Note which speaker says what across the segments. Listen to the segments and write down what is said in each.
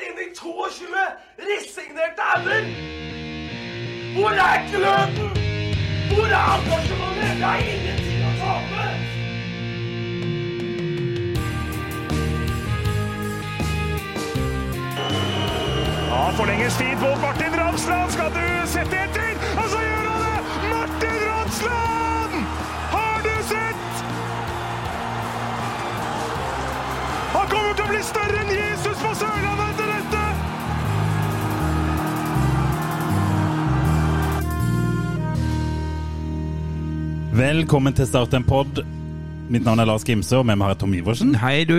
Speaker 1: 22 resignerte ender! Hvor er gløden? Hvor er engasjementet? Det er ingenting å tape!
Speaker 2: Ja, forlenges tid på Martin Ramsland. Skal du sette etter? Og så gjør han det! Martin Ramsland! Har du sett? Han kommer til å bli større enn Jesus på Sørlandet etter dette!
Speaker 3: Velkommen til Start en pod. Mitt navn er Lars Gimse, og med meg har jeg Tom Iversen.
Speaker 4: Hei, du.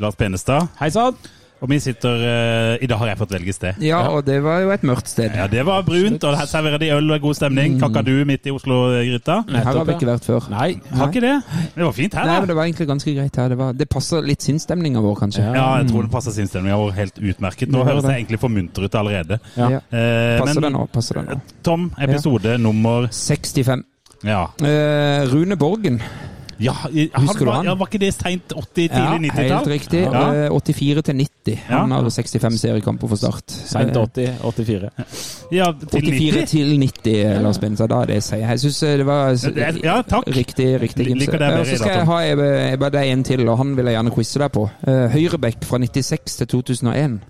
Speaker 3: Lars Penestad.
Speaker 4: Hei sann.
Speaker 3: Og vi sitter eh, I dag har jeg fått velge sted.
Speaker 4: Ja, og det var jo et mørkt sted.
Speaker 3: Ja, det var brunt, og her serverer de øl og god stemning. Kakadu midt i Oslo-gryta.
Speaker 4: Her Mm. har vi ikke
Speaker 5: ja.
Speaker 4: vært før.
Speaker 5: Nei.
Speaker 3: Har ikke det? Det var fint
Speaker 4: Nei,
Speaker 3: her,
Speaker 4: men
Speaker 3: da.
Speaker 4: Det var egentlig ganske greit her. Det, var, det passer litt sinnsstemninga vår, kanskje.
Speaker 5: Ja.
Speaker 3: Ja, jeg tror det passer sinnsstemninga vår helt utmerket. Nå
Speaker 4: Det gjør
Speaker 3: høres
Speaker 4: det.
Speaker 3: jeg egentlig for munter ut allerede.
Speaker 4: Ja.
Speaker 3: Eh,
Speaker 4: Passer det
Speaker 3: men
Speaker 4: nå? passer det nå.
Speaker 3: Tom, episode nummer
Speaker 4: 65.
Speaker 3: Ja.
Speaker 4: Eh, Rune Borgen.
Speaker 3: ja i- han
Speaker 4: Husker du
Speaker 3: var,
Speaker 4: han?
Speaker 3: ja var ikke det seint 80-, tidlig
Speaker 4: helt
Speaker 3: 90-tall?
Speaker 4: riktig.
Speaker 3: Ja.
Speaker 4: Eh, 84 til 90. Han
Speaker 3: Ja.
Speaker 4: hadde 65 seriekamper for Start. Eh,
Speaker 5: Seint 80, 84.
Speaker 3: Ja, til
Speaker 4: 84
Speaker 3: 90.
Speaker 4: til 90, Lars Binsa. Da er det jeg sier. Jeg syns det var s-
Speaker 3: Ja, det er- ja, takk.
Speaker 4: riktig. riktig
Speaker 3: Jeg
Speaker 4: Gimse.
Speaker 3: liker det bedre
Speaker 4: Ja,
Speaker 3: i
Speaker 4: Så skal
Speaker 3: dag,
Speaker 4: jeg
Speaker 3: Tom.
Speaker 4: ha jeg, jeg bare deg en til, og han vil jeg gjerne quize deg på. Eh, Høyrebekk fra 96 til 2001.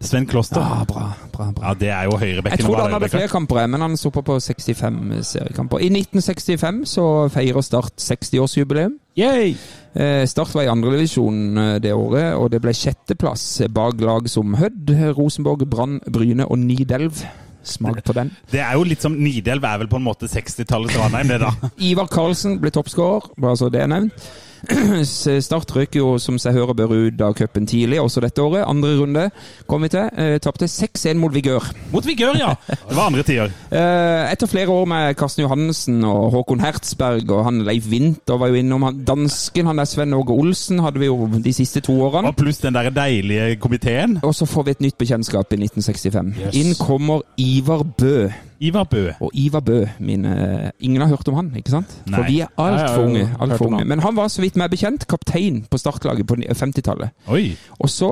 Speaker 3: Sven Kloster.
Speaker 4: Ah, bra, bra, bra.
Speaker 3: Ja, det er jo høyrebekken.
Speaker 4: Jeg trodde
Speaker 3: var
Speaker 4: han hadde
Speaker 3: høyrebekken.
Speaker 4: flere kamper, men han stoppa på 65 seriekamper. I 1965 så feirer Start 60-årsjubileum.
Speaker 5: Yay!
Speaker 4: Eh, Start var i andredivisjon det året, og det ble sjetteplass bak lag som Hødd, Rosenborg, Brann, Bryne og Nidelv. Smak på den.
Speaker 3: Det er jo litt som Nidelv er vel på en måte 60-tallets Ranheim, det da.
Speaker 4: Ivar Karlsen ble toppskårer, bare så det er nevnt. Start røk jo som seg hører bør ut av cupen tidlig, også dette året. Andre runde kom vi til. Eh, Tapte 6-1 mot Vigør.
Speaker 3: Mot Vigør, ja! Det var andre tider.
Speaker 4: Eh, Etter flere år med Karsten Johannessen og Håkon Hertzberg og han Leif Winther var jo innom. Han, dansken, han der Sven Åge Olsen, hadde vi jo de siste to årene.
Speaker 3: Og pluss den der deilige komiteen.
Speaker 4: Og så får vi et nytt bekjentskap i 1965.
Speaker 5: Yes.
Speaker 4: Inn kommer Ivar Bø.
Speaker 3: Ivar Bø.
Speaker 4: Og Ivar Bø, mine Ingen har hørt om han, ikke sant?
Speaker 3: Nei.
Speaker 4: For vi er
Speaker 5: Nei, jeg har
Speaker 4: altfor
Speaker 5: jo
Speaker 4: unge.
Speaker 5: hørt
Speaker 4: Alt for
Speaker 5: om
Speaker 4: unge.
Speaker 5: han.
Speaker 4: Men han var, så vidt meg bekjent, kaptein på startlaget på 50-tallet.
Speaker 3: Oi.
Speaker 4: Og så,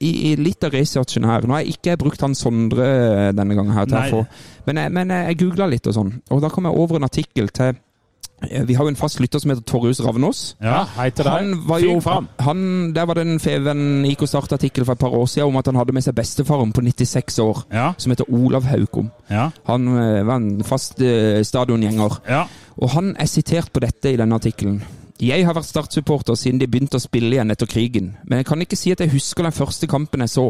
Speaker 4: i, i litt av researchen her Nå har jeg ikke brukt han Sondre eh, denne gangen her til
Speaker 3: Nei.
Speaker 4: å få Men jeg, men eh, jeg googla litt og sånn, og da kom jeg over en artikkel til eh, vi har jo en fast lytter som heter Torjus Ravnås.
Speaker 3: Ja.
Speaker 5: Hei til deg.
Speaker 4: Han var jo,
Speaker 5: Fyr fram.
Speaker 4: han, der var det en Feven IK Start-artikkel for et par år siden om at han hadde med seg bestefaren på 96 år,
Speaker 3: Ja.
Speaker 4: som heter Olav Haukom.
Speaker 3: Ja.
Speaker 4: Han eh, var en fast eh, stadiongjenger.
Speaker 3: ja.
Speaker 4: Og han er sitert på dette i denne artikkelen. Jeg har vært Start-supporter siden de begynte å spille igjen etter krigen, men jeg kan ikke si at jeg husker den første kampen jeg så,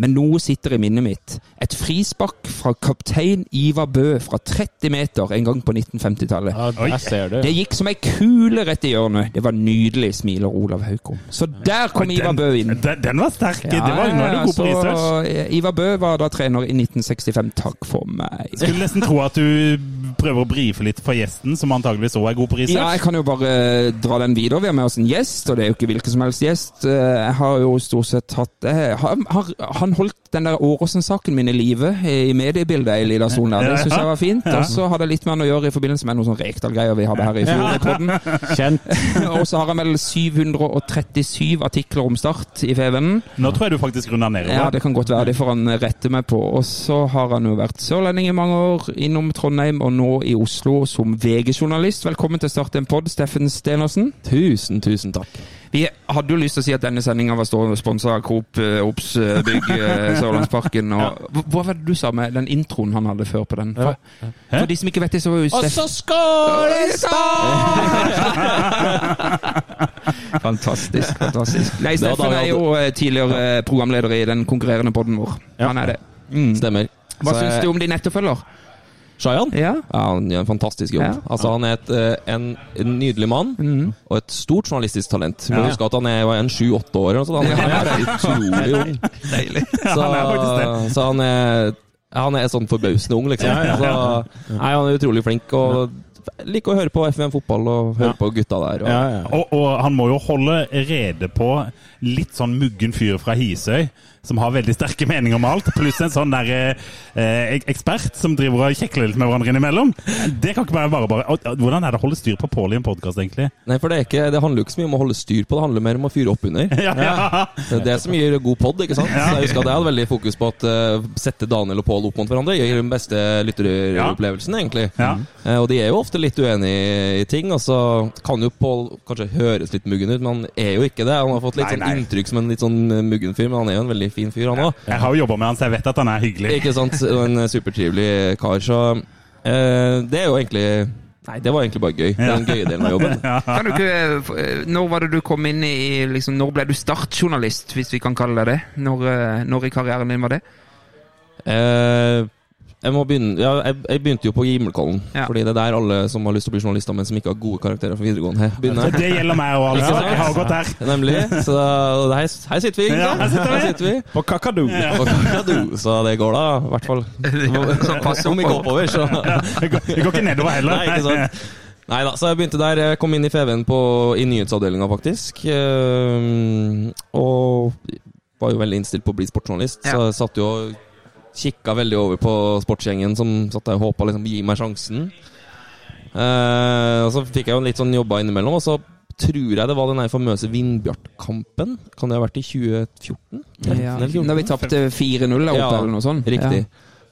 Speaker 4: men noe sitter i minnet mitt. Et frispark fra kaptein Ivar Bø fra 30 meter en gang på 1950-tallet.
Speaker 5: Ja,
Speaker 3: Oi.
Speaker 5: der ser du.
Speaker 4: Det gikk som ei kule rett i hjørnet. Det var nydelig, smiler Olav Haukom. Så der kom Ivar Bø inn.
Speaker 3: Den, den var sterk. det var, nå er du god på
Speaker 4: Ja, så,
Speaker 3: research.
Speaker 4: eh, Ivar Bø var da trener i 1965. Takk for meg.
Speaker 3: Skulle nesten tro at du prøver å brife litt for gjesten, som antageligvis òg er god på
Speaker 4: Ja, jeg
Speaker 3: research.
Speaker 4: kan jo bare eh, dra den videre. Vi har med oss en gjest, og det er jo ikke hvilken som helst gjest. Eh, Jeg har jo stort sett hatt eh, Han, har- han holdt den der Åråsen-saken min i live i mediebildet i Lidasolen der. Det syns jeg var fint. Og så hadde jeg litt med han å gjøre i forbindelse med noen sånn Rekdal-greier vi hadde her i fjor i podden.
Speaker 5: Kjent.
Speaker 4: Og så har han vel 737 artikler om Start i Fevennen.
Speaker 3: Nå tror jeg du faktisk runder
Speaker 4: Ja,
Speaker 3: nedover.
Speaker 4: det kan godt være. Det får han eh, rette meg på. Og så har han jo vært sørlending i mange år, innom Trondheim og nå i Oslo som VG-journalist. Velkommen til Start en pod, Steffen Stenersen.
Speaker 6: Tusen, tusen takk.
Speaker 4: Vi hadde jo lyst til å si at denne sendinga var sponsa av Coop eh, Ops eh, Bygg eh, Sørlandsparken. Og, Hva- Hva var det du sa med den introen han hadde før på den? For, for de som ikke vet det, så var jo
Speaker 5: Og
Speaker 4: Steff
Speaker 5: så skål!
Speaker 4: Fantastisk. fantastisk Nei,
Speaker 6: Da, da,
Speaker 4: Steffen
Speaker 6: ja,
Speaker 4: er
Speaker 6: da.
Speaker 4: jo eh, tidligere eh, programleder i den konkurrerende poden vår. Han er det. eh,
Speaker 6: Stemmer.
Speaker 4: Hva
Speaker 6: Så
Speaker 4: syns
Speaker 6: jeg-
Speaker 4: du om din etterfølger?
Speaker 5: Shayan?
Speaker 4: Ja.
Speaker 6: Ja, han gjør en fantastisk jobb.
Speaker 4: Ja.
Speaker 6: Altså, han er et, eh, en, en nydelig mann, og et stort journalistisk talent. Vi må
Speaker 3: Ja.
Speaker 6: huske at han er var en sju-åtte år, eller noe sånt. Han er utrolig ung. Så,
Speaker 3: han er faktisk
Speaker 6: så han er han er sånn forbausende ung, liksom. Så, nei, han er utrolig flink. Og liker å høre på FM fotball og høre på gutta der. Og,
Speaker 5: Ja, ja.
Speaker 3: Og, og han må jo holde rede på litt sånn muggen fyr fra Hisøy som har veldig sterke meninger om alt, pluss en sånn der eh, eh, ekspert som driver og kjekler litt med hverandre innimellom. Det kan ikke være bare bare. Og- og Hvordan er det å holde styr på Pål i en podkast, egentlig?
Speaker 6: Nei, for det, er ikke, det handler jo ikke så mye om å holde styr på det, det handler mer om å fyre opp under.
Speaker 3: Ja, ja.
Speaker 6: Det er Eh, det som gir god pod, ikke sant? Så jeg husker at jeg hadde veldig fokus på å sette Daniel og Pål opp mot hverandre. Gir den beste lytteropplevelsen, egentlig.
Speaker 3: Ja.
Speaker 6: Eh, Og de er jo ofte litt uenige i ting. Og så kan jo Pål kanskje høres litt muggen ut, men han er jo ikke det. Han har fått litt
Speaker 3: Nei,
Speaker 6: sånn
Speaker 3: nei.
Speaker 6: inntrykk som en litt sånn eh, muggen fyr, men han er jo en veldig fin fyr, han òg.
Speaker 3: Jeg har jo jobba med han, så jeg vet at han er hyggelig.
Speaker 6: Ikke sant? Og En eh, supertrivelig kar. Så eh, det er jo egentlig Nei, det var egentlig bare gøy. Det er den gøye delen av jobben.
Speaker 4: Kan du ikke, eh, når var det du kom inn i liksom, Når ble du startjournalist, hvis vi kan kalle det det? Når, eh, når i karrieren din var det?
Speaker 6: Eh, jeg, må begynne, ja, jeg, jeg begynte jo på Gimlekollen.
Speaker 4: Ja.
Speaker 6: Fordi det er der alle som har lyst til å bli journalister, men som ikke har gode karakterer fra videregående, begynner.
Speaker 3: Det gjelder meg òg, altså. Jeg har gått her.
Speaker 6: Nemlig. Så da- her, her sitter vi. Ikke?
Speaker 3: Ja,
Speaker 6: sant?
Speaker 3: her sitter vi.
Speaker 5: På kakadu.
Speaker 6: Og kakadu, så det går da, i hvert fall.
Speaker 4: Så pass
Speaker 6: Om ikke
Speaker 4: opp.
Speaker 6: oppover, så
Speaker 3: Det går det går ikke nedover heller.
Speaker 6: Nei, ikke sant. Nei da, så jeg begynte der. Jeg kom inn i FV-en på- i nyhetsavdelinga, faktisk. Ehm, og var jo veldig innstilt på å bli sportsjournalist, så
Speaker 4: Ja.
Speaker 6: jeg satt jo og kikka veldig over på sportsgjengen som satt der og håpa liksom gi meg sjansen. Eh, og så fikk jeg jo litt sånn jobba innimellom, og så tror jeg det var den her famøse Vindbjart-kampen. Kan det ha vært i 2014?
Speaker 4: Ja. Når vi tapte 4-0 der oppe,
Speaker 6: Ja,
Speaker 4: eller noe sånt.
Speaker 6: Riktig.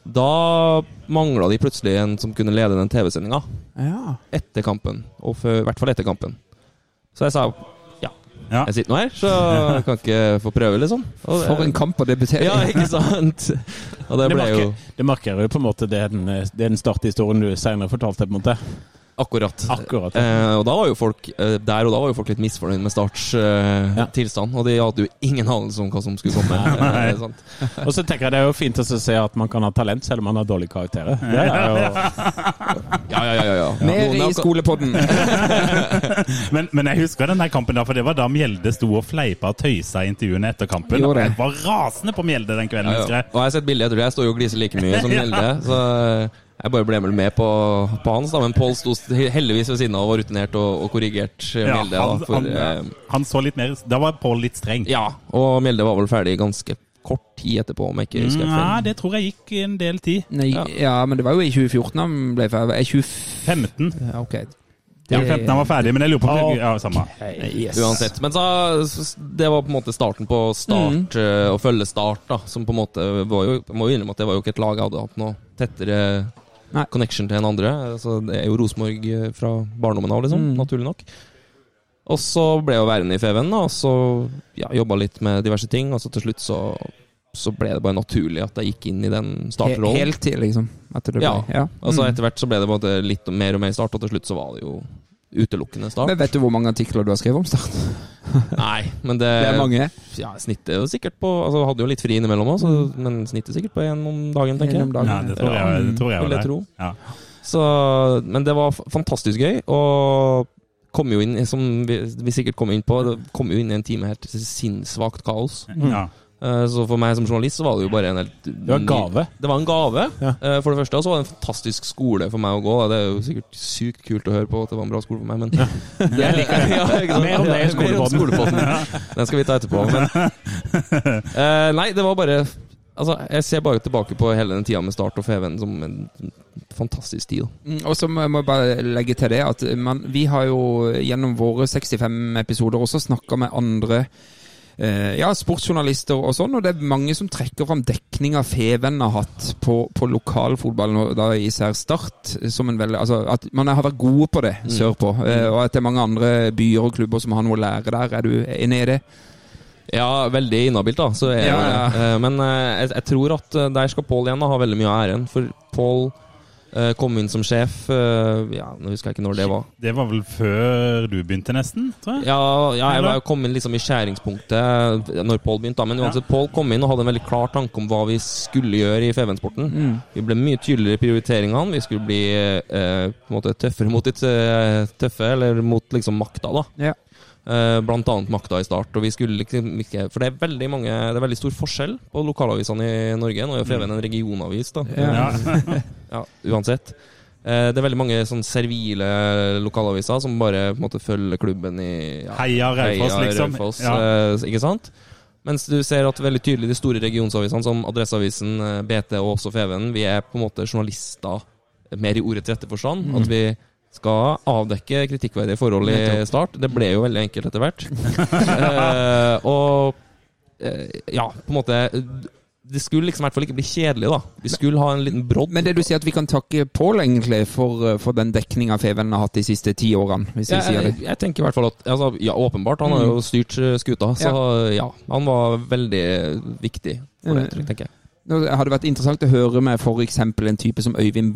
Speaker 6: Da mangla de plutselig en som kunne lede den TV-sendinga
Speaker 4: Ja. ja.
Speaker 6: etter kampen. Og før, i hvert fall etter kampen. Så jeg sa ja.
Speaker 3: Ja.
Speaker 6: Jeg sitter nå her, så jeg kan ikke få prøve, liksom. Og det-
Speaker 4: For en kamp å debutere
Speaker 6: Ja,
Speaker 4: i.
Speaker 6: ikke sant? Og det
Speaker 5: Det
Speaker 6: ble jo
Speaker 5: markerer, det markerer jo på en måte det den, eh, det den starthistorien du senere fortalte. på en måte.
Speaker 6: akkurat.
Speaker 5: Akkurat.
Speaker 6: Eh, og da var jo folk eh, der og da var jo folk litt misfornøyd med Starts eh,
Speaker 5: Ja.
Speaker 6: tilstand. Og de hadde jo ingen anelse om hva som skulle komme. eh, sant?
Speaker 5: Og så tenker jeg det er jo fint å se at man kan ha talent selv om man har dårlige karakterer. Det er jo,
Speaker 6: Ja, ja, ja, ja, ja.
Speaker 4: Mer
Speaker 6: Noen
Speaker 4: i
Speaker 6: har-
Speaker 4: skolepodden.
Speaker 3: Men, men jeg husker den der kampen, da, for det var da Mjelde sto og fleipa og tøysa i intervjuene etter kampen.
Speaker 4: Gjorde det.
Speaker 3: Jeg var rasende på Mjelde den kvelden,
Speaker 6: Ja,
Speaker 3: husker
Speaker 6: ja.
Speaker 3: jeg.
Speaker 6: Og jeg har sett bildet etter det. Jeg står jo og gliser like mye som Gjelde. Så jeg bare ble vel med på, på hans, da. Men Pål sto heldigvis ved siden av og var rutinert og, og korrigert eh,
Speaker 3: Ja,
Speaker 6: Mjelde.
Speaker 3: han,
Speaker 6: da, for,
Speaker 3: han,
Speaker 6: eh,
Speaker 3: han så litt mer Da var Pål litt streng.
Speaker 6: ja, og Mjelde var vel ferdig ganske kort tid etterpå, om jeg ikke husker helt
Speaker 3: Nei,
Speaker 6: feil.
Speaker 3: det tror jeg gikk en del tid.
Speaker 4: Nei,
Speaker 6: Ja.
Speaker 4: ja, men det var jo i 2014 han ble ferdig. Er 20...
Speaker 3: 15.
Speaker 4: Ja, Ok.
Speaker 3: Ja, 15 han var ferdig, men jeg lurer på om det- ja, samme.
Speaker 6: Uansett. Men så, så- det var på en måte starten på
Speaker 4: Mm.
Speaker 6: start, eh, å følge start, da. Som på en måte eh, var jo Jeg må jo innrømme at det var jo ikke et lag jeg hadde hatt noe tettere
Speaker 4: Nei.
Speaker 6: connection til enn andre. Så det er jo Rosenborg eh, fra barndommen av,
Speaker 4: Mm.
Speaker 6: liksom. Naturlig nok. Og så ble jeg jo værende i Feven, da, og så ja, jobba litt med diverse ting. Og så til slutt så, så ble det bare naturlig at jeg gikk inn i den
Speaker 4: He
Speaker 6: starterrollen.
Speaker 4: heltid, liksom. At det ble.
Speaker 6: Ja.
Speaker 4: ja.
Speaker 6: Og så
Speaker 4: Mm.
Speaker 6: etter hvert så ble det på en måte litt mer og mer start, og til slutt så var det jo utelukkende start.
Speaker 4: Men vet du hvor mange artikler du har skrevet om Start?
Speaker 6: Nei, men det,
Speaker 4: Det er mange.
Speaker 6: Ja, snittet er jo sikkert på Altså, hadde jo litt fri innimellom òg, men snittet sikkert på én om dagen, tenker
Speaker 4: Gjennom
Speaker 6: jeg.
Speaker 3: Ja,
Speaker 4: dagen.
Speaker 3: det tror jeg, det tror jeg
Speaker 6: Vil
Speaker 3: var
Speaker 6: jeg
Speaker 3: det.
Speaker 6: tro.
Speaker 3: Ja.
Speaker 6: Så, men det var f- fantastisk gøy, og kom jo inn, som vi, vi sikkert kom inn på, det kom jo inn i en time helt sinnssvakt kaos.
Speaker 3: Ja.
Speaker 6: Eh, Så for meg som journalist så var det jo bare en helt Det
Speaker 5: var en gave.
Speaker 6: Det var en gave,
Speaker 5: Ja.
Speaker 6: eh, for det første. Og så var det en fantastisk skole for meg å gå. da. Det er jo sikkert sykt kult å høre på at det var en bra skole for meg, men Jeg liker det.
Speaker 5: Mer om det i skolepodden.
Speaker 6: Den skal vi ta etterpå. Men, Eh, nei, det var bare Altså, Jeg ser bare tilbake på hele den tida med Start og Feven som en fantastisk tid. da.
Speaker 4: Mm, Og så må jeg må jeg bare legge til det at man, vi har jo gjennom våre 65 episoder også snakka med andre eh, ja, sportsjournalister og sånn, og det er mange som trekker fram dekninga Feven har hatt på, på lokalfotballen, og da især Start, som en veldig Altså at man har vært gode på det sørpå, eh, og at det er mange andre byer og klubber som har noe å lære der. Er du enig i det?
Speaker 6: Ja, veldig inhabilt, da. Så er
Speaker 4: Ja, ja.
Speaker 6: det. Eh, Men eh, jeg, jeg tror at eh, der skal Pål igjen da ha veldig mye av æren. For Pål eh, kom inn som sjef eh, Ja, nå husker jeg ikke når det var.
Speaker 3: Det var vel før du begynte, nesten? tror jeg.
Speaker 6: Ja, ja jeg
Speaker 3: Eller?
Speaker 6: var jo kommet inn liksom i skjæringspunktet når Pål begynte. da, Men uansett, Pål kom inn og hadde en veldig klar tanke om hva vi skulle gjøre i Feven-sporten. Vi ble mye tydeligere i prioriteringene. Vi skulle bli eh, på en måte tøffere mot de tø- tøffe, eller mot liksom makta, da.
Speaker 4: Ja.
Speaker 6: Eh, blant annet makta i start. Og vi skulle liksom ikke For det er veldig mange Det er veldig stor forskjell på lokalavisene i Norge. Nå er jo Feven en regionavis, da.
Speaker 4: Ja.
Speaker 3: Ja.
Speaker 6: Ja, uansett. Eh, Det er veldig mange sånn servile lokalaviser som bare på en måte følger klubben i ja,
Speaker 3: Heia Raufoss,
Speaker 6: Heia
Speaker 3: liksom.
Speaker 6: Raufoss,
Speaker 3: Ja.
Speaker 6: eh, ikke sant? Mens du ser at veldig tydelig de store regionsavisene som Adresseavisen, eh, BT og også Feven, vi er på en måte journalister mer i ordets rette forstand.
Speaker 3: Mm.
Speaker 6: At vi skal avdekke kritikkverdige forhold i start. Det ble jo veldig enkelt etter hvert. Eh, og eh, ja, på en måte Det skulle liksom i hvert fall ikke bli kjedelig, da. Vi skulle ha en liten brodd.
Speaker 4: Men det du sier at vi kan takke Pål egentlig for, eh, for den dekninga Feven har hatt de siste ti årene, hvis vi
Speaker 6: Ja,
Speaker 4: sier
Speaker 6: jeg,
Speaker 4: det.
Speaker 6: jeg, tenker i hvert fall at altså, Ja, åpenbart. Han har jo styrt eh, skuta, så ja. Han var veldig viktig for det, tror jeg, tenker jeg.
Speaker 4: Nå hadde det vært interessant å høre med f.eks. en type som Øyvind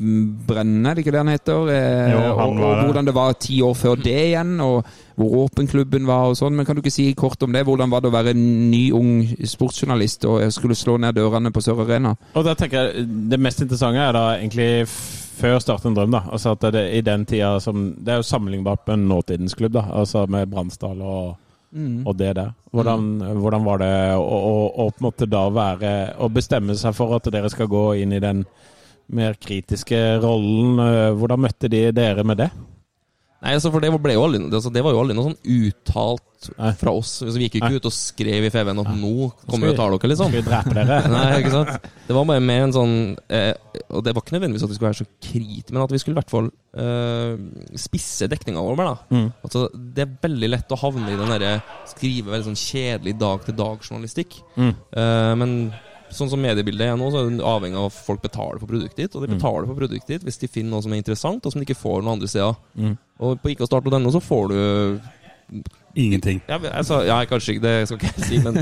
Speaker 4: Brenne, er det ikke det han heter? Eh,
Speaker 3: Jo, han
Speaker 4: og,
Speaker 3: var
Speaker 4: og
Speaker 3: det. Mm.
Speaker 4: hvordan det var ti år før det igjen, og hvor åpen klubben var og sånn. Men kan du ikke si kort om det? Hvordan var det å være en ny, ung sportsjournalist og skulle slå ned dørene på Sør Arena?
Speaker 5: Og da tenker jeg Det mest interessante er da egentlig f- før Start en drøm, da. Altså at det i den tida som Det er jo sammenlignbart med nåtidens klubb, da. Altså med Bransdal og, og det der. Hvordan, hvordan var det å, å, å på en måte da være Å bestemme seg for at dere skal gå inn i den mer kritiske rollen? øh, Hvordan møtte de dere med det?
Speaker 6: Nei, altså, for det var- ble jo aldri, altså, det var jo aldri noe sånn uttalt
Speaker 5: Nei.
Speaker 6: fra oss. Altså, vi gikk jo
Speaker 5: Nei.
Speaker 6: ikke ut og skrev i FVN at nå kommer vi og
Speaker 5: Skal
Speaker 6: tar dere, liksom.
Speaker 5: Skal vi drepe dere?
Speaker 6: Nei, ikke sant? Det var bare mer en sånn eh, Og det var ikke nødvendigvis at vi skulle være så krit, men at vi skulle i hvert fall eh, spisse dekninga vår mer, da.
Speaker 5: Mm.
Speaker 6: Altså, det er veldig lett å havne i den derre skrive veldig sånn kjedelig dag-til-dag-journalistikk.
Speaker 5: Mm.
Speaker 6: Eh, men sånn som mediebildet er nå, så er det avhengig av at folk betaler for produktet ditt. Og de
Speaker 5: Mm.
Speaker 6: betaler for produktet ditt hvis de finner noe som er interessant, og som de ikke får noen andre steder.
Speaker 5: Mm.
Speaker 6: Og på ikkastart.no så får du
Speaker 3: Ingenting.
Speaker 6: ja, men, altså, ja, kanskje ikke, det skal ikke jeg si, men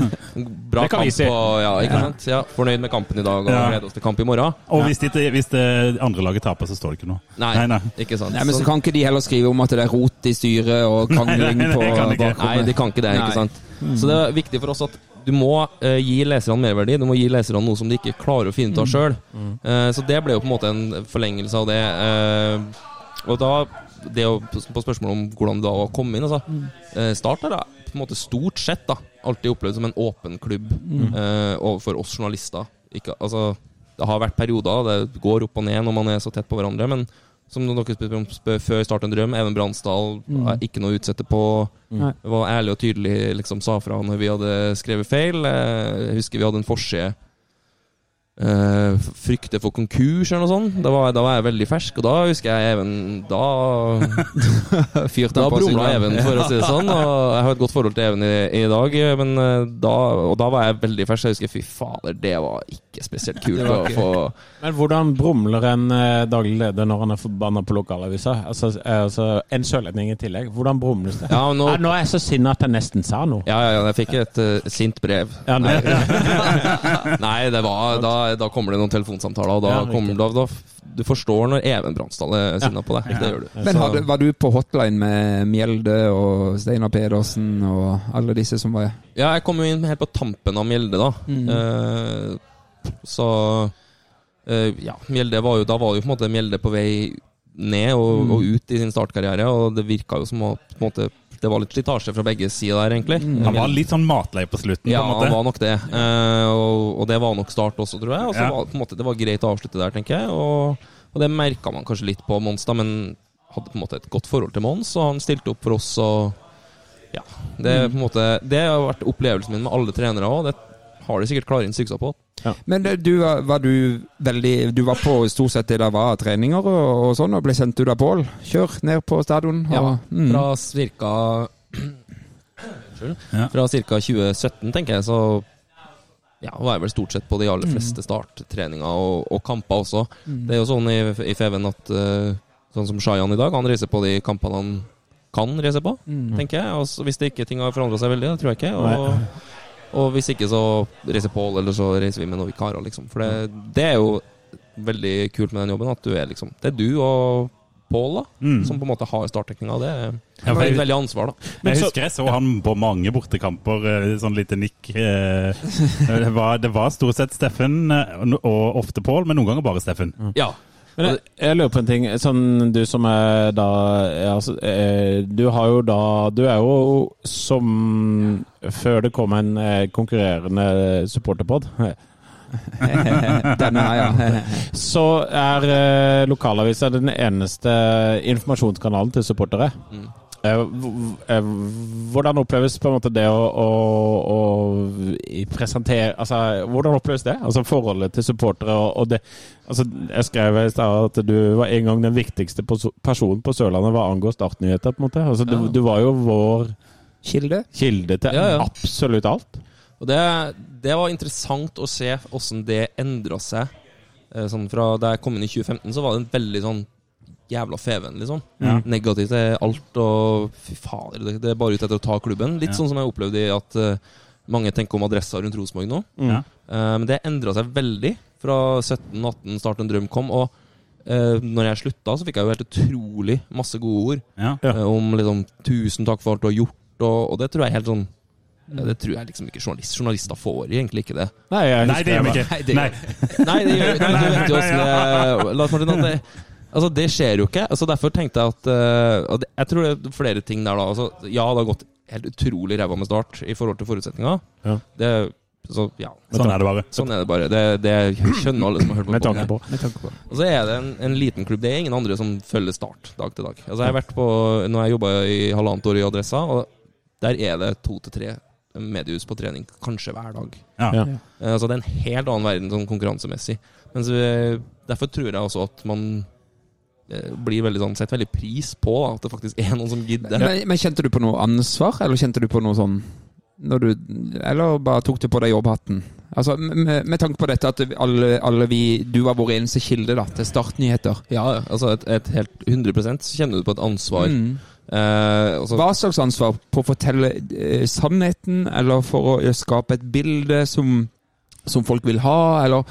Speaker 6: bra
Speaker 5: Det kan
Speaker 6: kamp.
Speaker 5: vi si.
Speaker 6: Og, ja, ikke sant? Ja, fornøyd med kampen i dag og
Speaker 3: Ja.
Speaker 6: gleder oss til kamp i morgen.
Speaker 3: Og hvis det, hvis det andre laget taper, så står det ikke noe.
Speaker 6: Nei,
Speaker 3: Nei, nei.
Speaker 6: ikke sant.
Speaker 4: Nei, men så
Speaker 6: Så-
Speaker 4: kan ikke de heller skrive om at det er rot i styret og krangling
Speaker 3: Nei, nei, nei,
Speaker 4: på
Speaker 3: det kan de ikke.
Speaker 4: bakrommet.
Speaker 6: Nei, de kan ikke det.
Speaker 4: Nei.
Speaker 6: ikke sant? Så det er viktig for oss at du må eh, gi leserne merverdi. Du må gi leserne noe som de ikke klarer å finne ut av sjøl. så det ble jo på en måte en forlengelse av det. eh, og da det å, På spørsmålet om hvordan det var å komme inn altså, eh, Start har jeg på en måte stort sett da alltid opplevd som en åpen klubb eh, overfor oss journalister. Ikke, altså, det har vært perioder, det går opp og ned når man er så tett på hverandre. Men som dere spør om spør før Start en drøm, Even Bransdal har ikke noe å utsette på.
Speaker 4: Nei.
Speaker 6: Var ærlig og tydelig liksom sa fra når vi hadde skrevet feil. Eh, Jeg husker vi hadde en forside. eh, frykte for konkurs eller noe sånt. Da var, da var jeg veldig fersk, og da husker jeg Even Da
Speaker 4: Fyrte
Speaker 6: da
Speaker 4: han på seg
Speaker 6: brumla
Speaker 4: selv.
Speaker 6: Even, for å si det sånn. Og jeg har et godt forhold til Even i, i dag, men eh, da, og da var jeg veldig fersk. Jeg husker fy fader, det var ikke spesielt kult å få
Speaker 5: Men hvordan brumler en eh, daglig leder når han er forbanna på lokalavisa? Altså, eh, altså, en sørlending i tillegg. Hvordan brumles det?
Speaker 6: Ja, men nå
Speaker 5: Nei, nå er jeg så sinna at jeg nesten sa noe.
Speaker 6: ja, ja, ja, jeg fikk et eh, sint brev.
Speaker 5: Ja, nei.
Speaker 6: Nei, det var, da, da kommer det noen telefonsamtaler, og da
Speaker 5: Ja, riktig.
Speaker 6: kommer da, da Du forstår når Even Bransdal er sinna på deg. Det gjør du.
Speaker 4: Men hadde, var du på hotline med Mjelde og Steinar Pedersen og alle disse som var
Speaker 6: Ja, jeg kom jo inn helt på tampen av Mjelde, da. Eh, så eh, Ja, Mjelde var jo Da var jo på en måte Mjelde på vei ned og, og ut i sin startkarriere, og det virka jo som å på en måte Det var litt slitasje fra begge sider der, egentlig.
Speaker 3: Han var litt sånn matlei på slutten,
Speaker 6: ja,
Speaker 3: på en
Speaker 6: han
Speaker 3: måte.
Speaker 6: var nok det. Eh, og, og det var nok start også, tror jeg. Og så
Speaker 3: Ja.
Speaker 6: var det på en måte, det var greit å avslutte der, tenker jeg. Og, og det merka man kanskje litt på Mons, da, men hadde på en måte et godt forhold til Mons, og han stilte opp for oss. og ja, Det, er på en måte, det har vært opplevelsen min med alle trenere òg. Det har de sikkert klare instrukser på.
Speaker 4: Men eh, du var, var du veldig Du var på stort sett det der var av treninger og, og sånn, og ble sendt ut av Pål. Kjør ned på stadion. Og,
Speaker 6: Ja,
Speaker 4: mm.
Speaker 6: fra cirka Unnskyld.
Speaker 3: Ja.
Speaker 6: Fra cirka 2017, tenker jeg, så ja, var jeg vel stort sett på de aller fleste starttreninger og, og kamper også. Det er jo sånn i, i Feven at eh, sånn som Shayan i dag, han reiser på de kampene han kan reise på,
Speaker 3: Mm.
Speaker 6: tenker jeg. Og så hvis det ikke ting har forandra seg veldig, det tror jeg ikke. Og, og hvis ikke, så reiser Pål, eller så reiser vi med noen vikarer, liksom. For det, det er jo veldig kult med den jobben, at du er liksom Det er du og Pål, da, som på en måte har startdekninga. Det er
Speaker 3: Mm. Ja, for
Speaker 6: det er
Speaker 3: jeg-
Speaker 6: et veldig ansvar, da.
Speaker 3: Jeg
Speaker 5: så-
Speaker 3: husker jeg så han på mange bortekamper, eh, sånn lite nikk. eh, Det var, det var stort sett Steffen eh, og ofte Pål, men noen ganger bare Steffen.
Speaker 6: Ja.
Speaker 5: Men jeg, jeg lurer på en ting. Sånn, du som er da eh, altså, eh, Du har jo da Du er jo som Før det kom en eh, konkurrerende supporterpod,
Speaker 4: Denne her, ja.
Speaker 5: Så er eh, lokalavisa den eneste informasjonskanalen til supportere.
Speaker 6: Mm.
Speaker 5: Eh, hv- eh, Hvordan oppleves på en måte det å, å, å i- presentere Altså, hvordan oppleves det? Altså forholdet til supportere og, og det Altså, jeg skrev i stad at du var en gang den viktigste pos- personen på Sørlandet hva angår startnyheter, på en måte. Altså, du,
Speaker 6: Ja.
Speaker 5: du var jo vår
Speaker 4: Kilde.
Speaker 5: kilde til
Speaker 6: Ja, ja.
Speaker 5: absolutt alt.
Speaker 6: Og det, det var interessant å se hvordan det endra seg. Eh, Sånn fra da jeg kom inn i 2015, så var det en veldig sånn jævla feven, liksom. Negativ til alt og fy fader, det, det er bare ute etter å ta klubben. Litt sånn som jeg opplevde i at eh, mange tenker om adressa rundt Rosenborg nå.
Speaker 3: Ja.
Speaker 6: Eh, Men det endra seg veldig fra 17-18, Start en drøm kom. Og eh, når jeg slutta, så fikk jeg jo helt utrolig masse gode ord.
Speaker 3: Ja.
Speaker 5: Ja.
Speaker 6: Eh, Om liksom 'tusen takk for alt du har gjort', og, og det tror jeg er helt sånn ja, Det tror jeg liksom ikke journalist, journalister får egentlig ikke det.
Speaker 5: Nei, jeg
Speaker 3: Nei, det gjør vi
Speaker 6: Nei,
Speaker 3: ikke.
Speaker 6: det
Speaker 3: Nei.
Speaker 6: gjør- Nei, det gjør nei, du vet jo
Speaker 3: Nei, ja.
Speaker 6: hvordan det Lars Martin, at det, altså, det skjer jo ikke. Altså, derfor tenkte jeg at eh, at det- Jeg tror det er flere ting der, da. Altså, ja, det har gått helt utrolig ræva med start i forhold til forutsetninger.
Speaker 5: Ja.
Speaker 6: Det, så ja.
Speaker 3: Sånn er det bare.
Speaker 6: Sånn er det bare. Det, det skjønner alle som har hørt på.
Speaker 5: Med tanke
Speaker 6: podden.
Speaker 5: på.
Speaker 6: Og så er det en, en liten klubb. Det er ingen andre som følger Start dag til dag. Altså jeg har vært på, Når jeg jobba i halvannet år i Adressa, og der er det to til tre mediehus på trening kanskje hver dag.
Speaker 3: Ja.
Speaker 6: Eh, Altså Det er en helt annen verden sånn konkurransemessig. Men så, derfor tror jeg også at man eh, blir veldig sånn, setter veldig pris på da, at det faktisk er noen som gidder.
Speaker 4: Men, men kjente du på noe ansvar, eller kjente du på noe sånn når du, Eller bare tok du på deg jobbhatten? Altså, med, med tanke på dette at alle, alle vi Du var vår eneste kilde da, til startnyheter.
Speaker 6: Ja, ja, altså et, et helt 100 så kjenner du på et ansvar.
Speaker 4: Mm.
Speaker 6: Eh, altså,
Speaker 4: Hva slags ansvar? På å fortelle eh, sannheten, eller for å eh, skape et bilde som, som folk vil ha, eller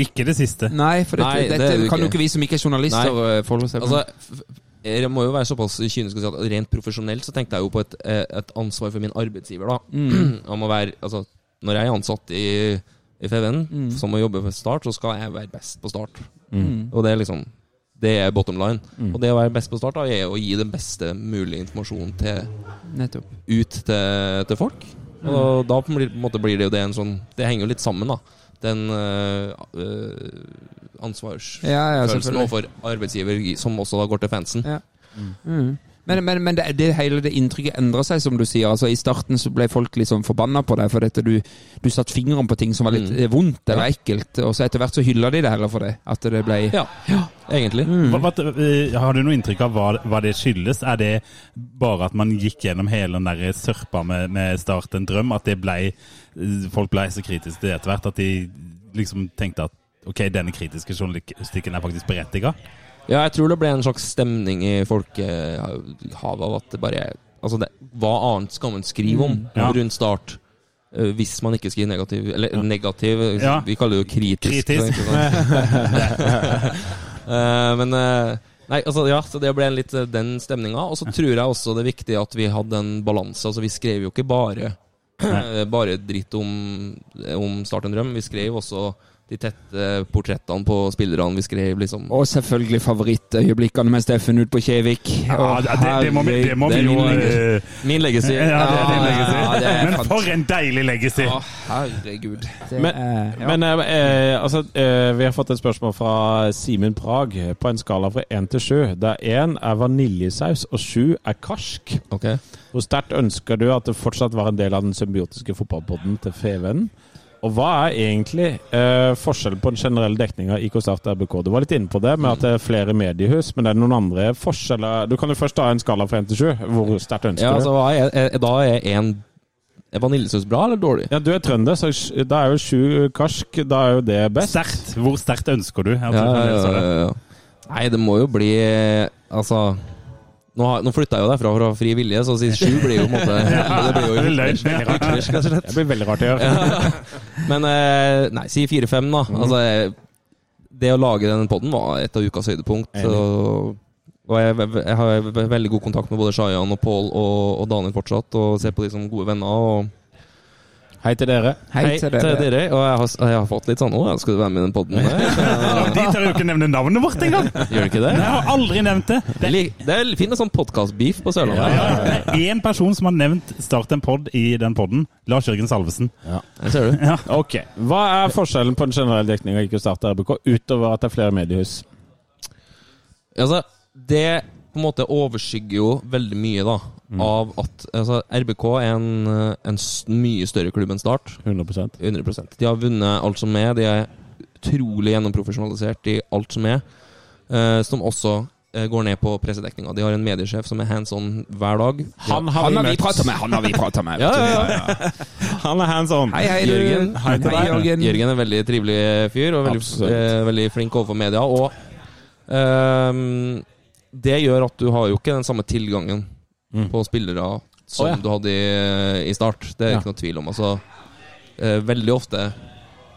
Speaker 3: Ikke det siste.
Speaker 4: Nei, for dette,
Speaker 6: Nei, det er
Speaker 4: dette
Speaker 6: det
Speaker 4: kan jo
Speaker 6: ikke.
Speaker 4: ikke vi som ikke er journalister eh, forholde oss til.
Speaker 6: Altså, f- f- jeg må jo være såpass kynisk og si at rent profesjonelt så tenkte jeg jo på et, eh, et ansvar for min arbeidsgiver, da. Om å være Altså, når jeg er ansatt i, i FVN, som å jobbe for Start, så skal jeg være best på Start. Og det er liksom Det er bottom line. Og det å være best på Start da, er å gi den beste mulige informasjonen til,
Speaker 4: Nettopp.
Speaker 6: ut til, til folk.
Speaker 4: Mm.
Speaker 6: Og da på en måte- på en måte blir det jo det en sånn Det henger jo litt sammen, da. Den eh, eh, ansvars
Speaker 4: Ja, ja,
Speaker 6: følelsen
Speaker 4: selvfølgelig.
Speaker 6: overfor arbeidsgiver, som også da går til fansen.
Speaker 4: Ja. Mm. Men, men, men det, det hele det inntrykket endrer seg, som du sier. Altså, I starten så ble folk liksom forbanna på deg for dette. Du, du satte fingeren på ting som var litt
Speaker 6: Mm.
Speaker 4: eh, vondt eller ekkelt, og så etter hvert så hylla de det heller for det. At det ble
Speaker 6: Ja, egentlig.
Speaker 3: Hva, hva, eh, har du noe inntrykk av hva, hva det skyldes? Er det bare at man gikk gjennom hele den der sørpa med, med Start en drøm? At det ble, eh, folk ble så kritiske til det etter hvert at de liksom tenkte at ok, denne kritiske journalistikken er faktisk berettiga?
Speaker 6: Ja, jeg tror det ble en slags stemning i folkehavet av at det bare er Altså, det, hva annet skal man skrive om
Speaker 3: Mm. Ja.
Speaker 6: rundt start? eh, Hvis man ikke skriver negativ Eller negativ, eh,
Speaker 3: Ja.
Speaker 6: vi kaller det jo kritisk.
Speaker 3: Kritisk.
Speaker 6: ikke sant? Eh, Men eh, Nei, altså ja, så det ble en litt eh, den stemninga. Og så tror jeg også det er viktig at vi hadde en balanse. Altså vi skrev jo ikke bare eh,
Speaker 3: Nei.
Speaker 6: Bare dritt om, om Start en drøm. Vi skrev også de tette portrettene på spillerne. Vi skrev liksom
Speaker 4: Og selvfølgelig favorittøyeblikkene med Steffen ut på Kjevik.
Speaker 3: Ja,
Speaker 4: Å,
Speaker 3: det, det, må vi, det må vi
Speaker 6: herregud,
Speaker 3: jo
Speaker 6: det er
Speaker 3: eh,
Speaker 6: Min legacy.
Speaker 3: ja, det, det er
Speaker 4: legacy.
Speaker 3: legacy.
Speaker 4: Ja, det er
Speaker 3: Men
Speaker 4: fant-
Speaker 3: for en deilig legacy!
Speaker 4: Å, herregud. Det
Speaker 5: Men-
Speaker 4: er, ja.
Speaker 5: Men eh, eh, altså, eh, vi har fått et spørsmål fra Simen Prag på en skala fra 1 til 7, der 1 er vaniljesaus og 7 er karsk.
Speaker 6: Ok.
Speaker 5: Hvor sterkt ønsker du at det fortsatt var en del av den symbiotiske fotballpodden til Feven? Og hva er egentlig eh, forskjellen på den generelle dekninga i Start og RBK? Du var litt inne på det med at det er flere mediehus, men er det noen andre forskjeller? Du kan jo først ta en skala fra 1 til 7. Hvor sterkt ønsker
Speaker 6: Ja, altså,
Speaker 5: du?
Speaker 6: hva er, er, da er en Er vaniljesaus bra eller dårlig?
Speaker 5: Ja, du er trønder, så sj- da er jo 7 karsk, da er jo det best.
Speaker 3: Sterkt. Hvor sterkt ønsker du? at du
Speaker 6: Ja,
Speaker 3: kan
Speaker 6: ja,
Speaker 3: lese det?
Speaker 6: ja, ja. Nei, det må jo bli Altså Nå, har- nå flytta jeg jo derfra fra fri vilje, så å si sju blir jo på en måte Det blir jo
Speaker 3: Løgn.
Speaker 6: hyklerisk, rett og slett.
Speaker 5: Det blir veldig rart å gjøre.
Speaker 6: Men eh, nei, si fire-fem, da. Altså, jeg- det å lage den podden var et av ukas høydepunkt.
Speaker 5: Enig.
Speaker 6: Og, og jeg, jeg har ve- veldig god kontakt med både Shayan og Pål og, og Daniel fortsatt, og ser på de som gode venner. Og
Speaker 5: Hei til dere.
Speaker 4: Hei, til dere.
Speaker 6: Og jeg har, jeg har fått litt sånn Å, ja, skal du være med i den podden her?
Speaker 3: De tør jo ikke nevne navnet vårt engang!
Speaker 6: Gjør du ikke det?
Speaker 3: Jeg har aldri nevnt det.
Speaker 6: Det, li- det er fin sånn podkast-beef på Sørlandet.
Speaker 3: Det er én person som har nevnt Start en pod i den poden. Lars Jørgen Salvesen.
Speaker 6: Det ser du.
Speaker 5: Ok, Hva er forskjellen på en generell dekning og ikke å starte RBK, utover at det er flere mediehus?
Speaker 6: Altså, det på en måte overskygger jo veldig mye da,
Speaker 5: Mm.
Speaker 6: av at altså, RBK er en, eh, en s- mye større klubb enn Start.
Speaker 5: 100
Speaker 6: 100 De har vunnet alt som er. De er utrolig gjennomprofesjonalisert i alt som er. eh, som også eh, går ned på pressedekninga. De har en mediesjef som er hands on hver dag.
Speaker 5: Han har
Speaker 4: Han
Speaker 5: vi
Speaker 4: har vi
Speaker 5: møtt.
Speaker 4: prata med! Han har vi pratet med. vet du.
Speaker 5: Han er sånn. hands on.
Speaker 4: Hei, hei, du.
Speaker 6: Jørgen.
Speaker 4: Hei, til deg. Jørgen.
Speaker 6: Jørgen er en veldig trivelig fyr, og veldig,
Speaker 5: Absolutt.
Speaker 6: eh, veldig flink overfor media. Og ehm, det gjør at du har jo ikke den samme tilgangen på spillere som
Speaker 5: Mm. Å, ja.
Speaker 6: du hadde i, i start. Det er
Speaker 5: Ja.
Speaker 6: ikke noe tvil om. Altså, eh, veldig ofte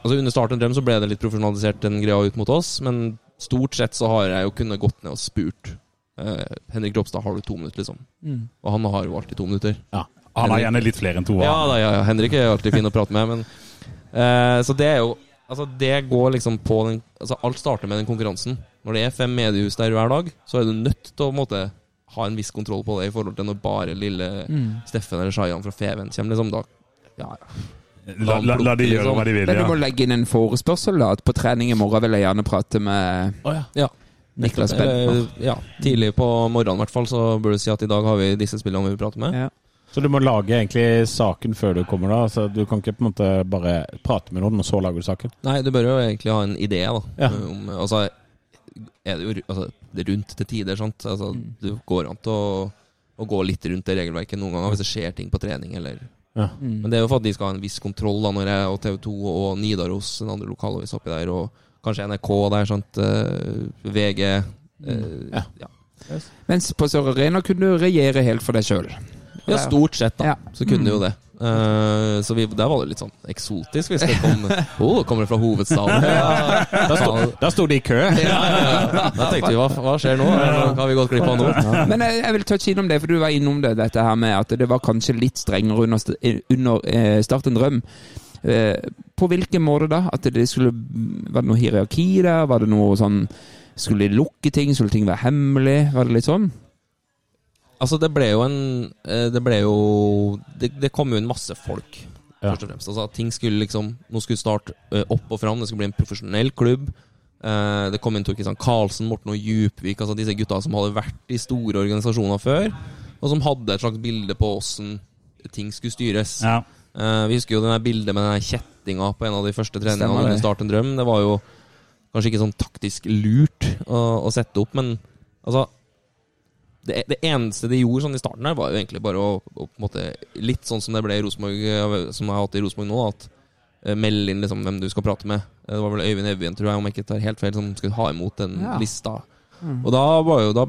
Speaker 6: Altså Under Start en drøm så ble det litt profesjonalisert, den greia ut mot oss, men stort sett så har jeg jo kunnet gått ned og spurt eh, Henrik Ropstad, har du to minutter, liksom?
Speaker 5: Mm.
Speaker 6: Og han har jo alltid to minutter.
Speaker 3: Han har gjerne litt flere enn to.
Speaker 6: Ja,
Speaker 3: han.
Speaker 6: da, ja, ja. Henrik er alltid fin å prate med, men eh, Så det er jo Altså, det går liksom på den Altså, alt starter med den konkurransen. Når det er fem mediehus der hver dag, så er du nødt til å på en måte ha en viss kontroll på det i forhold til når bare lille Steffen eller Shayan fra Feven kommer, liksom. Da Mm. ja, ja.
Speaker 3: La, la, la de gjøre hva de vil.
Speaker 4: Men du
Speaker 3: Ja.
Speaker 4: må legge inn en forespørsel, da. At på trening i morgen vil jeg gjerne prate med
Speaker 6: ja.
Speaker 4: Niklas Bentner.
Speaker 6: Eller, ja. Tidlig på morgenen, i hvert fall, så bør du si at i dag har vi disse spillene vi vil prate med.
Speaker 4: Ja.
Speaker 5: Så du må lage egentlig saken før du kommer, da? Så du kan ikke på en måte bare prate med noen, og så lager du saken?
Speaker 6: Nei, du bør jo egentlig ha en idé, da.
Speaker 5: Ja.
Speaker 6: Om, altså, er det jo ru- altså, det er rundt til tider, sant. Altså,
Speaker 5: Mm.
Speaker 6: det går an til å, å gå litt rundt det regelverket noen ganger hvis det skjer ting på trening, eller
Speaker 5: Ja.
Speaker 6: Men det er jo for at de skal ha en viss kontroll, da, når jeg og TV 2 og Nidaros, den andre lokalavis oppi der, og kanskje NRK der, sant. eh, VG. eh,
Speaker 5: Mm. Ja.
Speaker 6: ja.
Speaker 4: Mens på Sør Arena kunne du regjere helt for deg sjøl.
Speaker 6: Ja, stort sett, da.
Speaker 4: Ja.
Speaker 6: Så kunne
Speaker 5: Mm.
Speaker 6: jo det. Eh, så vi, der var det litt sånn eksotisk, hvis det kom oh, kommer det fra hovedstaden? Ja.
Speaker 5: Da sto, da sto de i kø!
Speaker 6: Ja, ja, ja. Da tenkte vi hva, hva skjer nå? Hva har vi gått glipp av nå?
Speaker 4: Men jeg, jeg vil touche innom det, for du var innom det, dette her med at det var kanskje litt strengere under, st- eh, under eh, Start en drøm. Eh, på hvilken måte da? At det skulle, var det noe hierarki der? Var det noe sånn Skulle de lukke ting? Skulle ting være hemmelig? Var det litt sånn?
Speaker 6: Altså, det ble jo en eh, Det ble jo Det, det kom jo inn masse folk,
Speaker 5: Ja.
Speaker 6: først og fremst. Altså, ting skulle liksom Nå skulle starte eh, opp og fram. Det skulle bli en profesjonell klubb. Eh, det kom inn Torkisan Karlsen, Morten og Djupvik, altså disse gutta som hadde vært i store organisasjoner før, og som hadde et slags bilde på åssen ting skulle styres.
Speaker 3: Ja.
Speaker 6: Eh, vi husker jo det der bildet med den der kjettinga på en av de første treningene
Speaker 4: Stemmer
Speaker 6: under
Speaker 4: det.
Speaker 6: Start en drøm. Det var jo kanskje ikke sånn taktisk lurt å, å sette opp, men altså det, det eneste de gjorde sånn i starten her, var jo egentlig bare å, å på en måte, Litt sånn som det ble i Rosenborg, eh, som jeg har hatt i Rosenborg nå, at eh, meld inn liksom hvem du skal prate med. Eh, Det var vel Øyvind Evjen, tror jeg, om jeg ikke tar helt feil, som skulle ha imot den
Speaker 4: Ja. Mm.
Speaker 6: lista. Og da var jo da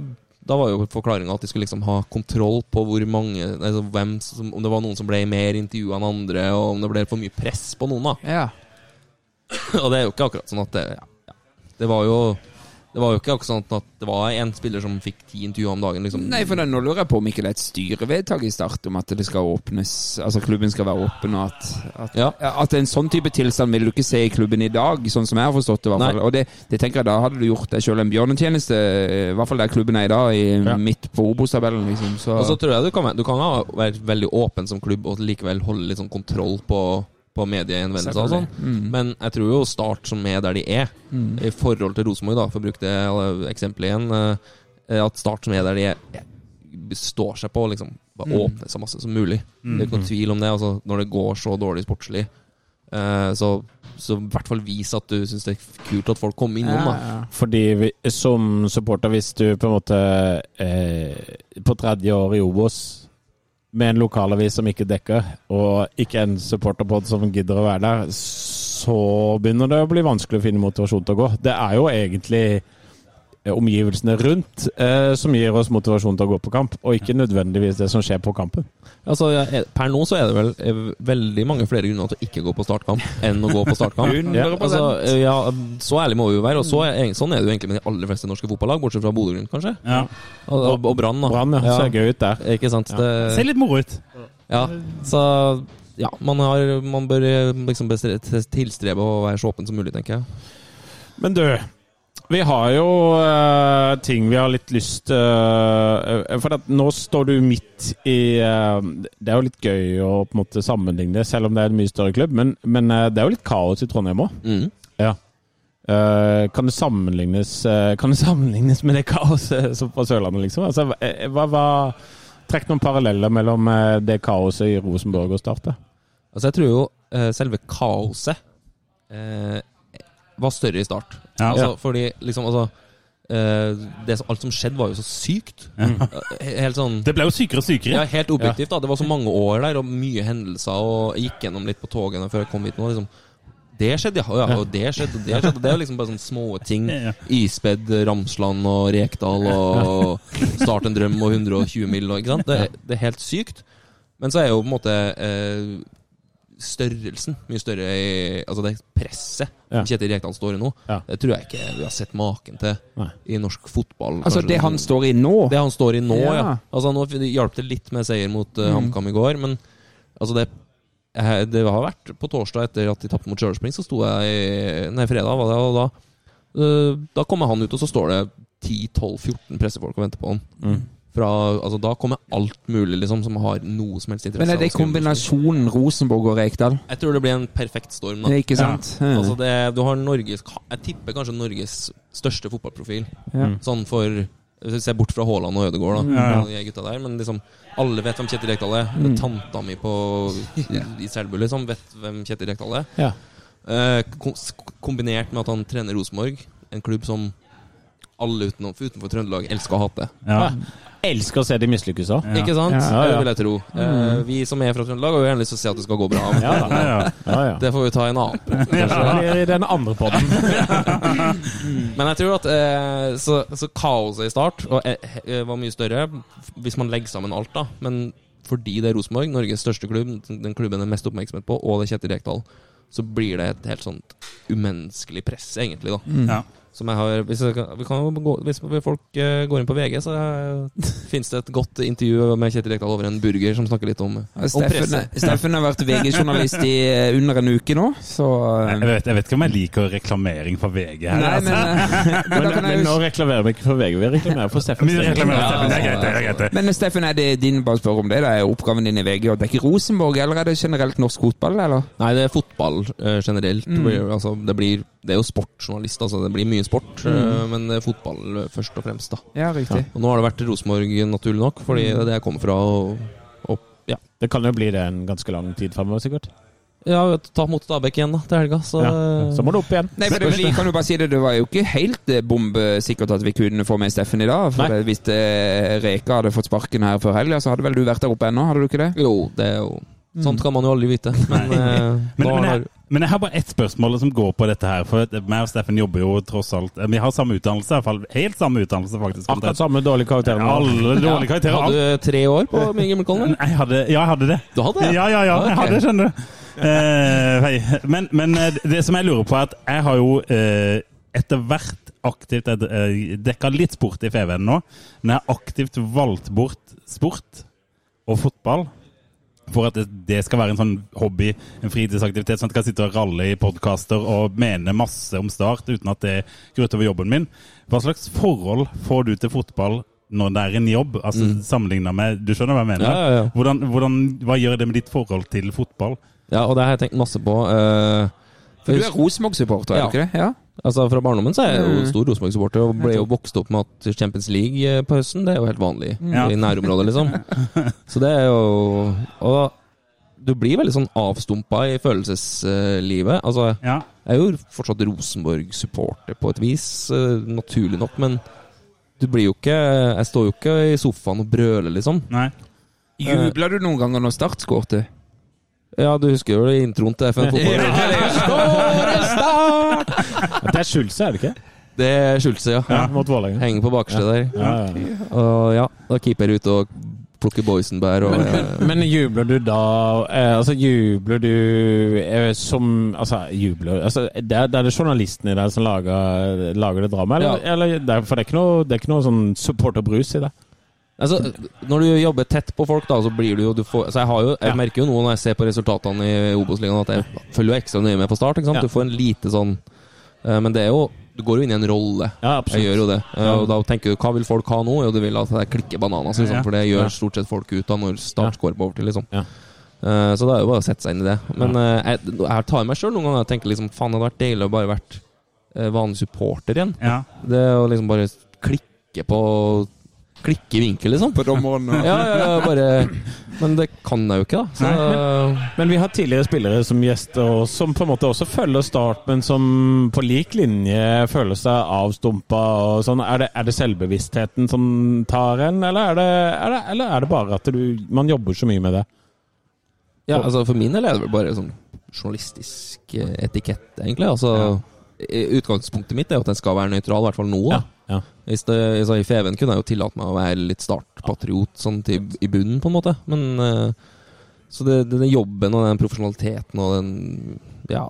Speaker 6: da var jo forklaringa at de skulle liksom ha kontroll på hvor mange altså hvem som, Om det var noen som ble mer intervjua enn andre, og om det ble for mye press på noen, da.
Speaker 4: Ja.
Speaker 6: Og det er jo ikke akkurat sånn at det ja, ja. Det var jo Det var jo ikke akkurat sånn at det var en spiller som fikk ti intervjuer om dagen, liksom.
Speaker 4: Nei, for da, nå lurer jeg på om ikke det er et styrevedtak i Start om at det skal åpnes Altså klubben skal være åpen, og at, at,
Speaker 6: Ja.
Speaker 4: at en sånn type tilstand vil du ikke se i klubben i dag, sånn som jeg har forstått det. i hvert
Speaker 6: Nei.
Speaker 4: fall. Og det, det tenker jeg da hadde du gjort deg sjøl en bjørnetjeneste, i hvert fall der klubben er i dag, i,
Speaker 5: Ja.
Speaker 4: midt på Obos-tabellen, liksom. Så,
Speaker 6: Og så tror jeg du kan, være- du kan ha, være veldig åpen som klubb og likevel holde litt sånn kontroll på, på medieinnvendelser og sånn. Men jeg tror jo Start, som er der de er, i forhold til Rosenborg, da, for å bruke det eh, eksempelet igjen, eh, at Start, som er der de er, eh, står seg på å liksom, bare åpne så masse som mulig. Det er ikke noen tvil om det. altså Når det går så dårlig sportslig, eh, så så i hvert fall vis at du syns det er kult at folk kommer innom. da.
Speaker 5: Fordi vi, som supporter, hvis du på en måte eh, På tredje år i Obos med en lokalavis som ikke dekker, og ikke en supporterpod som gidder å være der, så begynner det å bli vanskelig å finne motivasjon til å gå. Det er jo egentlig eh, omgivelsene rundt eh, som gir oss motivasjon til å gå på kamp, og ikke nødvendigvis det som skjer på kampen.
Speaker 6: Altså, jeg- jeg- per nå så er det vel eh, veldig mange flere grunner til å ikke gå på startkamp enn å gå på startkamp.
Speaker 5: 100%.
Speaker 6: Altså, eh, ja, så ærlig må vi jo være. Og så er, sånn er det jo egentlig med de aller fleste norske fotballag, bortsett fra Bodø Glimt, kanskje.
Speaker 3: Ja.
Speaker 6: Og, og, og Brann, da.
Speaker 5: Brann ja, ser gøy ut der.
Speaker 6: Ikke sant?
Speaker 3: Ser
Speaker 6: Det,
Speaker 3: litt moro ut.
Speaker 6: ja. Så ja, man, har, man bør eh, liksom bestre- tilstrebe å være så åpen som mulig, tenker jeg.
Speaker 5: Men du, vi har jo eh, ting vi har litt lyst eh, For at nå står du midt i eh, Det er jo litt gøy å på en måte sammenligne, selv om det er en mye større klubb. Men, men eh, det er jo litt kaos i Trondheim òg.
Speaker 6: Mm.
Speaker 5: kan, det sammenlignes, eh, kan det sammenlignes med det kaoset som på Sørlandet, liksom? Altså, eh, hva, hva, trekk noen paralleller mellom eh, det kaoset i Rosenborg og Start. da.
Speaker 6: Altså, jeg tror jo eh, selve kaoset eh, var større i start.
Speaker 3: Ja.
Speaker 6: Altså, Fordi liksom, altså eh, det, som- Alt som skjedde, var jo så sykt. Eh, Helt sånn
Speaker 3: Det ble jo sykere og sykere.
Speaker 6: Ja, helt objektivt. da Det var så mange år der og mye hendelser. Og jeg gikk gjennom litt på togene før jeg kom hit nå. liksom det skjedde, ja. ja og det skjedde, og det skjedde. Det er jo liksom bare sånne små ting.
Speaker 3: Ja.
Speaker 6: Ispedd, Ramsland og Rekdal og Start en drøm og 120 mil og ikke sant. Det, er- det er helt sykt. Men så er jo på en måte eh, størrelsen mye større i Altså det presset
Speaker 5: Ja.
Speaker 6: som Kjetil Rekdal står i nå,
Speaker 5: Ja.
Speaker 6: det tror jeg ikke vi har sett maken til
Speaker 5: Nei.
Speaker 6: i norsk fotball.
Speaker 4: Altså,
Speaker 6: kanskje.
Speaker 4: det han står i nå
Speaker 6: Det han står i nå, ja.
Speaker 4: Ja. Mm.
Speaker 6: Altså Nå f- hjalp det litt med seier mot eh, HamKam i går, men altså det eh, det har vært på torsdag etter at de tapte mot Stjørdals Blink, så sto jeg i- Nei, fredag var det, og da eh, Da kommer han ut, og så står det 10-12-14 pressefolk og venter på han.
Speaker 4: Mm.
Speaker 6: Fra, altså Da kommer alt mulig liksom som har noe som helst interesse.
Speaker 4: Men er
Speaker 6: av
Speaker 4: det
Speaker 6: å skrive om
Speaker 4: kombinasjonen Rosenborg og Rekdal?
Speaker 6: Jeg tror det blir en perfekt storm.
Speaker 4: Det
Speaker 6: da
Speaker 4: er ikke sant?
Speaker 6: Altså det, Du har Norges Jeg tipper kanskje Norges største fotballprofil.
Speaker 4: Ja.
Speaker 6: Sånn for hvis vi ser bort fra Haaland og Ødegaard, da.
Speaker 3: Ja, ja.
Speaker 6: de gutta Der, men liksom alle vet hvem Kjetil Rekdal er. Tanta mi på, i, i Selbu liksom, vet hvem Kjetil Rekdal er.
Speaker 5: Ja.
Speaker 6: Eh, kom- s- kombinert med at han trener Rosenborg, en klubb som alle utenom, utenfor Trøndelag elsker å hate.
Speaker 3: Ja.
Speaker 5: Elsker å se de mislykkes òg.
Speaker 3: Ja.
Speaker 6: Ikke sant?
Speaker 5: Ja, ja, ja.
Speaker 6: Det vil jeg tro. Eh, vi som er fra Trøndelag, har jo gjerne lyst til å se at det skal gå bra. Men
Speaker 5: Ja, da.
Speaker 3: Ja, ja.
Speaker 5: ja, ja.
Speaker 6: det får vi ta i en annen
Speaker 5: Det blir i den andre podden.
Speaker 6: Men jeg tror at eh, så, så kaoset i start og, eh, eh, var mye større, f- hvis man legger sammen alt, da. Men fordi det er Rosenborg, Norges største klubb, den klubben det er mest oppmerksomhet på, og det er Kjetil Rekdal, så blir det et helt sånt umenneskelig press, egentlig, da.
Speaker 3: Ja.
Speaker 6: Som jeg har Hvis, jeg kan, vi kan, jo gå, hvis folk eh, går inn på VG, så uh, fins det et godt intervju med Kjetil Rekdal over en burger som snakker litt om, om
Speaker 4: Steffen,
Speaker 6: presset.
Speaker 4: Steffen har vært VG-journalist i eh, under en uke nå, så eh,
Speaker 3: Jeg vet, jeg vet ikke om jeg liker reklamering for VG her.
Speaker 4: Nei,
Speaker 3: altså.
Speaker 4: men, eh, men, da
Speaker 5: Men,
Speaker 4: kan
Speaker 5: men
Speaker 4: jeg
Speaker 5: nå
Speaker 4: jo-
Speaker 5: reklamerer vi ikke for VG, vi reklamerer for Steffen.
Speaker 3: Vi reklamerer Steffen,
Speaker 5: Strøm.
Speaker 3: det er greit, det er greit. det.
Speaker 4: men eh, Steffen, er det din bare å spørre om det? Det er jo oppgaven din i VG å dekke Rosenborg, eller er det generelt norsk fotball, eller?
Speaker 6: Nei, det er fotball eh, generelt. Det, blir, altså, det, blir, det er jo sportsjournalist, altså. Det blir mye sport, eh, men det er fotball eh, først og fremst, da.
Speaker 4: Ja, riktig.
Speaker 6: Og nå har det vært Rosenborg, naturlig nok, fordi det er det jeg kommer fra. Og, og ja.
Speaker 5: Det kan jo bli det en ganske lang tid fremover, sikkert.
Speaker 6: ja, ta mot Stabæk igjen da, til helga, så, eh,
Speaker 5: Ja. Så må det opp igjen.
Speaker 4: Nei, for det, vi kan jo bare si det, det var jo ikke helt eh, bombesikkert at vi kunne få med Steffen i dag. For
Speaker 5: Nei.
Speaker 4: det, hvis eh, Reka hadde fått sparken her før helga, så hadde vel du vært der oppe ennå, hadde du ikke det?
Speaker 6: Jo, det er jo Sånt kan man jo aldri vite. Mm. Men, eh,
Speaker 3: Men,
Speaker 6: da
Speaker 3: men, jeg,
Speaker 6: har,
Speaker 3: men jeg har bare ett spørsmål som går på dette her. For meg og Steffen jobber jo tross alt Vi har samme utdannelse, i hvert fall helt samme utdannelse, faktisk.
Speaker 5: Akkurat samme dårlige karakter. nå.
Speaker 3: Alle dårlige karakterer.
Speaker 6: Hadde
Speaker 3: alt.
Speaker 6: du tre år på min gammelkollen?
Speaker 3: Nei, Jeg hadde, ja, jeg hadde det.
Speaker 6: Du hadde det?
Speaker 3: Ja, ja, ja.
Speaker 6: Ah, ok.
Speaker 3: Jeg hadde det, skjønner du. Eh, hei. men, men eh, det som jeg lurer på, er at jeg har jo eh, etter hvert aktivt eh, dekka litt sport i FVN nå, men jeg har aktivt valgt bort sport og fotball. For at det, det skal være en sånn hobby, en fritidsaktivitet, sånn at jeg kan sitte og ralle i podkaster og mene masse om Start uten at det går utover jobben min. Hva slags forhold får du til fotball når det er en jobb, altså sammenligna med Du skjønner hva jeg mener?
Speaker 6: Mm. Ja, ja, ja.
Speaker 3: Hvordan, hvordan, hva gjør det med ditt forhold til fotball?
Speaker 6: Ja, og det har jeg tenkt masse på. eh,
Speaker 4: For du er Rosenborg-supporter, er du
Speaker 6: Ja.
Speaker 4: ikke det? Ja.
Speaker 6: Altså Fra barndommen så er jeg jo
Speaker 4: Mm.
Speaker 6: stor Rosenborg-supporter og ble jo vokst opp med at Champions League eh, på høsten det er jo helt vanlig
Speaker 3: Ja.
Speaker 6: i nærområdet, liksom. Så det er jo Og du blir veldig sånn avstumpa i følelseslivet. Altså,
Speaker 3: Ja.
Speaker 6: jeg er jo fortsatt Rosenborg-supporter på et vis, eh, naturlig nok, men du blir jo ikke Jeg står jo ikke i sofaen og brøler, liksom.
Speaker 3: Nei.
Speaker 4: Jubla du noen ganger når Start skårte?
Speaker 6: Ja, du husker jo introen til FN Fotball?
Speaker 5: Det er Schulze, er det ikke?
Speaker 6: Det er Schulze, ja.
Speaker 5: Ja, Mot Vålerenga.
Speaker 6: Henger på bakerste der.
Speaker 5: Ja, ja.
Speaker 6: Og ja, da keeper ut og plukker boysenbær og eh,
Speaker 5: Men jubler du da eh, Altså, jubler du eh, som Altså, jubler altså, det, er, det er det journalisten i deg som lager, lager det dramaet, eller? eller det er, for det er ikke noe, det er ikke noe sånn supporterbrus i det?
Speaker 6: Altså, når du jobber tett på folk, da, så blir du jo du får, Så jeg, har jo, jeg merker jo nå når jeg ser på resultatene i Obos-ligaen, at jeg følger jo ekstra nøye med på start. Ikke sant?
Speaker 5: Ja.
Speaker 6: Du får en lite sånn eh, Men det er jo Du går jo inn i en rolle.
Speaker 5: Ja, absolutt.
Speaker 6: Jeg gjør jo det. Eh, Og da tenker du hva vil folk ha nå? Jo, du vil at jeg klikker bananas, ikke sant?
Speaker 3: Ja.
Speaker 6: for det
Speaker 5: Ja.
Speaker 6: gjør stort sett folk ut av når start går på overtid, liksom.
Speaker 5: Ja.
Speaker 6: Eh, Så da er det jo bare å sette seg inn i det. Men eh, jeg, jeg tar meg sjøl noen ganger og tenker liksom faen, det hadde vært deilig å bare vært eh, vanlig supporter igjen.
Speaker 3: Ja.
Speaker 6: Det å liksom bare klikke på Klikke i vinkel, liksom.
Speaker 4: På dommeren og
Speaker 6: Ja, ja, ja, bare Men det kan jeg jo ikke, da. Så
Speaker 5: Men vi har tidligere spillere som gjester, og som på en måte også følger Start, men som på lik linje føler seg avstumpa og sånn. Er det, er det selvbevisstheten som tar en, eller er det, er det, eller er det bare at du, man jobber så mye med det?
Speaker 6: ja, altså, for min del er det vel bare sånn journalistisk eh, etikette, egentlig. Altså, i- Utgangspunktet mitt er jo at den skal være nøytral, i hvert fall nå. da.
Speaker 5: Ja.
Speaker 6: Hvis det, altså, I Feven kunne jeg jo tillate meg å være litt startpatriot sånn til, i bunnen, på en måte. Men eh, Så det, det, den jobben og den profesjonaliteten og den Ja.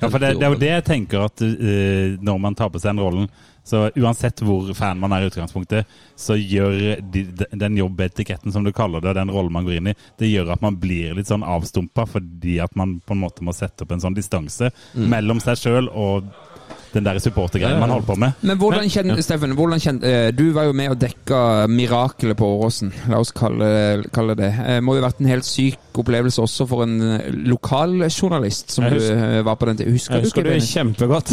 Speaker 3: Ja, for det, det er jo det jeg tenker at eh, når man tar på seg den rollen, så uansett hvor fan man er i utgangspunktet, så gjør de, de- den jobbetiketten som du kaller det, og den rollen man går inn i, det gjør at man blir litt sånn avstumpa fordi at man på en måte må sette opp en sånn distanse
Speaker 4: Mm.
Speaker 3: mellom seg sjøl og den der supportergreien man holder på med.
Speaker 4: Men hvordan kjenner, Steffen, hvordan kjenner, eh, du var jo med og dekka mirakelet på Åråsen, la oss kalle, kalle det. Det må jo ha vært en helt syk opplevelse også for en eh, lokal journalist som
Speaker 5: Jeg
Speaker 4: du eh, var på den til. Husker,
Speaker 5: Jeg husker
Speaker 4: du
Speaker 5: det
Speaker 4: ikke? Benny?
Speaker 5: kjempegodt.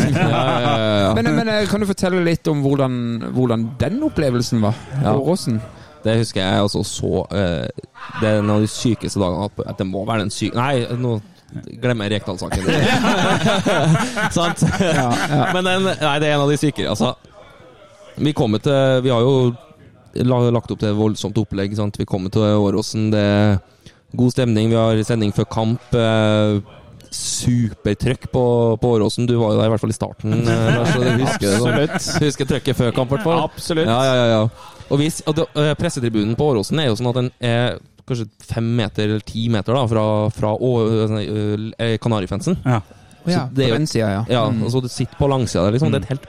Speaker 4: Men, men eh, kan du fortelle litt om hvordan, hvordan den opplevelsen var på Åråsen?
Speaker 6: Det husker jeg altså så eh, Det er en av de sykeste dagene jeg har hatt på- At det må være den syke Nei, nå glemmer jeg Rekdal-saken. Sant? Men den, nei, det er en av de sykere. Altså, vi kommer til Vi har jo la- lagt opp til et voldsomt opplegg. Sant? Vi kommer til Åråsen. Det er god stemning. Vi har sending før kamp. eh, Supertrøkk på, på Åråsen. Du var jo der i hvert fall i starten. eh, Lars, så du husker det, sånn.
Speaker 5: Absolutt.
Speaker 6: Husker trøkket før kamp, i hvert fall.
Speaker 5: Absolutt.
Speaker 6: Ja, ja, ja, ja. Og hvis, og det- øh, pressetribunen på Åråsen er jo sånn at den er kanskje fem meter eller ti meter da, fra, fra Å- øh, øh, Kanarifansen.
Speaker 3: Ja.
Speaker 4: Ja,
Speaker 6: det er
Speaker 4: på
Speaker 6: jo-
Speaker 4: den sida, ja. Mm.
Speaker 6: Ja, altså- og så du sitter på langsida der, liksom. Det er et helt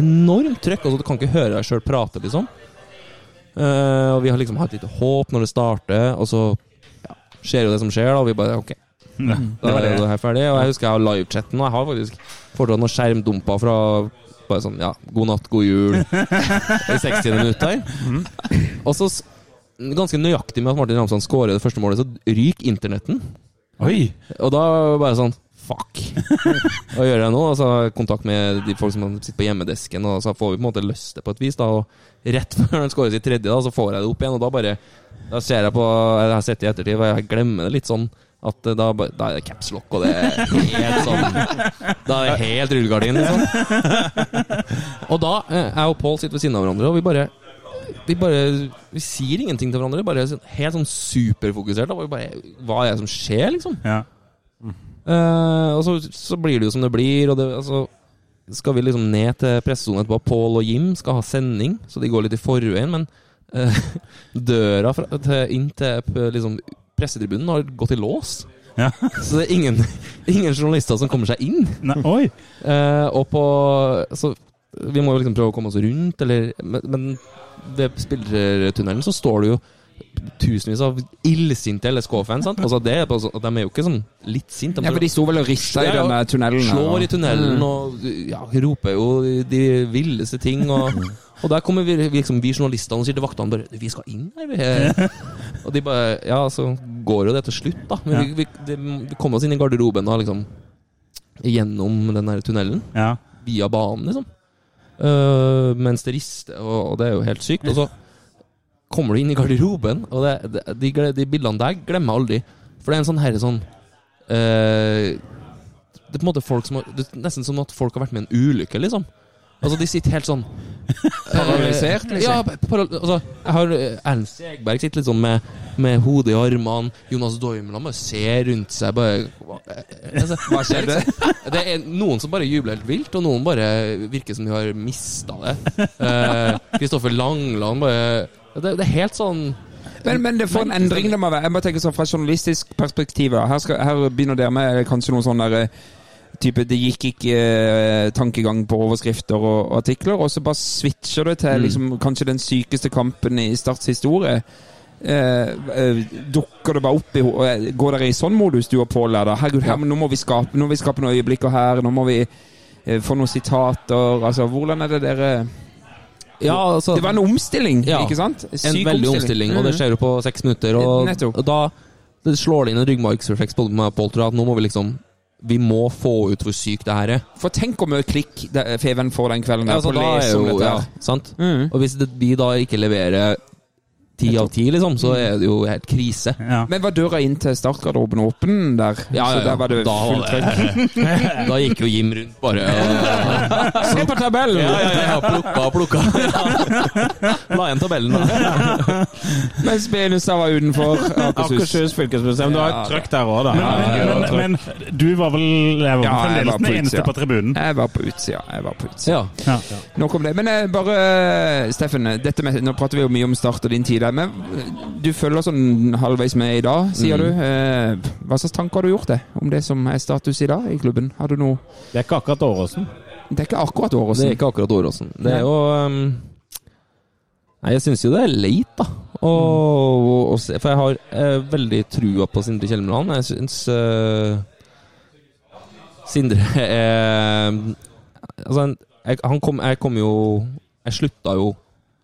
Speaker 6: enormt trøkk. Altså, du kan ikke høre deg sjøl prate, liksom. Eh, og vi har liksom hatt litt håp når det starter, og så ja, skjer jo det som skjer, da, og vi bare OK.
Speaker 3: Ja,
Speaker 6: Da
Speaker 3: det var
Speaker 6: er
Speaker 3: det.
Speaker 6: det her ferdig. Og jeg husker jeg har livechatten, og jeg har faktisk fortsatt noen skjermdumper fra bare sånn ja, god natt, god jul i 60 minutter.
Speaker 3: Mm.
Speaker 6: Og så s- Ganske nøyaktig med at Martin Ramsand skårer det første målet, så ryker internetten.
Speaker 3: Oi!
Speaker 6: Og da var jeg bare sånn Fuck! Hva gjør jeg nå? Og så har jeg kontakt med de folk som sitter på hjemmedesken, og så får vi på en måte løst det på et vis. da Og rett før den skåres i tredje, da så får jeg det opp igjen, og da bare Da ser jeg på Jeg har sett det i ettertid, og jeg glemmer det litt sånn. At eh, da, bare- da er det caps lock, og det er helt sånn Da er det helt rullegardin, liksom. Og da eh, Jeg og Pål sitter ved siden av hverandre, og vi bare vi bare Vi sier ingenting til hverandre. Bare sånn- helt sånn superfokusert. Da. Vi bare, hva er det som skjer, liksom?
Speaker 3: Ja.
Speaker 6: Eh, og så, så blir det jo som det blir. Og det, altså, skal vi liksom ned til pressesonen etterpå? Pål og Jim skal ha sending, så de går litt i forveien. Men eh, døra fra, til, inn til p- liksom, pressetribunen har gått i lås.
Speaker 3: Ja.
Speaker 6: Så det er ingen, ingen journalister som kommer seg inn.
Speaker 3: Nei, oi!
Speaker 6: Eh, og på Så vi må jo liksom prøve å komme oss rundt, eller Men, men ved spillertunnelen så står det jo tusenvis av illsinte LSK-fans. sant? Altså det er bare sånn at De er jo ikke sånn litt sinte.
Speaker 4: Ja, for de sto vel og rista i
Speaker 6: Ja, ja.
Speaker 4: den der tunnelen. her,
Speaker 6: slår i
Speaker 4: og-
Speaker 5: Mm.
Speaker 6: tunnelen og ja, roper jo de villeste ting. Og, og der kommer vi, liksom, vi journalistene og sier til vaktene bare 'Vi skal inn her', vi. her». Og de bare Ja, så går jo det til slutt, da. Men vi, vi, det, vi kom oss inn i garderoben og liksom gjennom den der tunnelen.
Speaker 3: Ja.
Speaker 6: Via banen, liksom. Eh, mens det rister, og, og det er jo helt sykt. Og så kommer du inn i garderoben, og det, det, de, gle- de bildene der glemmer jeg aldri. For det er en sånn herre sånn eh, Det er på en måte folk som har det er Nesten som at folk har vært med i en ulykke, liksom. Altså, de sitter helt sånn
Speaker 4: Paralysert, liksom.
Speaker 6: Ja, pa- para, altså, jeg har eh, Erlend Segberg sitter litt sånn med, med hodet i armene. Jonas Doimland bare ser rundt seg, bare Hva, altså, hva skjedde? Det er noen som bare jubler helt vilt, og noen bare virker som de har mista det. Eh, Kristoffer Langland bare det, det er helt sånn
Speaker 4: Men, men det får en endring det må være. Jeg må tenke sånn fra journalistisk perspektiv. da. Her, skal, her begynner dere med kanskje noen sånne der, type, det gikk ikke eh, tankegang på overskrifter og, og artikler, og så bare switcher det
Speaker 6: Mm.
Speaker 4: til liksom, kanskje den sykeste kampen i Starts historie. Eh, eh, dukker det bare opp i ho- og, eh, Går dere i sånn modus, du og Pål? er da? Herregud, her, men nå må vi skape Nå må vi skape noen øyeblikker her, nå må vi eh, få noen sitater Altså, hvordan er det dere
Speaker 6: Ja, altså,
Speaker 4: Det var en omstilling,
Speaker 6: Ja.
Speaker 4: ikke sant? Syk
Speaker 6: en veldig omstilling, og det
Speaker 4: Mhm.
Speaker 6: skjer jo på seks minutter. Og,
Speaker 4: Nettopp.
Speaker 6: og da det slår det inn en ryggmargsrefleks på meg, Pål, tror jeg, at nå må vi liksom Vi må få ut hvor sykt det her er.
Speaker 4: For tenk hvor mye klikk det- Feven får den kvelden der,
Speaker 6: altså,
Speaker 4: på å lese om dette.
Speaker 6: ja,
Speaker 4: her.
Speaker 6: sant?
Speaker 4: Mhm.
Speaker 6: Og hvis det, vi da ikke leverer ti av ti, liksom, så er det jo helt krise.
Speaker 3: Ja.
Speaker 4: Men var døra inn til startgarderoben åpen der?
Speaker 6: Ja, ja,
Speaker 4: Så der var det
Speaker 6: da,
Speaker 4: fullt trøkk.
Speaker 6: da gikk jo Jim rundt, bare. Og,
Speaker 4: Se på tabellen!
Speaker 6: ja, ja, ja, plukka, plukka. La igjen tabellen, da.
Speaker 4: Mens Benestad var utenfor Akershus.
Speaker 5: Akershus fylkesmuseum. Du har
Speaker 4: Ja,
Speaker 5: et trøkk der òg, da.
Speaker 3: Men, men, men, men du var vel jeg var
Speaker 4: Ja, jeg
Speaker 3: fremdeles
Speaker 4: var på
Speaker 3: den eneste
Speaker 4: utsida.
Speaker 3: på tribunen.
Speaker 4: Jeg var på utsida. jeg var på utsida.
Speaker 6: Ja.
Speaker 3: Ja.
Speaker 4: Nok om det. Men eh, bare, eh, Steffen, eh, dette med, nå prater vi jo mye om Start og din tid der, men eh, du følger sånn halvveis med i dag,
Speaker 6: Mm.
Speaker 4: sier du. Eh, hva slags tanker har du gjort deg om det som er status i dag i klubben? Har du noe
Speaker 5: Det er ikke akkurat Åråsen.
Speaker 4: Det er ikke akkurat
Speaker 6: Det er
Speaker 4: Åråsen.
Speaker 6: ikke akkurat Åråsen. Det er jo ehm, Nei, jeg syns jo det er leit, da. Å- å- å se, for jeg har eh, veldig trua på Sindre Kjelmeland. Jeg syns eh, Sindre er Altså, han- jeg, han kom, jeg kom jo Jeg slutta jo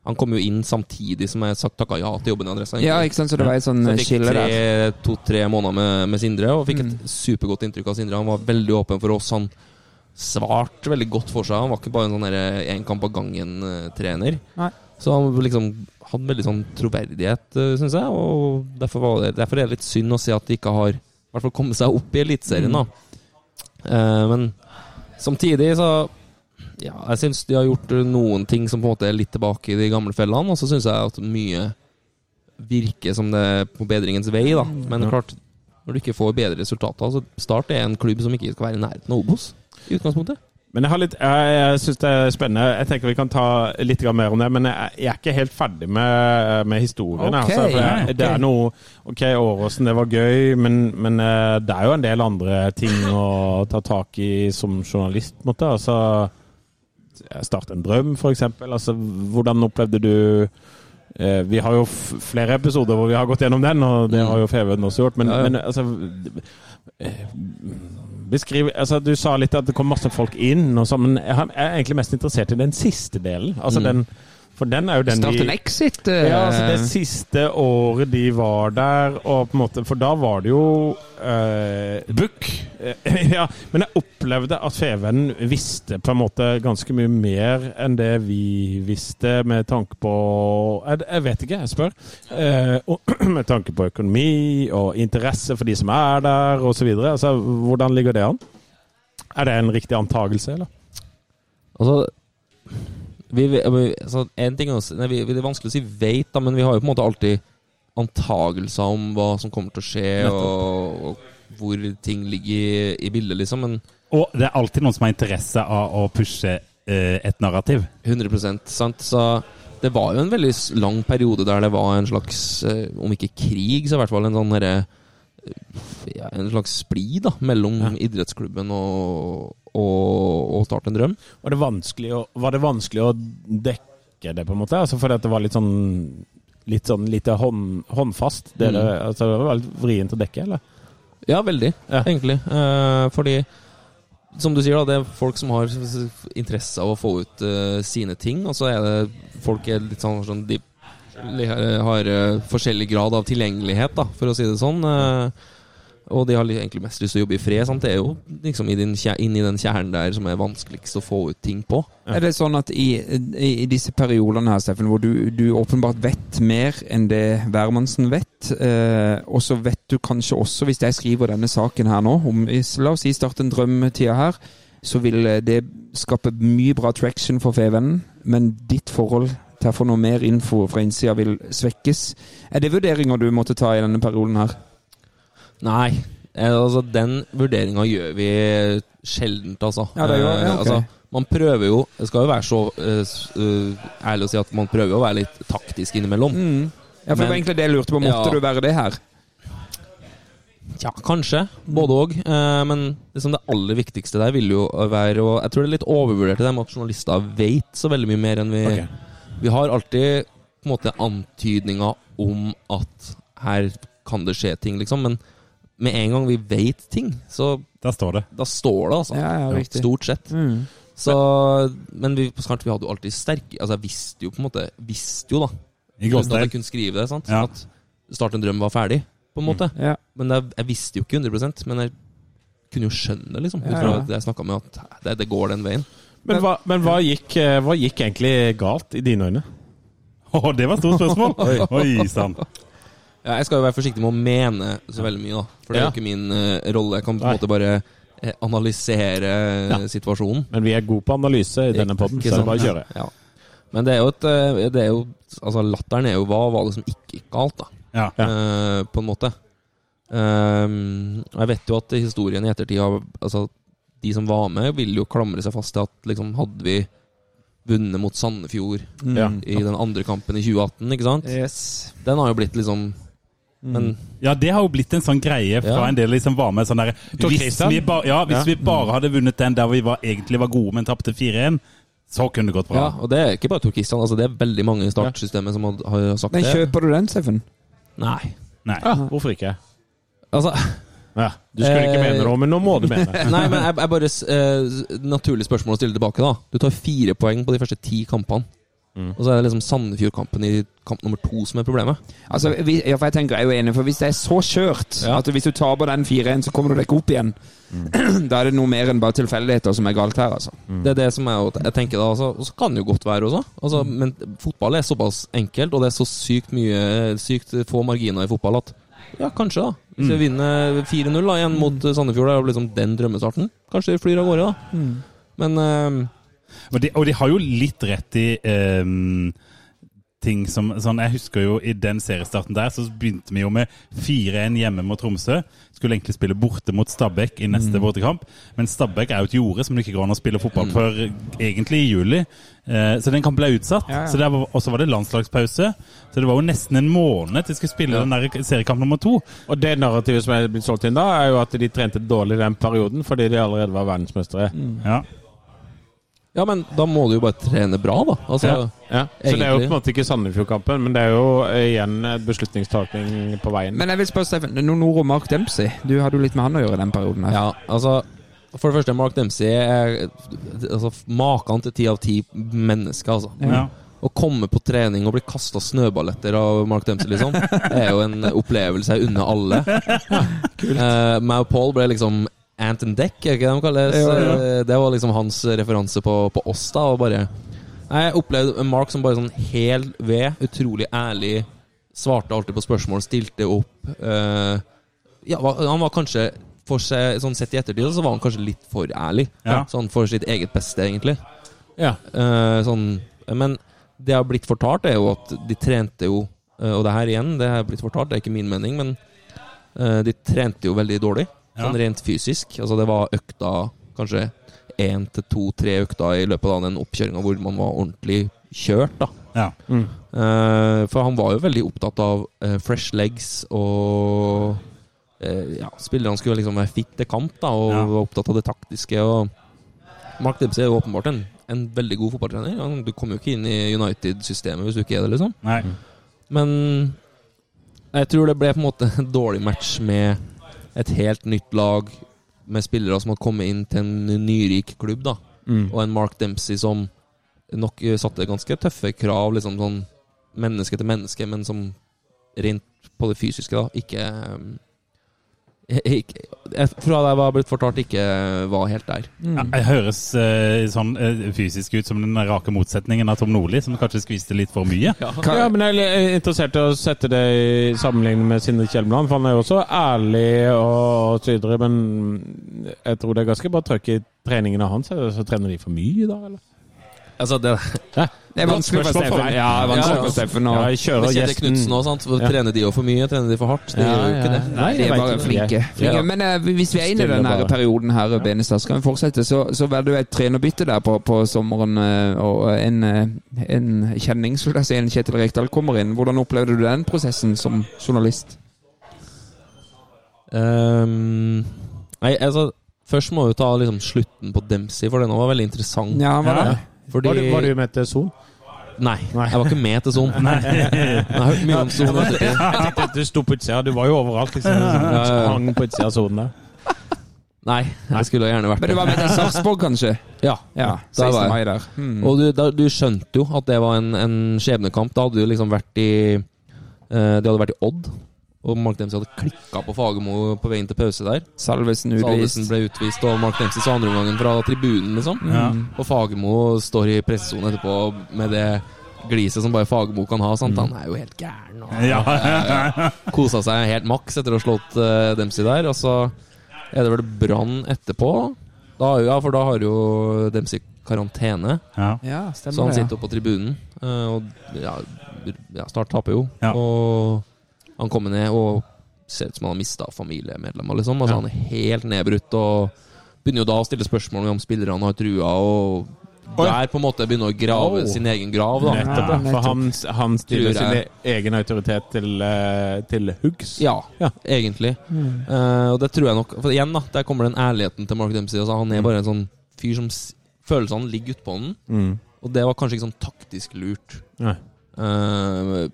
Speaker 6: Han kom jo inn samtidig som jeg sagt takka ja til jobben i Adressa. egentlig.
Speaker 4: Ja, ikke sant, så det var et sånn
Speaker 6: Så
Speaker 4: eh,
Speaker 6: jeg fikk
Speaker 4: skille der.
Speaker 6: tre- to-tre måneder med, med Sindre, og fikk et supergodt inntrykk av Sindre. Han var veldig åpen for oss. Han svarte veldig godt for seg. Han var ikke bare en sånn derre én kamp av gangen-trener.
Speaker 4: Nei.
Speaker 6: Så han liksom hadde veldig sånn troverdighet, syns jeg. Og derfor, var det, derfor er det litt synd å se at de ikke har i hvert fall kommet seg opp i Eliteserien, da. Eh, men samtidig så ja, jeg syns de har gjort eh, noen ting som på en måte er litt tilbake i de gamle fellene, og så syns jeg at mye virker som det er på bedringens vei, da. Men klart, når du ikke får bedre resultater så Start er en klubb som ikke skal være i nærheten av Obos, i utgangspunktet.
Speaker 5: Men jeg, har litt, jeg, jeg syns det er spennende. Jeg tenker vi kan ta litt grann mer om det. Men jeg, jeg er ikke helt ferdig med, med
Speaker 4: Ok,
Speaker 5: historien. altså, for jeg,
Speaker 3: ja, ok.
Speaker 5: Det er noe OK, Åråsen, det var gøy, men, men eh, det er jo en del andre ting å ta tak i som journalist, på en måte. Altså Start en drøm, for eksempel. Altså, hvordan opplevde du Eh, Vi har jo f flere episoder hvor vi har gått gjennom den, og det
Speaker 6: Mm.
Speaker 5: har jo Feven også gjort. Men,
Speaker 6: Ja, ja.
Speaker 5: men altså eh, Beskriv altså, Du sa litt at det kom masse folk inn, og så, men jeg har- jeg er egentlig mest interessert i den siste delen. Altså
Speaker 6: Mm.
Speaker 5: den For den er jo den
Speaker 4: Start en
Speaker 5: vi
Speaker 4: exit. eh,
Speaker 5: ja, altså Det siste året de var der, og på en måte For da var det jo eh,
Speaker 3: Book.
Speaker 5: ja, men jeg opplevde at Feven visste på en måte ganske mye mer enn det vi visste, med tanke på Jeg, jeg vet ikke, jeg spør. Eh, og, med tanke på økonomi og interesse for de som er der, osv. Altså, hvordan ligger det an? Er det en riktig antakelse, eller?
Speaker 6: Altså vi, vi, altså, en ting er, å si- nei, vi, vi- Det er vanskelig å si veit, da, men vi har jo på en måte alltid antagelser om hva som kommer til å skje, og, og hvor ting ligger i, i bildet, liksom. Men
Speaker 3: Og det er alltid noen som har interesse av å pushe eh, et narrativ.
Speaker 6: 100 sant? Så det var jo en veldig s- lang periode der det var en slags, eh, om ikke krig, så i hvert fall en sånn herre ja, En slags splid da, mellom idrettsklubben og, og, og Start en drøm.
Speaker 5: Var det vanskelig å, var det vanskelig å dekke det, på en måte? Altså, fordi at det var litt sånn Litt sånn lite hånd, håndfast? Det, det, altså, det var litt vrient å dekke, eller?
Speaker 6: Ja, veldig,
Speaker 5: Ja.
Speaker 6: egentlig. Eh, fordi, som du sier, da, det er folk som har interesse av å få ut eh, sine ting, og så er det folk er litt sånn, sånn De har eh, forskjellig grad av tilgjengelighet, da, for å si det sånn. eh, og de har li- egentlig mest lyst til å jobbe i fred. Sant? Det er jo liksom i din, kje- inn i den kjernen der som er vanskeligst å få ut ting på.
Speaker 4: Er det sånn at i, i, i disse periodene her, Steffen, hvor du, du åpenbart vet mer enn det Værmannsen vet, eh, og så vet du kanskje også, hvis jeg skriver denne saken her nå, om la oss si start en drømmetida her, så vil eh, det skape mye bra traction for Fevennen, men ditt forhold til å få noe mer info fra innsida vil svekkes. Er det vurderinger du måtte ta i denne perioden her?
Speaker 6: Nei. eh, Altså, den vurderinga gjør vi sjeldent, altså.
Speaker 4: Ja, det gjør- ja,
Speaker 6: Eh,
Speaker 4: ok.
Speaker 6: altså. Man prøver jo Jeg skal jo være så eh, s- eh, ærlig å si at man prøver jo å være litt
Speaker 4: Mm.
Speaker 6: taktisk innimellom.
Speaker 4: Ja, for det var
Speaker 6: Men-
Speaker 4: egentlig det jeg lurte på. Måtte
Speaker 6: Ja.
Speaker 4: du være det her?
Speaker 6: Tja, kanskje. Både òg. Men liksom det aller viktigste der vil jo være Og jeg tror det er litt overvurdert i det med at journalister vet så veldig mye mer enn vi
Speaker 5: Ok.
Speaker 6: Vi har alltid på en måte antydninger om at her kan det skje ting, liksom. Men med en gang vi vet ting, så
Speaker 3: Der står det.
Speaker 6: da står det, altså.
Speaker 4: Ja, ja, riktig.
Speaker 6: Stort sett.
Speaker 4: Mm.
Speaker 6: Så, men vi, på Skart, vi hadde jo alltid sterke Altså, jeg visste jo på en måte Visste jo, da.
Speaker 3: I
Speaker 6: Uten at
Speaker 3: gåstein.
Speaker 6: jeg kunne sånn. skrive det. sant?
Speaker 3: Ja.
Speaker 6: At Start en drøm var ferdig, på en måte.
Speaker 4: Ja.
Speaker 6: Men jeg, jeg visste jo ikke 100 men jeg kunne jo skjønne det, liksom. Ut
Speaker 4: Ja,
Speaker 6: fra
Speaker 4: ja.
Speaker 6: det jeg snakket med, at det, det går den veien.
Speaker 5: Men, hva, men hva, gikk, eh, hva gikk egentlig galt i dine øyne?
Speaker 3: Å, det var et stort spørsmål! Oi, Oi sann.
Speaker 6: Ja, jeg skal jo være forsiktig med å mene så veldig mye, da. For det er
Speaker 5: Ja.
Speaker 6: jo ikke min eh, rolle. Jeg kan på
Speaker 5: Nei.
Speaker 6: en måte bare eh, analysere eh, situasjonen.
Speaker 5: Men vi er gode på analyse i denne podden,
Speaker 6: Ikke
Speaker 5: så det
Speaker 6: sant?
Speaker 5: er bare å kjøre.
Speaker 6: Ja. Men det er jo et eh, det er jo, Altså, latteren er jo hva var det som ikke gikk galt, da?
Speaker 3: Ja.
Speaker 5: Ja.
Speaker 6: Eh, på en måte. Ehm, og jeg vet jo at historien i ettertid har Altså, de som var med, vil jo klamre seg fast til at liksom, hadde vi vunnet mot Sandefjord
Speaker 5: Ja.
Speaker 6: i den andre kampen i 2018, ikke sant?
Speaker 4: Yes.
Speaker 6: Den har jo blitt liksom Men
Speaker 3: ja, det har jo blitt en sånn greie fra
Speaker 6: Ja.
Speaker 3: en del liksom var med sånn derre
Speaker 5: Tor
Speaker 3: Hvis,
Speaker 5: Christian?
Speaker 3: vi, ba, ja, hvis
Speaker 5: Ja.
Speaker 3: vi bare hadde vunnet den der vi var, egentlig var gode, men tapte 4-1, så kunne det gått bra.
Speaker 6: ja, og det er ikke bare Tor Kristian. Altså, det er veldig mange i startsystemet som har, har sagt
Speaker 4: Men
Speaker 6: det.
Speaker 4: kjøper du den, Steffen?
Speaker 6: Nei.
Speaker 3: Nei.
Speaker 5: Ja, hvorfor ikke?
Speaker 6: Altså,
Speaker 5: Ja, du skulle ikke
Speaker 6: Eh,
Speaker 5: mene noe, men nå må du mene.
Speaker 6: nei, men jeg, jeg bare s- eh, s- Naturlig spørsmål å stille tilbake, da. Du tar fire poeng på de første ti kampene. Og så er det liksom Sandefjord-kampen i kamp nummer to som er problemet.
Speaker 4: Altså, vi, ja, for jeg tenker jeg er jo enig, for hvis det er så skjørt
Speaker 6: Ja.
Speaker 4: at hvis du taper den 4-1, så kommer du deg ikke opp igjen, da er det noe mer enn bare tilfeldigheter som er galt her, altså.
Speaker 6: Det er det som jeg, jeg tenker da altså, Og så kan det jo godt være også altså, Men fotball er såpass enkelt Og det er så sykt mye Sykt få marginer i fotball At ja, kanskje da Hvis vi vinner 4-0 da Igjen mot Sandefjord Det er jo liksom den drømmestarten Kanskje det flyr av gårde da Men eh,
Speaker 3: Og de, og de har jo litt rett i ehm, ting som sånn, Jeg husker jo i den seriestarten der, så begynte vi jo med 4-1 hjemme mot Tromsø. Skulle egentlig spille borte mot Stabæk i neste
Speaker 4: Mm.
Speaker 3: bortekamp, men Stabæk er jo et jorde som det ikke går an å spille fotball før egentlig i juli. Eh, så den kampen ble utsatt.
Speaker 4: Ja, ja.
Speaker 3: Så der var- Og så var det landslagspause. Så det var jo nesten en måned til de skulle spille den der seriekamp nummer to.
Speaker 5: Og det narrativet som er blitt solgt inn da, er jo at de trente dårlig den perioden fordi de allerede var verdensmestere.
Speaker 3: Ja.
Speaker 6: Ja, men da må du jo bare trene bra da Altså
Speaker 3: Ja.
Speaker 5: Ja. Så det er jo på
Speaker 6: Egentlig.
Speaker 5: en måte ikke Sandefjord-kampen, men det er jo eh, igjen eh, beslutningstaking på veien.
Speaker 4: Men jeg vil spørre, Steffen, det er noen ord om Mark Dempsey. Du hadde jo litt med han å gjøre i den perioden her.
Speaker 6: Ja, altså For det første Mark Dempsey er altså, Maken til 10 av 10 mennesker altså
Speaker 3: Ja.
Speaker 6: Å komme på trening og bli kasta snøball etter av Mark Dempsey, liksom, er jo en opplevelse jeg unner alle. Eh, meg og Paul ble liksom Ant and Deck, er ikke det de kaller det? Så,
Speaker 4: Ja,
Speaker 6: eh, Det var liksom hans referanse på, på oss, da. Og bare Nei, Jeg opplevde Mark som bare sånn hel ved, utrolig ærlig, svarte alltid på spørsmål, stilte opp. eh, ja, var- han var kanskje for seg, sånn Sett i ettertid så var han kanskje litt for ærlig.
Speaker 3: Ja.
Speaker 6: Sånn for sitt eget beste, egentlig.
Speaker 5: Ja.
Speaker 6: Eh, sånn, men det har blitt fortalt, er jo at de trente jo eh, Og det her igjen, det har blitt fortalt, det er ikke min mening, men eh, de trente jo veldig dårlig.
Speaker 3: Ja.
Speaker 6: Sånn rent fysisk. Altså det var økta kanskje én til to-tre økta i løpet av den oppkjøringa hvor man var ordentlig kjørt, da.
Speaker 3: Ja.
Speaker 6: Eh, for han var jo veldig opptatt av eh, fresh legs og eh, ja, Spillerne skulle liksom være fit til kamp da og
Speaker 3: Ja.
Speaker 6: var opptatt av det taktiske. Og Mark Dempsey er jo åpenbart en, en veldig god fotballtrener. Han- Du kommer jo ikke inn i United-systemet hvis du ikke er det. liksom
Speaker 3: Nei.
Speaker 6: Men jeg tror det ble på en måte en dårlig match med et helt nytt lag, med spillere som hadde kommet inn til en nyrik klubb. da
Speaker 5: Mm.
Speaker 6: og en Mark Dempsey som nok eh, satte ganske tøffe krav, liksom sånn menneske til menneske, men som rent på det fysiske, da, ikke eh, ikke, jeg, Fra det jeg var blitt fortalt, ikke var helt der.
Speaker 3: Ja, jeg høres eh, sånn eh, fysisk ut som den rake motsetningen av Tom Nordli, som kanskje skviste litt for mye.
Speaker 4: Hva-
Speaker 5: Ja, men jeg er interessert i å sette det i sammenligning med Sindre Kjelmeland, for han er jo også ærlig og så videre, men jeg tror det er ganske bra trøkk i treningene hans. eller Så trener de for mye, da, eller?
Speaker 6: Altså, det
Speaker 4: Det er vanskelig for
Speaker 5: Spørsmål for
Speaker 4: Steffen.
Speaker 5: meg.
Speaker 4: Ja, det er vanskelig
Speaker 6: Ja, ja.
Speaker 4: for Steffen.
Speaker 5: Ja,
Speaker 4: Og
Speaker 5: jeg kjører
Speaker 6: Kjetil
Speaker 5: gjesten.
Speaker 6: Knutsen òg, sant. Trener de jo for mye? Trener de for hardt? De gjør jo ikke det.
Speaker 5: Nei,
Speaker 4: de
Speaker 5: jeg
Speaker 4: er
Speaker 5: vet
Speaker 4: bare
Speaker 5: ikke.
Speaker 4: flinke. flinke.
Speaker 6: Ja.
Speaker 4: Men eh, hvis vi er inne i
Speaker 5: Stille
Speaker 4: den her
Speaker 5: bare.
Speaker 4: perioden her, Benestad, skal vi fortsette, så, så var det jo et trenerbytte der på, på sommeren, eh, og en, eh, en kjenning, skulle jeg si, en Kjetil Rekdal kommer inn. Hvordan opplevde du den prosessen som journalist?
Speaker 6: Ehm, nei, altså Først må vi ta liksom slutten på Dempsey, for den var veldig interessant.
Speaker 4: Ja, hva da?
Speaker 5: Ja, ja.
Speaker 6: Fordi
Speaker 5: Var, du, var du med til Son?
Speaker 6: Nei, jeg var ikke med til Son. Nei. Jeg har hørt mye om sånn. Son. i ettertid.
Speaker 5: Jeg tenkte at du sto på utsida. Du var jo overalt. liksom.
Speaker 6: ja.
Speaker 5: Hang på utsida av sonen der.
Speaker 6: Nei, jeg skulle gjerne vært
Speaker 4: Men du var med til Sarpsborg, kanskje?
Speaker 6: Ja.
Speaker 4: Ja,
Speaker 6: Der
Speaker 4: 16.
Speaker 6: var jeg.
Speaker 4: mai der. Mm.
Speaker 6: Og du, da, du skjønte jo at det var en, en skjebnekamp. Da hadde du liksom vært i eh, De hadde vært i Odd, og Mark Dempsey hadde klikka på Fagermo på veien til pause der.
Speaker 4: Salvesen
Speaker 6: Salvesen
Speaker 4: utvist.
Speaker 6: ble utvist, og Mark Dempsey sa andreomgangen fra tribunen, liksom.
Speaker 3: Ja.
Speaker 6: Og Fagermo står i pressesonen etterpå med det gliset som bare Fagermo kan ha. Sant? Han er jo helt gæren. Og
Speaker 3: Ja.
Speaker 6: kosa seg helt maks etter å ha slått eh, Dempsey der. Og så er det vel Brann etterpå. Da, har jo- ja, for da har jo Dempsey karantene.
Speaker 3: Ja.
Speaker 4: Ja, stemmer
Speaker 6: Så han
Speaker 4: det, ja.
Speaker 6: sitter oppe på tribunen, eh, og ja, ja, Start taper jo.
Speaker 3: Ja.
Speaker 6: Og han kommer ned og ser ut som han har mista familiemedlemmer, liksom. Altså, Han er helt nedbrutt og begynner jo da å stille spørsmål om spillerne har trua, og der på en måte begynner å grave
Speaker 5: Au.
Speaker 6: sin egen grav, da.
Speaker 5: Nettopp, ja. For han, han stiller
Speaker 6: Tror jeg.
Speaker 5: sin e- egen autoritet til, eh, til huggs.
Speaker 6: Ja,
Speaker 5: Ja.
Speaker 6: egentlig.
Speaker 4: Mm.
Speaker 6: Eh, og det tror jeg nok For igjen, da, der kommer den ærligheten til Mark Dempsey. Altså, han er bare en sånn fyr som s- Følelsene ligger utpå den,
Speaker 5: Mm.
Speaker 6: og det var kanskje ikke sånn taktisk lurt.
Speaker 5: Nei.
Speaker 6: Eh,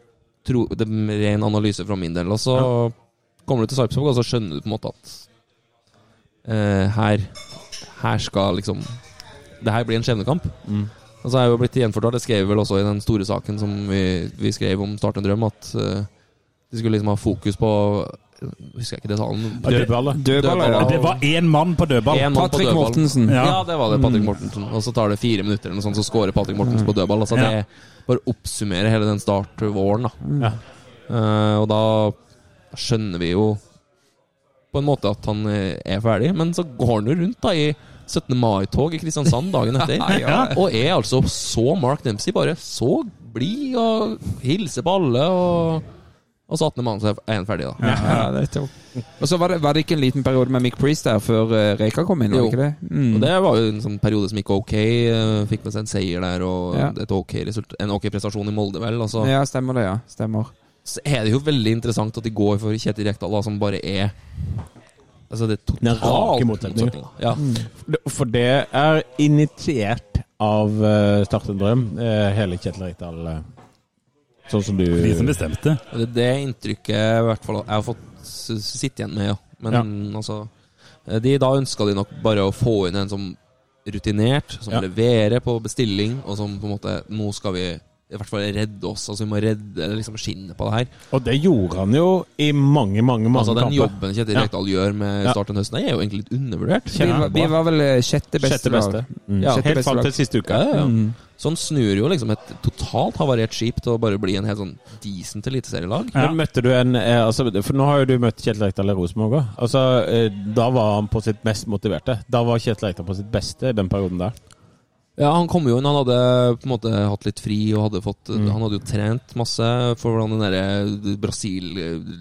Speaker 6: tro, det er ren analyse fra min del. Og så kommer du til Sarpsborg, og så skjønner du på en måte at eh, her, her skal liksom Det her blir en skjebnekamp.
Speaker 5: Mm.
Speaker 6: Og så er jeg jo blitt gjenfortalt, det skrev vi vel også i den store saken som vi, vi skrev om Start en drøm, at eh, de skulle liksom ha fokus på Husker jeg ikke detaljen.
Speaker 5: Dødball, da.
Speaker 4: Dødballer,
Speaker 6: Dødballer.
Speaker 4: ja.
Speaker 3: Det var én mann på dødball.
Speaker 6: En mann på
Speaker 4: Patrick
Speaker 6: dødball.
Speaker 4: Mortensen.
Speaker 6: Ja.
Speaker 3: Ja.
Speaker 6: det var det. Patrick Mortensen. Og så tar det fire minutter, eller noe sånt, så scorer Patrick Mortensen på dødball. Altså,
Speaker 3: Ja.
Speaker 6: Det bare oppsummerer hele den start-våren. da.
Speaker 5: Ja.
Speaker 6: Eh, og da skjønner vi jo på en måte at han eh, er ferdig, men så går han jo rundt da i 17. mai-tog i Kristiansand dagen etter. Og er altså så Mark Dempsey, bare så blid og hilser på alle. og... Og så 18. mann, så er han ferdig, da.
Speaker 4: Ja, det er topp. Og så var det, var det ikke en liten periode med Mick Priest der før eh, Reka kom inn? var
Speaker 6: Jo.
Speaker 4: det Ikke det? Mm.
Speaker 6: Og det var jo en sånn periode som gikk ok. eh, Fikk med seg en seier der og
Speaker 4: Ja.
Speaker 6: et ok result, en ok prestasjon i Molde, vel. Og så
Speaker 4: Ja, stemmer det, ja. Stemmer.
Speaker 6: så er det jo veldig interessant at de går for Kjetil Rekdal, da, som bare er Altså, det er
Speaker 5: Den
Speaker 6: totalt
Speaker 5: rake motsetningen.
Speaker 6: motsetning, da. Ja.
Speaker 4: Mm.
Speaker 5: For det er initiert av eh, Start en drøm, eh, hele Kjetil Rekdal. eh, Sånn som du
Speaker 3: De som bestemte.
Speaker 6: Og Det er det inntrykket i hvert fall jeg har fått s- sitte igjen med, ja. Men altså eh, de, Da ønska de nok bare å få inn en som rutinert, som
Speaker 5: Ja.
Speaker 6: leverer på bestilling, og som på en måte Nå skal vi i hvert fall redde oss. Altså Vi må redde liksom skinnet på det her.
Speaker 5: Og det gjorde han jo i mange, mange mange
Speaker 6: Altså Den
Speaker 5: kamper.
Speaker 6: jobben Kjetil
Speaker 5: Ja.
Speaker 6: Rekdal gjør med
Speaker 5: Ja.
Speaker 6: Start den høsten, er jo egentlig litt undervurdert.
Speaker 4: Vi, var- vi var vel eh, sjette beste.
Speaker 5: Sjette beste.
Speaker 4: lag.
Speaker 5: Mm.
Speaker 4: Ja, sjette
Speaker 5: Helt
Speaker 4: beste
Speaker 5: fram
Speaker 4: lag.
Speaker 5: til siste uke.
Speaker 6: Ja, ja, ja. Så han snur jo liksom et totalt havarert skip til å bare bli en helt sånn decent eliteserielag.
Speaker 3: Ja.
Speaker 5: Men møtte du en eh, altså, For nå har jo du møtt Kjetil Rekdal i Rosenborg òg. Altså, eh, da var han på sitt mest motiverte. Da var Kjetil Rekdal på sitt beste i den perioden der.
Speaker 6: Ja, han kom jo inn, han hadde på en måte hatt litt fri og hadde fått Han hadde jo trent masse for hvordan den derre Brasil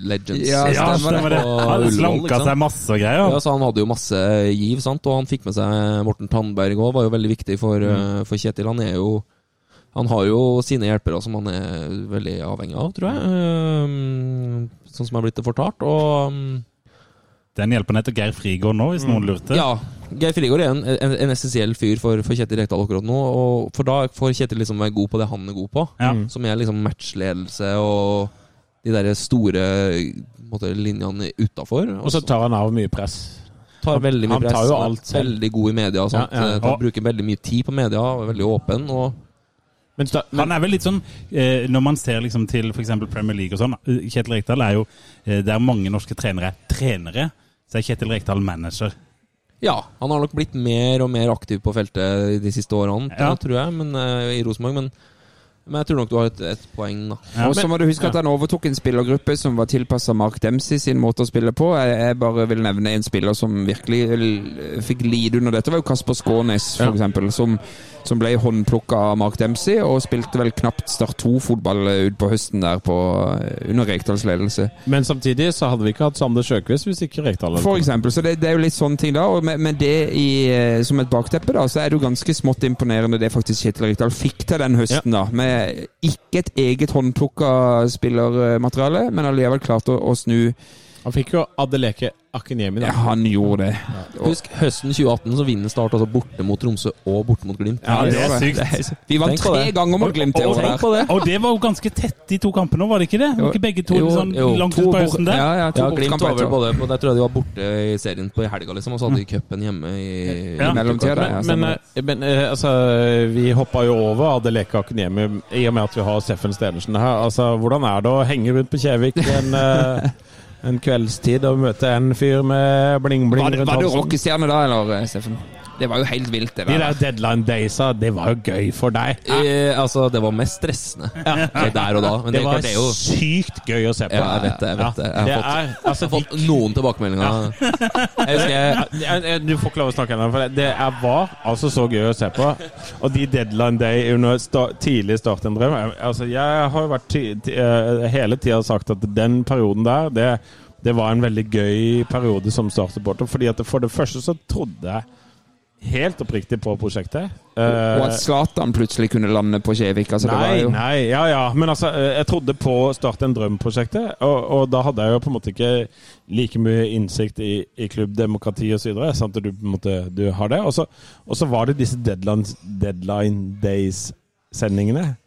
Speaker 6: Legends
Speaker 4: Ja,
Speaker 3: Ja, stemmer det.
Speaker 6: Og
Speaker 3: Han
Speaker 6: Ullevål,
Speaker 3: slanka
Speaker 6: ikke sant?
Speaker 3: seg masse og greier.
Speaker 6: Ja, så Han hadde jo masse giv, sant? og han fikk med seg Morten Tandberg òg. Var jo veldig viktig for, eh, for Kjetil. Han er jo Han har jo sine hjelpere som han er veldig avhengig av, tror jeg. Ehm, Sånn som jeg er blitt det fortalt. Og mm,
Speaker 3: Den hjelper nettopp Geir Frigård nå, hvis noen lurte.
Speaker 6: Ja. Geir Frigård er en, en, en essensiell fyr for, for Kjetil Rekdal akkurat nå. Og for da får Kjetil liksom være god på det han er god på,
Speaker 3: Ja.
Speaker 6: som er liksom matchledelse og de der store på en måte, linjene utafor.
Speaker 5: Og så tar han av mye press.
Speaker 6: tar veldig mye
Speaker 5: han tar
Speaker 6: press.
Speaker 5: jo
Speaker 6: er
Speaker 5: alt selv.
Speaker 6: Veldig god i media. og sånt.
Speaker 5: Ja, ja.
Speaker 6: Eh, tar-
Speaker 3: Og-
Speaker 6: bruker veldig mye tid på media, er veldig åpen. Og,
Speaker 5: Men, sta- men
Speaker 3: Han er vel litt sånn, eh, Når man ser liksom til f.eks. Premier League og sånn eh, Kjetil Rekdal er jo eh, Der mange norske trenere er trenere, så er Kjetil Rekdal manager.
Speaker 6: ja, han har nok blitt mer og mer aktiv på feltet de siste årene,
Speaker 3: Ja.
Speaker 6: tror jeg, men, eh, i Rosenborg. Men, men jeg tror nok du har et, et poeng, da.
Speaker 3: Ja,
Speaker 4: og så må du huske at han overtok en spillergruppe som var tilpassa Mark Dempsey sin måte å spille på. Jeg, jeg bare vil nevne en spiller som virkelig l- fikk lide under dette. Det var jo Kasper Skånes, for
Speaker 5: Ja.
Speaker 4: eksempel, som, som ble håndplukka av Mark Dempsey, og spilte vel knapt Start 2-fotball eh, ut på høsten der på, eh, under Rekdals ledelse.
Speaker 5: Men samtidig så hadde vi ikke hatt Sander Sjøkvist hvis ikke Rekdal hadde
Speaker 4: For eksempel, så det, det er jo litt sånne ting da, og med, med det i, eh, som et bakteppe da, så er det jo ganske smått imponerende det faktisk Kjetil Rikdal fikk til den høsten da, med ikke et eget håndplukka spillermateriale, men alligevel klart å, å snu.
Speaker 5: Han fikk jo Adeleke Akinyemi,
Speaker 4: Ja,
Speaker 5: da.
Speaker 4: han gjorde det.
Speaker 6: Husk, høsten 2018 så vinner Start altså borte mot Tromsø og borte mot Glimt.
Speaker 3: Ja, det er sykt.
Speaker 4: Vi vant
Speaker 6: Tenk på
Speaker 4: tre
Speaker 6: det.
Speaker 4: ganger mot Glimt i år.
Speaker 6: Tenk på det.
Speaker 3: Og det var jo ganske tett, de to kampene, var det ikke det? Var ikke begge to
Speaker 4: Jo,
Speaker 3: sånn
Speaker 4: jo.
Speaker 3: langt
Speaker 4: To
Speaker 3: ut på
Speaker 4: bort-
Speaker 3: høsten der?
Speaker 4: Ja, ja, to
Speaker 6: Ja, Glimt
Speaker 4: bortkamper
Speaker 6: var vel
Speaker 4: etter.
Speaker 6: både på Jeg tror jeg de var borte i serien på i helga, liksom, og så hadde de cupen hjemme i
Speaker 3: Ja.
Speaker 6: i
Speaker 4: Mellomtida,
Speaker 6: mellomtida.
Speaker 4: ja.
Speaker 5: Men,
Speaker 4: stemmer.
Speaker 5: eh, men eh, altså, vi hoppa jo over Adeleke Akuniemi i og med at vi har Steffen Stenersen her. Altså, Hvordan er det å henge rundt på Kjevik en, eh, en kveldstid og møte en fyr med bling-bling
Speaker 4: Var det,
Speaker 5: rundt
Speaker 4: var det
Speaker 5: halsen?
Speaker 4: rockestjerne da, eller, eh, Steffen? Det var jo helt vilt, det
Speaker 5: De
Speaker 4: der.
Speaker 5: der deadline daysa, det var jo gøy for deg.
Speaker 6: Eh, altså, det var mest stressende Det der og da. Men det,
Speaker 5: Det
Speaker 6: er
Speaker 5: var
Speaker 6: klart, det er jo
Speaker 5: sykt gøy å se på.
Speaker 6: Ja, jeg vet det. Jeg vet det.
Speaker 5: Ja,
Speaker 6: Jeg
Speaker 5: det
Speaker 6: har fått,
Speaker 5: er, altså,
Speaker 6: jeg har fått noen tilbakemeldinger. Jeg husker jeg
Speaker 5: Ja, jeg- jeg- Eh, Du får ikke lov å snakke ennå, for det er, var altså så gøy å se på. Og de deadline day under sta, tidlig start en drøm jeg- Altså, jeg har jo vært ti, ti, eh, hele tida sagt at den perioden der, det, det var en veldig gøy periode som startsupporter. Fordi at for det første så trodde jeg helt oppriktig på prosjektet. Eh,
Speaker 4: Og at Zlatan plutselig kunne lande på Kjevik. Altså, det var
Speaker 5: Nei,
Speaker 4: jo
Speaker 5: nei, ja ja. Men altså, eh, jeg trodde på Start en drøm-prosjektet, og, og da hadde jeg jo på en måte ikke like mye innsikt i, i klubbdemokrati osv. Sant at du på en måte du har det. Og så- Og så var det disse deadline, deadline Days-sendingene.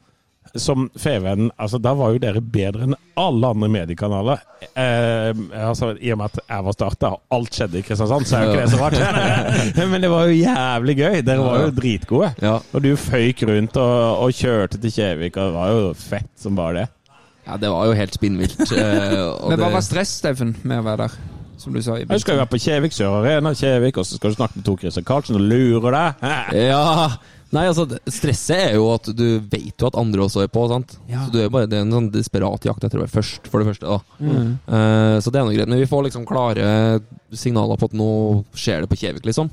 Speaker 5: Som FVN altså Da var jo dere bedre enn alle andre mediekanaler. Eh, altså, I og med at jeg var Start, da, og alt skjedde i Kristiansand, så er jo ikke det så rart. Men det var jo jævlig gøy. Dere var jo dritgode.
Speaker 6: Ja.
Speaker 5: Og du føyk rundt og, og kjørte til Kjevik, og det var jo fett som bare det.
Speaker 6: Ja, det var jo helt spinnvilt. eh, og
Speaker 4: Men hva
Speaker 6: det-
Speaker 4: var stress, Steffen, med å være der? Som du sa i
Speaker 5: Du skal jo være på Kjevik Sør Arena, Kjevik, og så skal du snakke med Tor Christian Karlsen og lure deg.
Speaker 6: Ja Nei, altså, det- stresset er jo at du vet jo at andre også er på, sant? Så du er jo bare, det er en sånn desperat jakt etter å være først, for det første, da.
Speaker 4: Mm.
Speaker 6: Eh, så det er noe greit. Men vi får liksom klare signaler på at nå skjer det på Kjevik, liksom.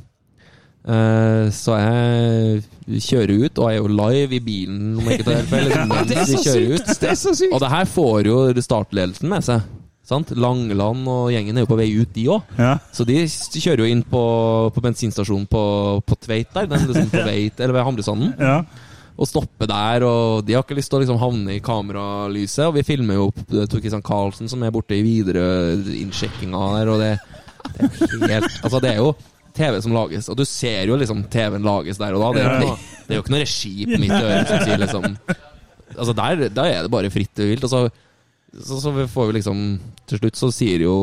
Speaker 6: Eh, så jeg kjører ut, og jeg er jo live i bilen, om jeg ikke tar helt feil. liksom.
Speaker 4: det er
Speaker 6: Vi
Speaker 4: så
Speaker 6: kjører ut.
Speaker 4: sykt! Det er så sykt!
Speaker 6: Og det her får jo startledelsen med seg. Sant? Langeland og gjengen er jo på vei ut, de òg.
Speaker 3: Ja.
Speaker 6: Så de s- kjører jo inn på, på bensinstasjonen på, på Tveit der, den liksom på vei til- eller ved Hamresanden,
Speaker 3: Ja.
Speaker 6: og stopper der. Og de har ikke lyst til å liksom havne i kameralyset, og vi filmer jo opp eh, Tor Christian Karlsen som er borte i Widerøe-innsjekkinga der, og det, det er jo helt Altså, det er jo TV som lages, og du ser jo liksom TV-en lages der og da. Det er jo ikke noe, det er jo ikke noe regi på mitt øre som sier liksom Altså, der, der er det bare fritt og vilt. Og så, så, så vi får vi liksom Til slutt så sier jo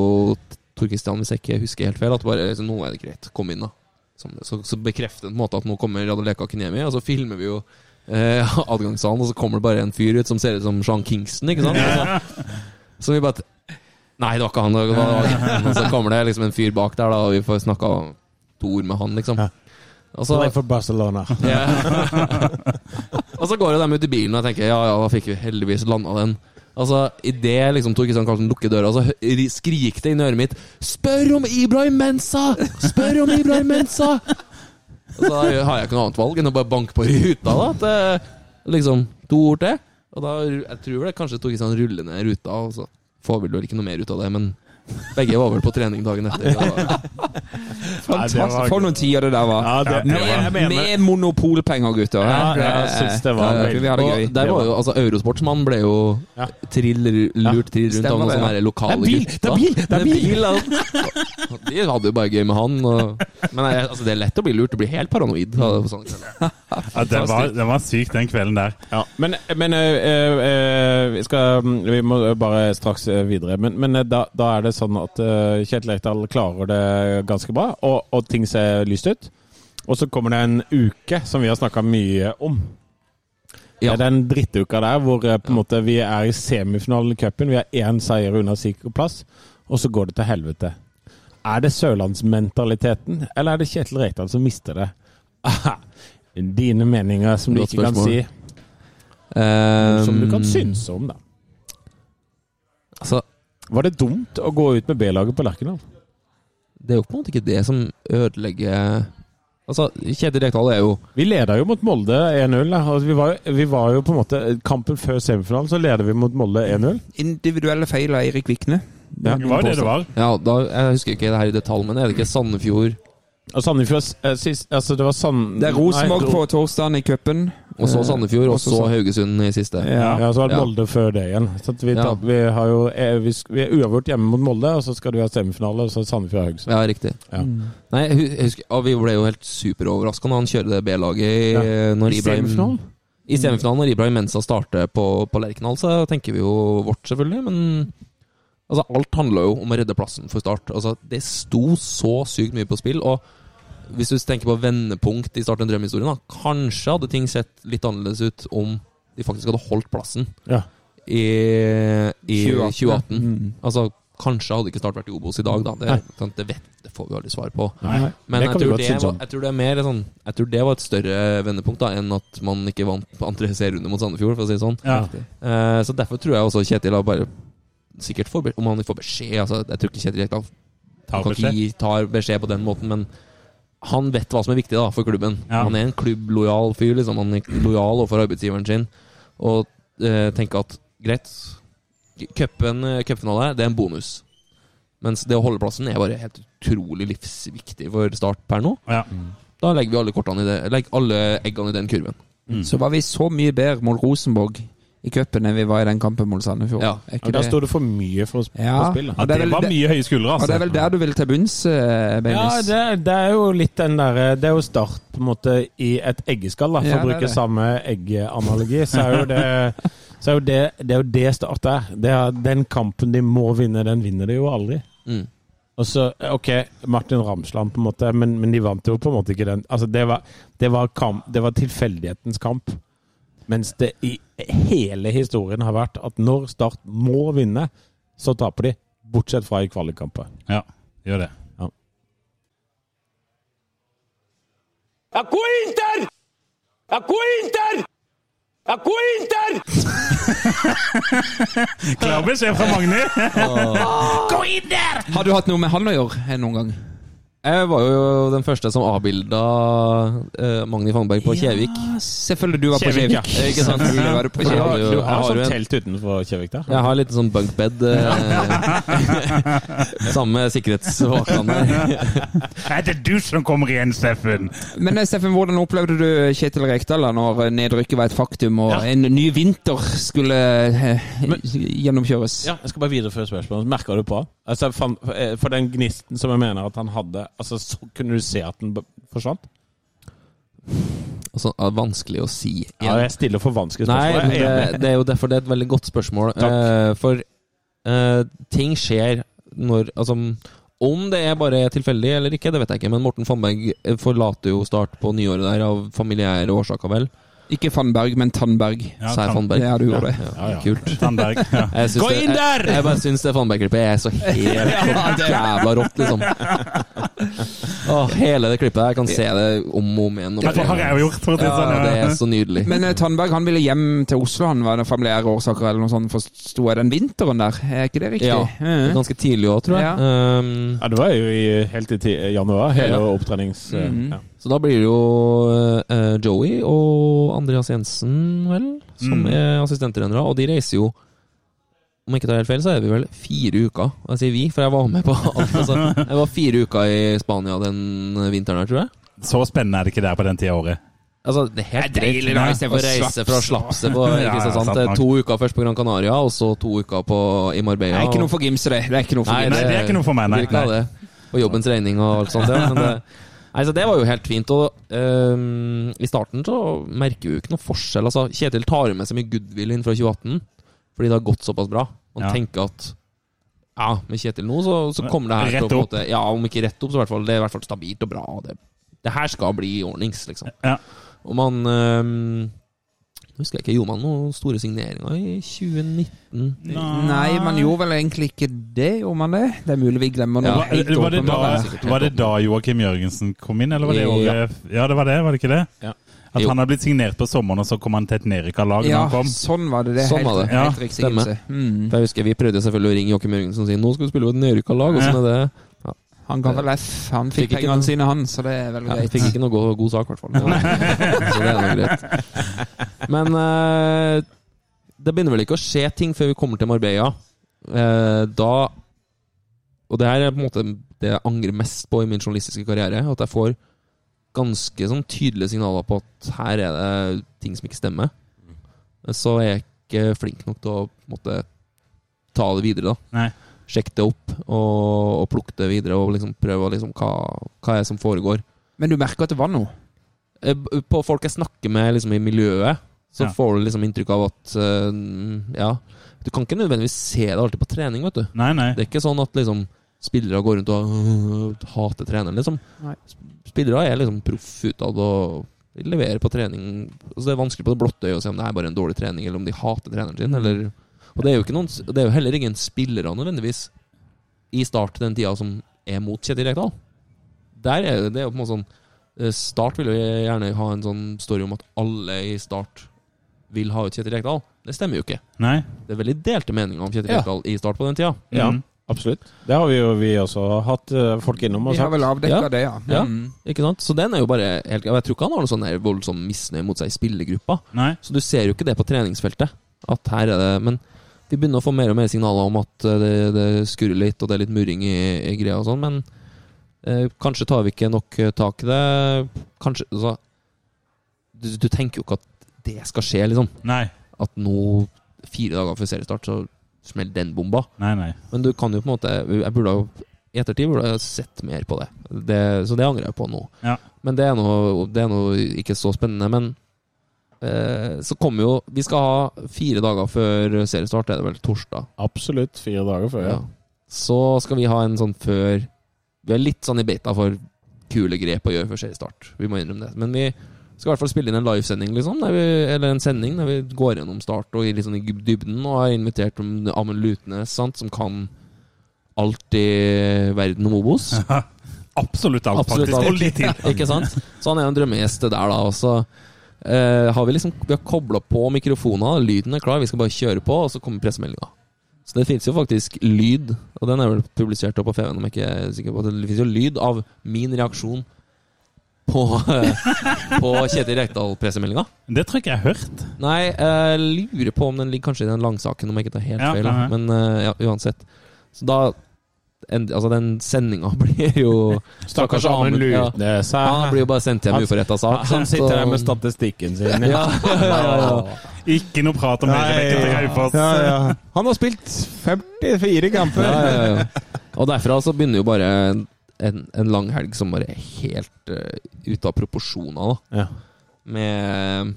Speaker 6: Tor Christian, hvis jeg ikke husker helt feil, at bare liksom, nå er det greit, kom inn, da. Som- Så, så bekrefter han på en måte at nå kommer Raduleka Kunemi, og så filmer vi jo eh, adgangssalen, og så kommer det bare en fyr ut som ser ut som Sean Kingston, ikke sant? Og Så, så vi bare t- Nei, det var ikke han. Det var agenten. Og så kommer det liksom en fyr bak der, da, og vi får snakka to ord med han, liksom.
Speaker 5: Ja.
Speaker 6: Og
Speaker 5: Play for Barcelona.
Speaker 6: og så går jo de ut i bilen, og jeg tenker ja, ja, da fikk vi heldigvis landa den. Altså, Idet liksom, Tor Kristian Karlsen lukker døra, så hø- ri- skrik det inn i øret mitt 'Spør om Ibrahim Mensa! Spør om Ibrahim Mensa!' Og så har jeg ikke noe annet valg enn å bare banke på ruta, da. At, eh, liksom, to ord til. Og da, ru- jeg tror det kanskje Tor Kristian ruller ned ruta, og så får vi vel ikke noe mer ut av det, men begge var vel på trening dagen etter. Da.
Speaker 4: Fantastisk. For noen tider det der var.
Speaker 5: Ja, det, det, var- jeg
Speaker 4: med,
Speaker 5: mener
Speaker 4: med monopolpenger, gutter.
Speaker 5: Ja, jeg synes det var
Speaker 4: Ja, Vi hadde
Speaker 6: Og
Speaker 4: gøy.
Speaker 6: der var jo, altså, Eurosportsmann ble jo
Speaker 5: Ja.
Speaker 6: trill, lurt trill rundt av
Speaker 4: Stemmer
Speaker 6: noen
Speaker 4: det, ja.
Speaker 6: sånne her lokale
Speaker 5: Det er bil, det er bil, det er
Speaker 6: bil! ja. Og De hadde jo bare gøy med han. Og... Men jeg- altså, det er lett å bli lurt. Du blir helt paranoid. av sånne kvelder.
Speaker 3: Ja, den, var, den var syk, den kvelden der.
Speaker 5: Ja, men, men øh, øh, øh, vi, skal, vi må bare straks øh, videre. Men, men øh, da, da er det sånn at øh, Kjetil Rekdal klarer det ganske bra, og, og ting ser lyst ut. Og så kommer det en uke som vi har snakka mye om.
Speaker 6: Ja.
Speaker 5: Det er den drittuka der hvor øh, på en måte vi er i semifinalen i cupen. Vi er én seier unna sikkerplass, og så går det til helvete. Er det sørlandsmentaliteten, eller er det Kjetil Rekdal som mister det? Aha. Dine meninger som du
Speaker 6: Godt
Speaker 5: ikke kan
Speaker 6: spørsmål.
Speaker 5: si. Som du kan
Speaker 6: Um,
Speaker 5: synes om, da.
Speaker 6: Altså,
Speaker 5: Var det dumt å gå ut med B-laget på Lerkendal?
Speaker 6: det er jo på en måte ikke det som ødelegger Altså, Kjetil Rekdal er jo
Speaker 5: Vi leda jo mot Molde 1-0. da. Altså, vi, var jo- vi var jo på en måte Kampen før semifinalen så leder vi mot Molde 1-0.
Speaker 4: Individuelle feil av Eirik Vikne.
Speaker 5: Ja.
Speaker 3: Det var det det var.
Speaker 6: ja, da, Jeg husker ikke det her i detalj, men er det ikke Sandefjord
Speaker 5: Og Sandefjord eh, sist Altså, det var Sand...
Speaker 4: Det er Rosenborg på torsdagen i cupen.
Speaker 6: Og
Speaker 5: Eh,
Speaker 6: så Sandefjord, og så Haugesund i siste.
Speaker 5: Ja,
Speaker 4: Ja.
Speaker 5: så var det
Speaker 6: Ja.
Speaker 5: Molde før det igjen. Så at vi,
Speaker 6: Ja.
Speaker 5: tap- vi, har jo, eh, vi, sk- vi er uavgjort hjemme mot Molde, og så skal du ha semifinale, og så Sandefjord og Haugesund.
Speaker 6: Ja, riktig.
Speaker 5: Ja.
Speaker 6: Nei, jeg hu- jeg husker, ja, Vi ble jo helt superoverraska når han kjører det B-laget ja. når Ibrahim
Speaker 5: Semifinalen?
Speaker 6: I semifinalen når Ibrahim Mensa starter på, på Lerkendal, så tenker vi jo vårt, selvfølgelig. Men altså, alt handla jo om å redde plassen for Start. Altså, det sto så sykt mye på spill. Og hvis du tenker på vendepunkt i Start en drømmehistorie, da, kanskje hadde ting sett litt annerledes ut om de faktisk hadde holdt plassen
Speaker 5: Ja.
Speaker 6: i, i 2018.
Speaker 4: 2018. Mm.
Speaker 6: Altså, kanskje hadde ikke Start vært i Obos i dag, da. Det, sant, det, vet, det får vi aldri svar på.
Speaker 5: Nei,
Speaker 6: Men
Speaker 5: det
Speaker 6: jeg
Speaker 5: kan vi
Speaker 6: tror
Speaker 5: godt
Speaker 6: det,
Speaker 5: synes
Speaker 6: var,
Speaker 5: om.
Speaker 6: jeg tror det er mer sånn Jeg tror det var et større vendepunkt da enn at man ikke vant andre serierunde mot Sandefjord, for å si det sånn.
Speaker 3: Ja.
Speaker 6: Eh, så derfor tror jeg også Kjetil har bare Sikkert får be- om han får beskjed altså, Jeg tror ikke Kjetil Rekdal
Speaker 3: Tar
Speaker 6: kan ikke
Speaker 3: beskjed.
Speaker 6: gi, tar beskjed på den måten, men han vet hva som er viktig da for klubben.
Speaker 3: Ja.
Speaker 6: Han er en klubblojal fyr. Liksom. Han er lojal overfor arbeidsgiveren sin. Og eh, tenker at greit, cupen, eh, cupfinale det er en bonus. Mens det å holde plassen er bare helt utrolig livsviktig for Start per nå.
Speaker 3: Ja.
Speaker 6: Da legger vi alle, kortene i det, legger alle eggene i den kurven.
Speaker 4: Eh, Så var vi så mye bedre mot Rosenborg i cupen enn vi var i den kampen mot Sandefjord.
Speaker 6: Ja.
Speaker 4: Er ikke
Speaker 5: Men Da
Speaker 4: det-
Speaker 5: sto det for mye for, sp-
Speaker 4: Ja.
Speaker 5: for spill. Da.
Speaker 4: Og det
Speaker 3: Det
Speaker 4: er vel
Speaker 3: var
Speaker 4: det-
Speaker 3: mye høye skuldre,
Speaker 4: Og det
Speaker 3: altså.
Speaker 4: er vel der du vil til bunns, eh,
Speaker 5: Ja,
Speaker 4: Beinis?
Speaker 5: det, det er jo litt den derre Det er jo start på en måte i et eggeskall, da. For
Speaker 4: Ja,
Speaker 5: å
Speaker 4: det er
Speaker 5: bruke
Speaker 4: det.
Speaker 5: samme eggeanalogi, så er jo det så er jo det, det er jo det Start er. Det er den kampen de må vinne, den vinner de jo aldri.
Speaker 6: Mm.
Speaker 5: Og så, OK, Martin Ramsland, på en måte, men, men de vant jo på en måte ikke den. Altså, det var, det var, kamp, det var tilfeldighetens kamp. Mens det i hele historien har vært at når Start må vinne, så taper de. Bortsett fra i kvalikkamper.
Speaker 3: Ja, gjør det. Klar beskjed fra Magni!
Speaker 4: Har du hatt noe med han å gjøre eh, noen gang?
Speaker 6: Jeg var jo den første som avbilda eh, Magni Fangberg på Kjevik.
Speaker 4: Ja, selvfølgelig du var på
Speaker 5: Kjevik, ja.
Speaker 4: Kjevik. Ikke sant? Selvfølgelig var du på
Speaker 6: For da-
Speaker 4: Kjevik.
Speaker 6: har jo-
Speaker 5: du
Speaker 6: jeg
Speaker 5: har
Speaker 6: har jo
Speaker 5: sånn
Speaker 6: en-
Speaker 5: telt utenfor Kjevik der?
Speaker 6: Jeg har litt sånn bunkbed. Eh, samme sikkerhetsvaktene.
Speaker 3: Er det du som kommer igjen, Steffen?
Speaker 4: Men eh, Steffen, hvordan opplevde du eh, Kjetil Rekdal da når eh, nedrykket var et faktum, og en ny vinter skulle eh, gjennomkjøres?
Speaker 5: Ja, jeg skal bare videreføre spørsmålet. Merka du på han? altså, jeg fant- eh, For den gnisten som jeg mener at han hadde, altså, så kunne du se at den b- forsvant?
Speaker 6: Altså, er vanskelig å si.
Speaker 5: Ja,
Speaker 6: igjen.
Speaker 5: jeg stiller for vanskelige
Speaker 6: Nei,
Speaker 5: spørsmål.
Speaker 6: men
Speaker 5: Jeg er enig.
Speaker 6: det, det er jo derfor det er et veldig godt spørsmål. Eh, for eh, ting skjer når Altså, om det er bare tilfeldig eller ikke, det vet jeg ikke. Men Morten Fannberg eh, forlater jo Start på nyåret der av familiære årsaker, vel.
Speaker 4: Ikke Fannberg, men Tannberg.
Speaker 3: Ja,
Speaker 6: Sær
Speaker 3: Tan-
Speaker 6: Fannberg.
Speaker 4: Ja, du gjorde det.
Speaker 6: Ja, Kult.
Speaker 3: Tandberg. Ja.
Speaker 6: Jeg syns
Speaker 5: Gå
Speaker 6: det-
Speaker 5: inn der!
Speaker 6: Jeg, jeg bare syns det Fannberg-klippet er så helt jævla rått, liksom. Åh, hele det klippet. Jeg kan se det om og om igjen. og
Speaker 3: Ja, Det
Speaker 6: om
Speaker 3: har
Speaker 6: igjen.
Speaker 3: jeg jo gjort, for å si det sånn.
Speaker 6: Ja, det
Speaker 3: Ja.
Speaker 6: er så nydelig.
Speaker 4: Men eh, Tandberg han ville hjem til Oslo, han var det familiære årsaker eller noe sånt, forsto jeg, den vinteren der. Er ikke det riktig?
Speaker 6: Ja,
Speaker 4: Mhm.
Speaker 6: ganske tidlig òg, tror jeg.
Speaker 4: Ja.
Speaker 6: Ehm,
Speaker 5: Ja, det var jo i, helt i ti- januar, hele
Speaker 6: Ja.
Speaker 5: opptrenings... eh,
Speaker 4: Mhm.
Speaker 5: ja.
Speaker 6: så da blir det jo eh, Joey og Andreas Jensen, vel, som
Speaker 3: Mm.
Speaker 6: er assistenttrenere. Og de reiser jo om jeg ikke tar helt feil, så er vi vel fire uker. Og Jeg sier vi, for jeg var med på alt. Altså, jeg var fire uker i Spania den vinteren her, tror jeg.
Speaker 3: Så spennende er det ikke der på den tida av året.
Speaker 6: Altså, det er helt
Speaker 4: Det er deilig,
Speaker 6: greit
Speaker 4: da, i
Speaker 6: å
Speaker 4: stedet for
Speaker 6: reise
Speaker 4: slaps.
Speaker 6: fra slapset på
Speaker 3: Ja, ja,
Speaker 6: Kristiansand
Speaker 3: sant
Speaker 6: til
Speaker 3: nok.
Speaker 6: to uker først på Gran Canaria, og så to uker på, i
Speaker 4: Det
Speaker 6: Marbella.
Speaker 4: er ikke noe
Speaker 6: og-
Speaker 4: for Gimse, det. Det er ikke noe for
Speaker 6: Nei,
Speaker 4: Gimse.
Speaker 3: Nei, det er ikke noe for meg, nei.
Speaker 6: Vil ikke ha det. Og jobbens regning og alt sånt. Ja. Men det, nei, så det var jo helt fint. Og ehm, i starten så merker vi jo ikke noe forskjell. Altså, Kjetil tar med seg mye goodwill inn fra 2018, fordi det har gått såpass bra. Man
Speaker 3: Ja.
Speaker 6: tenker at ja, med Kjetil nå, så, så kommer det her
Speaker 3: Rett
Speaker 6: til å
Speaker 3: opp.
Speaker 6: på en måte, Ja, om ikke rett opp, så i hvert fall, det er i hvert fall stabilt og bra. og Det, det her skal bli ordnings, liksom.
Speaker 3: Ja.
Speaker 6: Og man øhm, nå husker jeg ikke, Gjorde man noen store signeringer i 2019?
Speaker 4: Nei, man gjorde vel egentlig ikke det, gjorde man det? Det er mulig vi glemmer noe.
Speaker 6: Ja.
Speaker 4: helt
Speaker 3: Var det da,
Speaker 4: åpenbart.
Speaker 3: var det da Joakim Jørgensen kom inn, eller var det
Speaker 6: Ja.
Speaker 3: året Ja, det var det, var det ikke det?
Speaker 5: Ja.
Speaker 3: At
Speaker 6: Jo.
Speaker 3: han har blitt signert på sommeren, og så kom han til et nedrykka-lag
Speaker 4: Ja,
Speaker 3: når han kom?
Speaker 4: sånn var det. det er helt,
Speaker 6: Sånn var det.
Speaker 4: helt
Speaker 6: Ja,
Speaker 4: riktig, Gimse. Mm.
Speaker 6: For jeg husker Vi prøvde selvfølgelig å ringe Joakim Jørgensen og si nå skal du spille på et nedrykka lag. Og sånn er det.
Speaker 4: Han ga vel F. Han fikk,
Speaker 6: Fikk ikke
Speaker 4: pengene
Speaker 6: noe.
Speaker 4: sine, han, så det er vel
Speaker 6: Ja, jeg
Speaker 4: greit.
Speaker 6: fikk ikke noe god, god sak, i hvert fall. Så det er noe greit. Men eh, det begynner vel ikke å skje ting før vi kommer til Marbella. Eh, da Og det her er på en måte det jeg angrer mest på i min journalistiske karriere. At jeg får ganske sånn tydelige signaler på at her er det ting som ikke stemmer, så er jeg ikke flink nok til å på en måte, ta det videre. da.
Speaker 3: Nei.
Speaker 6: Sjekke det opp og, og plukke det videre og liksom prøve å liksom, hva, hva er det som foregår.
Speaker 4: Men du merker at det var noe.
Speaker 6: Eh, b- På folk jeg snakker med liksom, i miljøet, så
Speaker 3: Ja.
Speaker 6: får du liksom inntrykk av at eh, Ja, du kan ikke nødvendigvis se det alltid på trening, vet du.
Speaker 3: Nei, nei.
Speaker 6: Det er ikke sånn at liksom spillere går rundt og øh, hater treneren, liksom.
Speaker 4: Nei.
Speaker 6: Sp- Spillere er liksom proff utad og de leverer på trening. Altså, det er vanskelig på det blotte øyet å se om det er bare en dårlig trening, eller om de hater treneren sin. Eller, og det er, jo ikke noen, det er jo heller ingen spillere nødvendigvis i start den tida som er mot Kjetil Rekdal. Der er det, det er jo på en måte sånn eh, Start vil jo gjerne ha en sånn story om at alle i Start vil ha ut Kjetil Rekdal. Det stemmer jo ikke.
Speaker 3: nei.
Speaker 6: Det er veldig delte meninger om Kjetil
Speaker 5: Ja.
Speaker 6: Rekdal i Start på den tida.
Speaker 5: Ja,
Speaker 3: Mm.
Speaker 5: absolutt. Det har vi jo vi også hatt eh, folk innom. og
Speaker 4: Vi har
Speaker 5: sagt.
Speaker 4: vel avdekka
Speaker 6: Ja.
Speaker 4: det, ja.
Speaker 6: Ja.
Speaker 4: Mm.
Speaker 6: Ikke sant? Så den er jo bare helt Og Jeg tror ikke han har noe sånn her voldsom misnøye mot seg i spillergruppa.
Speaker 3: Nei.
Speaker 6: Så du ser jo ikke det på treningsfeltet. At her er det Men vi begynner å få mer og mer signaler om at eh, det, det skurrer litt, og det er litt murring i, i greia og sånn, men eh, kanskje tar vi ikke nok eh, tak i det. Kanskje Altså du, du tenker jo ikke at det skal skje, liksom.
Speaker 3: Nei.
Speaker 6: At nå, fire dager før seriestart, så smeller den bomba.
Speaker 3: Nei, nei.
Speaker 6: Men du kan jo på en måte Jeg burde ha i ettertid burde jeg ha sett mer på det. det så det angrer jeg på nå.
Speaker 3: Ja.
Speaker 6: Men det er noe, det er noe ikke så spennende. Men eh, så kommer jo Vi skal ha fire dager før seriestart, er det vel? Torsdag.
Speaker 5: Absolutt. Fire dager før, ja.
Speaker 6: Ja. Så skal vi ha en sånn før Vi er litt sånn i beta for kule grep å gjøre før seriestart. Vi må innrømme det. Men vi skal i hvert fall spille inn en livesending, liksom. Der vi, eller en sending der vi går gjennom start og i litt sånn i dybden. Og har invitert om Amund Lutnes, sant, som kan alt i verden om Obos.
Speaker 3: Absolutt alt,
Speaker 6: Absolutt
Speaker 3: faktisk.
Speaker 6: alt.
Speaker 3: Og litt til.
Speaker 6: Ikke sant? Så han er jo en drømmegjest det der, da. Og så eh, har vi liksom Vi har kobla på mikrofoner, lyden er klar, vi skal bare kjøre på, og så kommer pressemeldinga. Så det fins jo faktisk lyd, og den er vel publisert opp på FVN, om jeg ikke er sikker på det. Det fins jo lyd av min reaksjon på, på Kjetil Rekdal-pressemeldinga.
Speaker 3: Det tror jeg ikke jeg har hørt.
Speaker 6: Nei, jeg lurer på om den ligger kanskje i den langsaken, om jeg ikke tar helt
Speaker 3: Ja,
Speaker 6: feil. da.
Speaker 3: ja, ja.
Speaker 6: Men eh, ja, uansett. Så da en, Altså, den sendinga blir jo
Speaker 5: Stakkars Amund
Speaker 6: Ja.
Speaker 5: Lutnes.
Speaker 6: Han blir jo bare sendt hjem
Speaker 5: Han-
Speaker 6: uforretta sak.
Speaker 5: Han
Speaker 6: sant,
Speaker 5: sitter
Speaker 6: så-
Speaker 5: der med statistikken sin.
Speaker 6: ja, ja, ja, ja.
Speaker 3: Ikke noe prat om Høyrebekk til Raufoss.
Speaker 5: Ja, ja. Han har spilt 54 kamper!
Speaker 6: Ja, ja, ja. Og derfra så begynner jo bare en, en lang helg som bare er helt uh, ute av proporsjoner, da.
Speaker 5: Ja.
Speaker 6: Med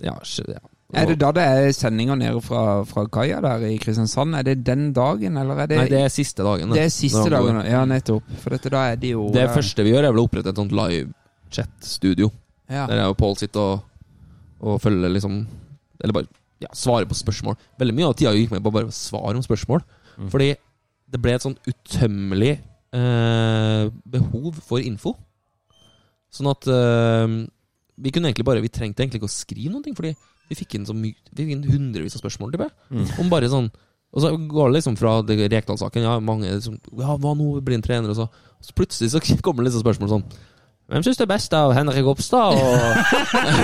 Speaker 6: Ja, sj- ja.
Speaker 4: Er det da det er sendinger nede fra, fra kaia der i Kristiansand? Er det den dagen, eller er det
Speaker 6: Nei, det er siste dagen. da.
Speaker 4: det er siste
Speaker 6: Når han går.
Speaker 4: dagen? Ja, nettopp. For dette, da er de jo
Speaker 6: Det
Speaker 4: eh,
Speaker 6: første vi gjør, er vel å opprette et sånt live chat-studio.
Speaker 4: ja.
Speaker 6: Der er jo Pål sitter og, og følger liksom Eller bare ja, svarer på spørsmål. Veldig mye av tida gikk med på bare svar om spørsmål. Fordi det ble et sånn utømmelig eh, behov for info. Sånn at eh, vi kunne egentlig bare Vi trengte egentlig ikke å skrive noen ting, fordi vi fikk inn så mye Vi fikk inn hundrevis av spørsmål til
Speaker 5: Mm.
Speaker 6: Om bare sånn Og så går det liksom fra det- Rekdal-saken Ja, mange som Ja, hva nå? Blir en trener? Og så, og så plutselig så kommer det liksom spørsmål sånn hvem syns det er best av Henrik Opstad og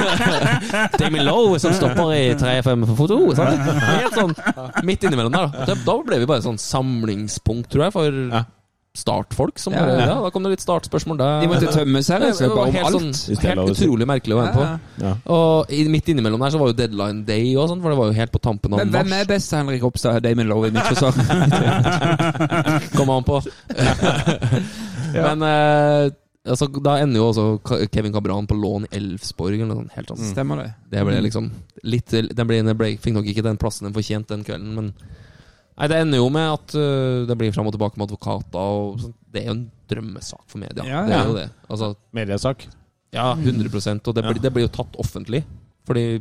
Speaker 6: Damien Lowe som stopper i 3-5 for foto? Sant? Helt sånn midt innimellom der. Da Da ble vi bare et sånn samlingspunkt, tror jeg, for startfolk. Som
Speaker 4: Ja,
Speaker 6: bare,
Speaker 4: ja.
Speaker 6: ja, da kom det litt startspørsmål der.
Speaker 4: De måtte tømme seg rett og
Speaker 6: Det
Speaker 4: slett
Speaker 6: var
Speaker 4: bare om
Speaker 6: helt,
Speaker 4: alt.
Speaker 5: Hvis
Speaker 6: sånn,
Speaker 5: det er lov
Speaker 6: helt
Speaker 5: å si.
Speaker 6: utrolig merkelig å være med på.
Speaker 4: Ja, ja.
Speaker 6: Og i- midt innimellom der så var jo deadline day og sånn, for det var jo helt på tampen av
Speaker 4: Men hvem er
Speaker 6: mars.
Speaker 4: best av Henrik Ropstad og Damon Lowe i mitt forsvar?
Speaker 6: Kom an på. Men eh, altså, da ender jo også Ka- Kevin Cabran på lån i Elfsborg eller noe sånt. Helt sånn.
Speaker 4: Mm. Stemmer det?
Speaker 6: Det ble liksom litt Den ble, den ble, fikk nok ikke den plassen den fortjente den kvelden, men Nei, det ender jo med at øh, det blir fram og tilbake med advokater og sånt. Det er jo en drømmesak for media.
Speaker 4: Ja,
Speaker 6: Det
Speaker 4: ja.
Speaker 6: er jo det. Altså,
Speaker 5: Mediesak.
Speaker 6: ja, 100 Og det blir, det blir jo tatt offentlig, fordi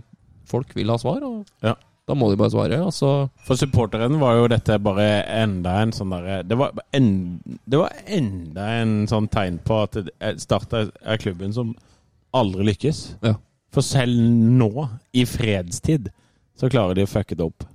Speaker 6: folk vil ha svar, og
Speaker 5: Ja.
Speaker 6: da må de bare svare. Og så
Speaker 5: For supporteren var jo dette bare enda en sånn derre det, var en- det var enda en sånn tegn på at det- Start er er klubben som aldri lykkes.
Speaker 6: Ja.
Speaker 5: For selv nå, i fredstid, så klarer de å fucke det opp.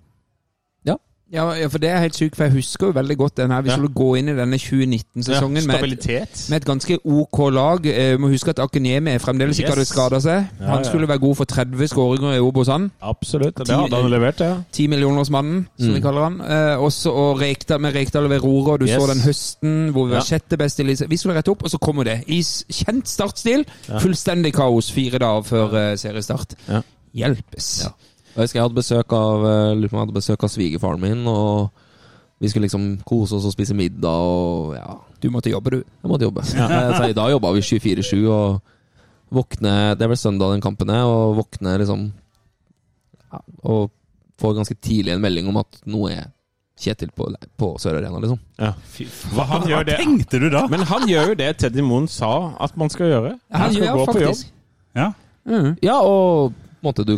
Speaker 6: Ja.
Speaker 4: Ja, ja, for det er helt sykt, for jeg husker jo veldig godt den her. Hvis
Speaker 5: Ja.
Speaker 4: du går inn i denne 2019-sesongen med, et-
Speaker 5: Stabilitet.
Speaker 4: med et ganske OK lag eh, Må huske at Akenemi fremdeles ikke
Speaker 5: Yes.
Speaker 4: hadde skada seg.
Speaker 5: ja.
Speaker 4: Han skulle være god for 30 skåringer i Obos, han.
Speaker 5: Absolutt. Det hadde han levert, ja.
Speaker 4: 10 millionersmannen, som
Speaker 5: Mm.
Speaker 4: vi kaller han. Eh, også og Rekdal med Rekdal og Verora, og du
Speaker 5: Yes.
Speaker 4: så den høsten hvor vi var
Speaker 5: Ja.
Speaker 4: sjette best i Elise. Vi skulle rette opp, og så kommer det. I s- kjent startstil, fullstendig kaos fire dager før eh, seriestart.
Speaker 5: Ja.
Speaker 4: Hjelpes.
Speaker 6: Ja. Jeg husker jeg hadde besøk av eh, lurer på om jeg hadde besøk av svigerfaren min, og vi skulle liksom kose oss og spise middag og ja
Speaker 4: Du måtte jobbe, du.
Speaker 6: Jeg måtte jobbe. Eh, Så i dag jobba vi 24-7 og våkne Det ble søndag den kampen her, og våkne liksom ja, Og får ganske tidlig en melding om at nå er Kjetil på, på Sør Arena, liksom.
Speaker 5: Hva han
Speaker 3: Hva
Speaker 5: gjør det
Speaker 3: tenkte du da?
Speaker 5: Men han gjør jo det Teddy Moen sa at man skal gjøre.
Speaker 4: Han
Speaker 5: skal
Speaker 4: gjør
Speaker 5: gå på jobb.
Speaker 4: faktisk
Speaker 3: Ja.
Speaker 4: Mhm.
Speaker 6: Ja, og på en måte du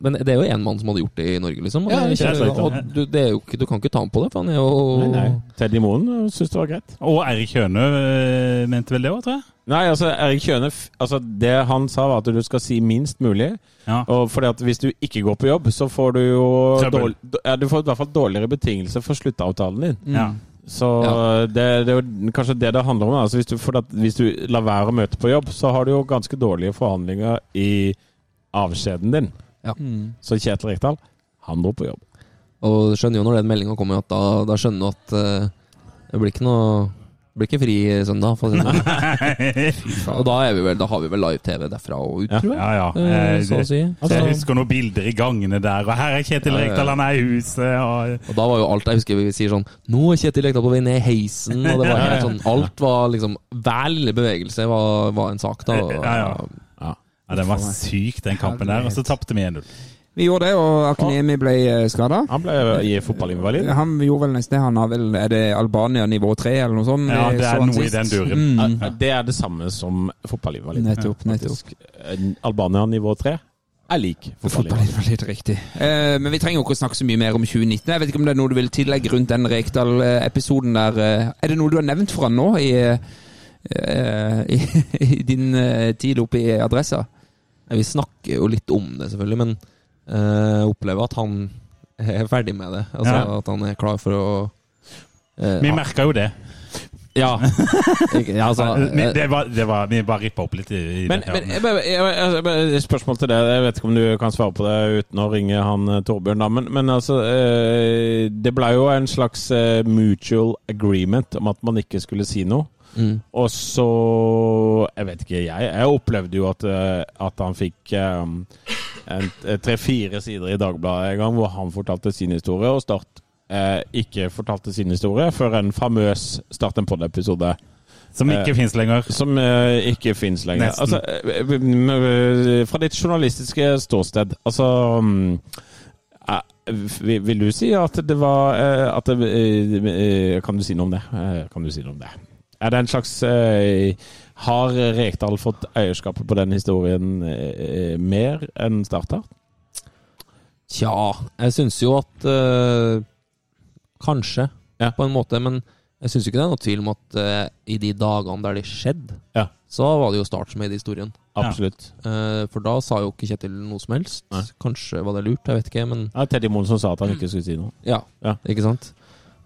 Speaker 6: Men det er jo én mann som hadde gjort det i Norge, liksom. Og,
Speaker 5: Ja,
Speaker 6: det-
Speaker 5: ikke helt riktig.
Speaker 6: og du, det er jo, ikke- du kan ikke ta ham på det, for han er jo
Speaker 5: Nei, nei. Teddy Moen syns det var greit.
Speaker 3: Og Eirik Hønø eh, mente vel det òg, tror jeg.
Speaker 5: Nei, altså, Erik Kjøne f- altså, Det han sa, var at du skal si minst mulig.
Speaker 3: Ja.
Speaker 5: Og fordi at hvis du ikke går på jobb, så får du jo
Speaker 3: Trøbbel.
Speaker 5: dårl- d- ja, Du får i hvert fall dårligere betingelser for sluttavtalen din.
Speaker 3: Ja.
Speaker 5: Så
Speaker 6: Ja.
Speaker 5: det, det er jo kanskje det det handler om. da. Altså, hvis, du, for at, hvis du lar være å møte på jobb, så har du jo ganske dårlige forhandlinger i avskjeden din.
Speaker 6: Ja.
Speaker 5: Så Kjetil Rekdal, han dro på jobb.
Speaker 6: Og du skjønner jo når den meldinga kommer, at da, da skjønner du at eh, det blir ikke noe det blir ikke fri søndag. For å si det sånn. og da, er vi vel, da har vi vel live-TV derfra og ut,
Speaker 5: Ja.
Speaker 6: tror jeg.
Speaker 3: ja, ja.
Speaker 6: Eh,
Speaker 3: Eh,
Speaker 6: så å
Speaker 3: det-
Speaker 6: si.
Speaker 3: Jeg
Speaker 6: Altså,
Speaker 3: husker noen bilder i gangene der, og her er Kjetil
Speaker 6: Ja, ja, ja.
Speaker 3: Rekdal, han er i huset og
Speaker 6: og da var jo alt Jeg husker vi sier sånn Nå er Kjetil Rekdal på vei ned i heisen, og det var helt sånn Alt var liksom Hver lille bevegelse var, var en sak, da. Og,
Speaker 3: Ja, ja. ja, Den var syk, den kampen der. Og så tapte vi 1-0.
Speaker 4: Vi gjorde det, og Akenemi ble skada.
Speaker 5: Han ble i fotballinvalid.
Speaker 4: Han gjorde vel nesten det. Han har vel Er det Albania nivå tre, eller noe sånt?
Speaker 3: Ja,
Speaker 4: Vi
Speaker 3: det
Speaker 4: så
Speaker 3: er
Speaker 4: han
Speaker 3: noe i
Speaker 4: sist.
Speaker 3: den duren.
Speaker 5: Ja, Det er det samme som fotballinvalid.
Speaker 4: Nettopp, nettopp.
Speaker 5: En Albania nivå tre er lik fotballinvalid.
Speaker 4: Fotballen var litt riktig. Eh, men vi trenger jo ikke å snakke så mye mer om 2019. Jeg vet ikke om det er noe du vil tillegge rundt den Rekdal-episoden der. eh, Er det noe du har nevnt for han nå i, eh, i, i din eh, tid oppe i adressa?
Speaker 6: Ja, Vi snakker jo litt om det, selvfølgelig, men eh, opplever at han er ferdig med det. Altså
Speaker 3: Ja.
Speaker 6: at han er klar for å eh,
Speaker 3: Vi merka jo det. eh,
Speaker 6: Ja. ja altså,
Speaker 3: Vi- det var, det var, vi bare rippa opp litt i, i
Speaker 5: Men,
Speaker 3: den
Speaker 5: men
Speaker 3: perioden.
Speaker 5: eh, jeg, bare- jeg, jeg, jeg, bare- et spørsmål til deg. Jeg vet ikke om du kan svare på det uten å ringe han eh, Torbjørn, da. Men, men altså eh, Det ble jo en slags eh, mutual agreement om at man ikke skulle si noe.
Speaker 6: mm.
Speaker 5: Og så Jeg vet ikke, jeg. Jeg opplevde jo at, eh, at han fikk eh, tre-fire sider i Dagbladet en gang hvor han fortalte sin historie, og Start eh, ikke fortalte sin historie før en famøs Start en pod-episode
Speaker 3: Som ikke
Speaker 5: eh,
Speaker 3: fins lenger.
Speaker 5: som eh, ikke finnes lenger.
Speaker 3: Nesten.
Speaker 5: Altså, eh, eh, eh, fra ditt journalistiske ståsted, altså mm, eh, vi- Vil du si at det var eh, at det, eh, eh, Kan du si noe om det? Eh, Kan du si noe om det? Er det en slags eh, Har Rekdal fått eierskapet på den historien eh, eh, mer enn Start har?
Speaker 6: Tja, jeg syns jo at eh, Kanskje,
Speaker 5: Ja.
Speaker 6: på en måte. Men jeg syns ikke det er noe tvil om at eh, i de dagene der det skjedde,
Speaker 5: Ja.
Speaker 6: så var det jo Start som eide historien.
Speaker 5: Absolutt.
Speaker 6: Eh, for da sa jo ikke Kjetil noe som helst.
Speaker 5: Nei.
Speaker 6: Kanskje var det lurt, jeg vet ikke. Men
Speaker 5: Ja, Teddy Moen som sa at han ikke skulle si noe.
Speaker 6: ja,
Speaker 5: Ja.
Speaker 6: ikke sant?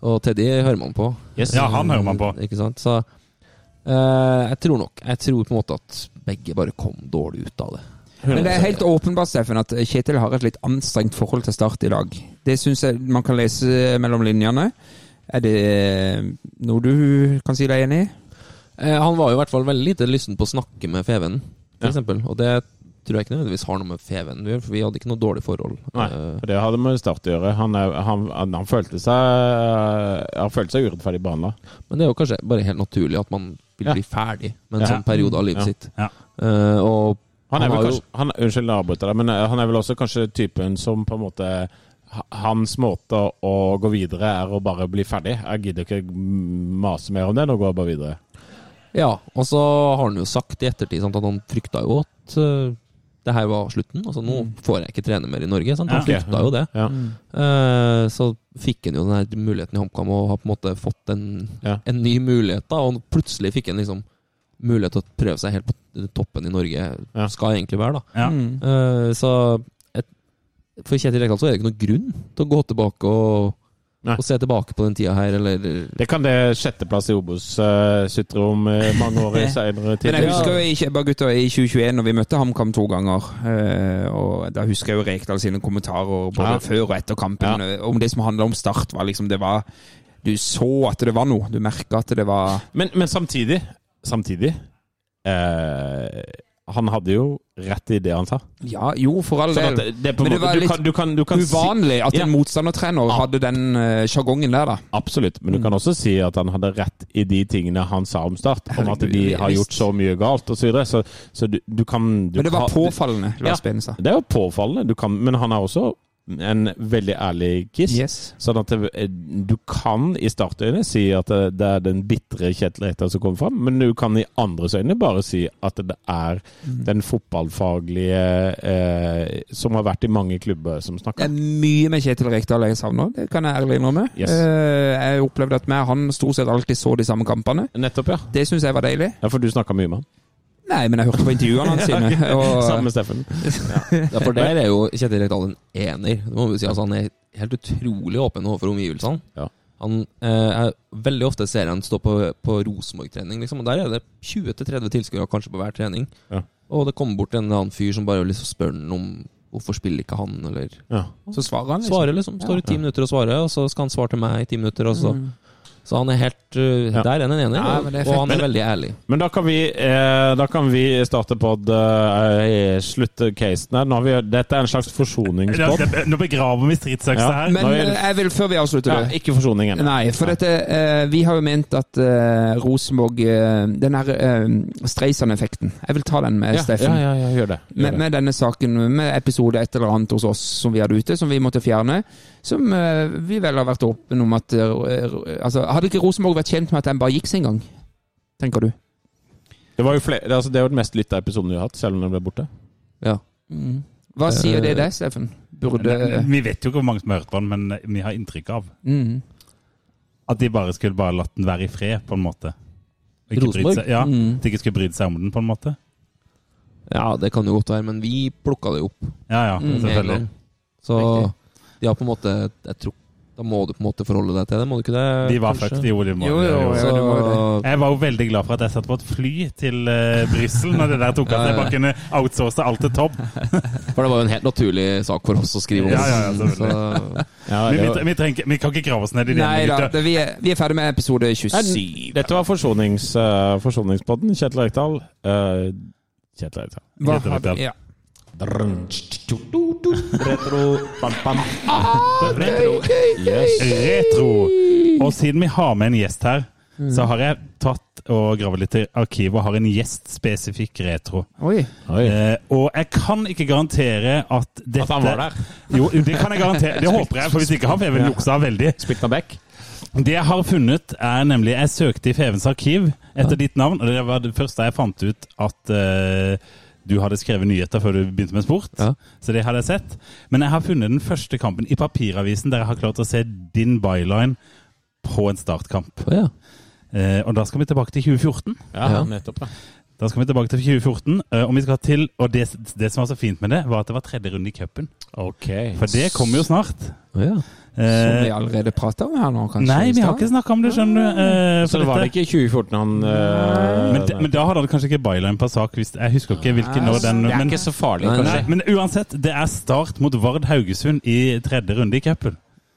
Speaker 6: Og Teddy hører man på. Mm,
Speaker 5: Yes.
Speaker 3: Ja, han hører man på.
Speaker 6: Ikke sant? Så eh, jeg tror nok Jeg tror på en måte at begge bare kom dårlig ut av det.
Speaker 4: Men det er helt åpenbart, Steffen, at Kjetil har et litt anstrengt forhold til Start i dag. Det syns jeg man kan lese eh, mellom linjene. Er det noe du kan si deg enig i?
Speaker 6: Eh, han var jo i hvert fall veldig lite lysten på å snakke med Feven, for
Speaker 5: Ja.
Speaker 6: eksempel. Og det tror jeg ikke nødvendigvis har noe med Feven å gjøre, for vi hadde ikke noe dårlig forhold.
Speaker 5: Nei,
Speaker 6: Eh,
Speaker 5: for det hadde med Start å gjøre. Han, er- han, han, han, følte, seg, han følte seg urettferdig behandla.
Speaker 6: men det er jo kanskje bare helt naturlig at man vil
Speaker 5: Ja.
Speaker 6: bli ferdig med en
Speaker 5: Ja.
Speaker 6: sånn periode av livet
Speaker 5: Ja.
Speaker 6: sitt.
Speaker 3: Ja.
Speaker 6: Eh, og
Speaker 5: Han er
Speaker 6: Han
Speaker 5: vel
Speaker 6: har jo-
Speaker 5: kanskje, han, unnskyld, jeg avbryter deg, men eh, han er vel også kanskje typen som på en måte ha- Hans måte å gå videre er å bare bli ferdig. Jeg gidder ikke mase mer om det, nå går jeg bare videre.
Speaker 6: ja, og så har han jo sagt i ettertid sant, at han frykta jo at eh, det her var slutten. Altså nå får jeg ikke trene mer i Norge. Sant? Han
Speaker 5: Mm. Ja. Mm.
Speaker 6: frykta jo det.
Speaker 5: Ja.
Speaker 4: Mm.
Speaker 6: Eh, så fikk han jo den her muligheten i HamKam og har på en måte fått en,
Speaker 5: Ja.
Speaker 6: en ny mulighet. da Og plutselig fikk han liksom mulighet til å prøve seg helt på toppen i Norge.
Speaker 5: Ja.
Speaker 6: Skal egentlig være, da.
Speaker 3: Ja.
Speaker 4: Mm.
Speaker 6: Eh, så et, for Kjetil Rekdal så er det ikke noen grunn til å gå tilbake og
Speaker 5: Nei.
Speaker 6: å se tilbake på den tida her, eller
Speaker 5: Det kan det sjetteplass i Obos uh, sutre om eh, mange år i senere tid.
Speaker 4: Men jeg husker jo i Kjebba gutta i 2021, når vi møtte HamKam to ganger. eh, og Da husker jeg jo Rekdal sine kommentarer både
Speaker 5: Ja.
Speaker 4: før og etter kampen eh, om det som handla om Start. var liksom det var Du så at det var noe. Du merka at det var
Speaker 5: Men, men samtidig Samtidig eh, Han hadde jo rett i det han sa.
Speaker 4: Ja, jo, for all
Speaker 5: Sånn at
Speaker 4: del.
Speaker 5: det, det er på en
Speaker 4: Men det
Speaker 5: måte,
Speaker 4: var
Speaker 5: du
Speaker 4: litt
Speaker 5: kan, du kan, du kan si,
Speaker 4: Uvanlig at
Speaker 5: Ja.
Speaker 4: en motstandertrener hadde den eh, sjargongen der, da.
Speaker 5: Absolutt, men du
Speaker 4: Mm.
Speaker 5: kan også si at han hadde rett i de tingene han sa om Start. Om at
Speaker 4: Herregud,
Speaker 5: de har
Speaker 4: visst.
Speaker 5: gjort så mye galt osv. Så, videre. så så du, du kan du
Speaker 4: Men det var
Speaker 5: kan-
Speaker 4: påfallende. La
Speaker 5: Ja.
Speaker 4: oss begynne seg.
Speaker 5: Det er jo påfallende. Du kan, men han er også en veldig ærlig kiss.
Speaker 4: Yes.
Speaker 5: Sånn at det, du kan i startøyne si at eh, det, det er den bitre Kjetil Rekdal som kommer fram, men du kan i andres øyne bare si at det er
Speaker 4: Mm.
Speaker 5: den fotballfaglige eh, som har vært i mange klubber, som
Speaker 4: Det
Speaker 5: snakker.
Speaker 4: er mye med Kjetil Rekdal jeg savner, det kan jeg ærlig innrømme.
Speaker 5: Yes.
Speaker 4: Eh, jeg opplevde at meg og han stort sett alltid så de samme kampene.
Speaker 5: Nettopp, ja.
Speaker 4: Det syns jeg var deilig.
Speaker 5: Ja, For du snakka mye med han.
Speaker 4: Nei, men jeg hørte på intervjuene hans sine.
Speaker 5: Sammen
Speaker 4: Og,
Speaker 5: med Steffen.
Speaker 6: Ja, for der er jo Kjetil Rekdal en ener. Det må vi si, altså, Han er helt utrolig åpen overfor omgivelsene.
Speaker 5: Ja.
Speaker 6: Han, eh, jeg, veldig ofte ser jeg han stå på, på Rosenborg-trening, liksom, og der er det 20-30 tilskuere kanskje på hver trening.
Speaker 5: Ja.
Speaker 6: Og det kommer bort en eller annen fyr som bare liksom spør han om hvorfor spiller ikke han, eller
Speaker 5: Ja.
Speaker 4: så svarer han liksom.
Speaker 6: Svarer liksom. Står i ti minutter og svarer, og så skal han svare til meg i ti minutter. Og så. så han er helt uh,
Speaker 5: Ja.
Speaker 6: Der er han en ener,
Speaker 4: Mm. Ja,
Speaker 6: og
Speaker 4: men det er
Speaker 6: og
Speaker 4: fett.
Speaker 6: han er veldig ærlig.
Speaker 5: Men da kan vi, eh, da kan vi starte pod eh, Slutte casen her. Nå har vi, dette er en slags forsoningspod.
Speaker 3: Nå begraver vi stridsøksa
Speaker 5: Ja.
Speaker 3: her.
Speaker 4: Men
Speaker 5: Nå er-
Speaker 4: eh, jeg vil, før vi avslutter
Speaker 5: Ja,
Speaker 4: det
Speaker 5: ikke forsoning ennå.
Speaker 4: Nei, for dette eh, Vi har jo ment at eh, Rosenborg eh, Den her eh, Streisand-effekten Jeg vil ta den med
Speaker 5: Ja,
Speaker 4: Steffen.
Speaker 5: Ja, ja, ja, gjør det. Gjør
Speaker 4: Med,
Speaker 5: det.
Speaker 4: med denne saken, med episode et eller annet hos oss som vi hadde ute, som vi måtte fjerne. Som eh, vi vel har vært åpne om at eh, r- altså, Hadde ikke Rosenborg vært tjent med at den bare gikk sin gang? Tenker du?
Speaker 5: Det, var jo flere, altså, det er jo den mest lytta episoden vi har hatt, selv om den ble borte.
Speaker 6: Ja.
Speaker 4: Hva sier
Speaker 6: Eh,
Speaker 4: det deg, Steffen? Burde
Speaker 3: Men Vi vet jo ikke hvor mange som har hørt på den, men eh, vi har inntrykk av
Speaker 4: mm.
Speaker 3: at de bare skulle bare latt den være i fred, på en måte. Og Ikke
Speaker 6: Rosenborg?
Speaker 3: brydd seg, ja,
Speaker 4: Mm.
Speaker 3: At de ikke skulle brydd seg om den, på en måte.
Speaker 6: Ja, det kan jo godt være, men vi plukka det jo opp
Speaker 3: Ja, ja,
Speaker 4: Mm.
Speaker 6: med en
Speaker 3: selvfølgelig.
Speaker 6: gang. Så de har på en måte jeg tror, Da må du på en måte forholde deg til det, må du ikke det?
Speaker 3: De var
Speaker 6: kanskje?
Speaker 3: fucked, jo, de må
Speaker 4: Jo, jo,
Speaker 3: jo.
Speaker 4: jo. Ja,
Speaker 6: Så,
Speaker 4: det var
Speaker 3: Jeg var jo veldig glad for at jeg satt på et fly til uh, Brussel når det der tok at jeg bare kunne outsource alt til Tobb.
Speaker 6: for det var jo en helt naturlig sak for oss å skrive om.
Speaker 3: Ja, ja, ja,
Speaker 6: så,
Speaker 5: Ja,
Speaker 3: Men
Speaker 5: det
Speaker 3: vi,
Speaker 5: var,
Speaker 3: tre- vi, trenger, ikke- vi kan ikke grave oss ned i det.
Speaker 4: Nei da,
Speaker 3: gutta.
Speaker 4: det, vi, er, vi er ferdig med episode
Speaker 5: Nei,
Speaker 4: 27.
Speaker 5: dette var forsonings, eh, forsoningspodden. Kjetil Rekdal. Eh, Kjetil Rekdal.
Speaker 4: Hva
Speaker 3: Dette
Speaker 4: har
Speaker 3: vet jeg.
Speaker 4: vi- ja.
Speaker 5: Drrrn, tss, tss, tss, tss. Retro, pam, pam. Retro. Yes.
Speaker 3: Retro. Og siden vi har med en gjest her,
Speaker 4: Mm.
Speaker 3: så har jeg tatt og gravet litt i arkivet og har en gjest spesifikk retro.
Speaker 4: Oi.
Speaker 5: Oi.
Speaker 3: Eh, og jeg kan ikke garantere at dette
Speaker 5: At han var der.
Speaker 3: Jo, det kan jeg garantere. Det håper jeg, for hvis ikke har Feven luksa veldig.
Speaker 5: Spilte han back?
Speaker 3: Det jeg har funnet, er nemlig Jeg søkte i Fevens arkiv etter ditt navn, og det var det første jeg fant ut at eh, du hadde skrevet nyheter før du begynte med sport.
Speaker 6: Ja.
Speaker 3: Så det hadde jeg sett. Men jeg har funnet den første kampen i papiravisen der jeg har klart å se din byline på en startkamp.
Speaker 6: ja.
Speaker 3: Eh, og da skal vi tilbake til 2014.
Speaker 5: Ja,
Speaker 6: Ja.
Speaker 5: nettopp. Ja.
Speaker 3: Da skal vi tilbake til 2014, eh, og vi skal til Og det, det som var så fint med det, var at det var tredje runde i cupen.
Speaker 5: Ok.
Speaker 3: For det kommer jo snart.
Speaker 6: Ja.
Speaker 4: Som vi
Speaker 3: Eh,
Speaker 4: allerede prata om her nå, kanskje?
Speaker 3: nei,
Speaker 4: i
Speaker 3: vi
Speaker 4: stad?
Speaker 3: har ikke snakka om det, skjønner du. eh,
Speaker 5: Så
Speaker 3: for
Speaker 5: det var det
Speaker 3: dette.
Speaker 5: ikke i 2014 han eh,
Speaker 3: Men, de, men da hadde han kanskje ikke byline på sak. Hvis, jeg husker ikke hvilken når den
Speaker 5: Det er
Speaker 3: men,
Speaker 5: ikke så farlig,
Speaker 6: Nei,
Speaker 5: kanskje.
Speaker 3: nei, men uansett, det er start mot Vard Haugesund i tredje runde i cupen.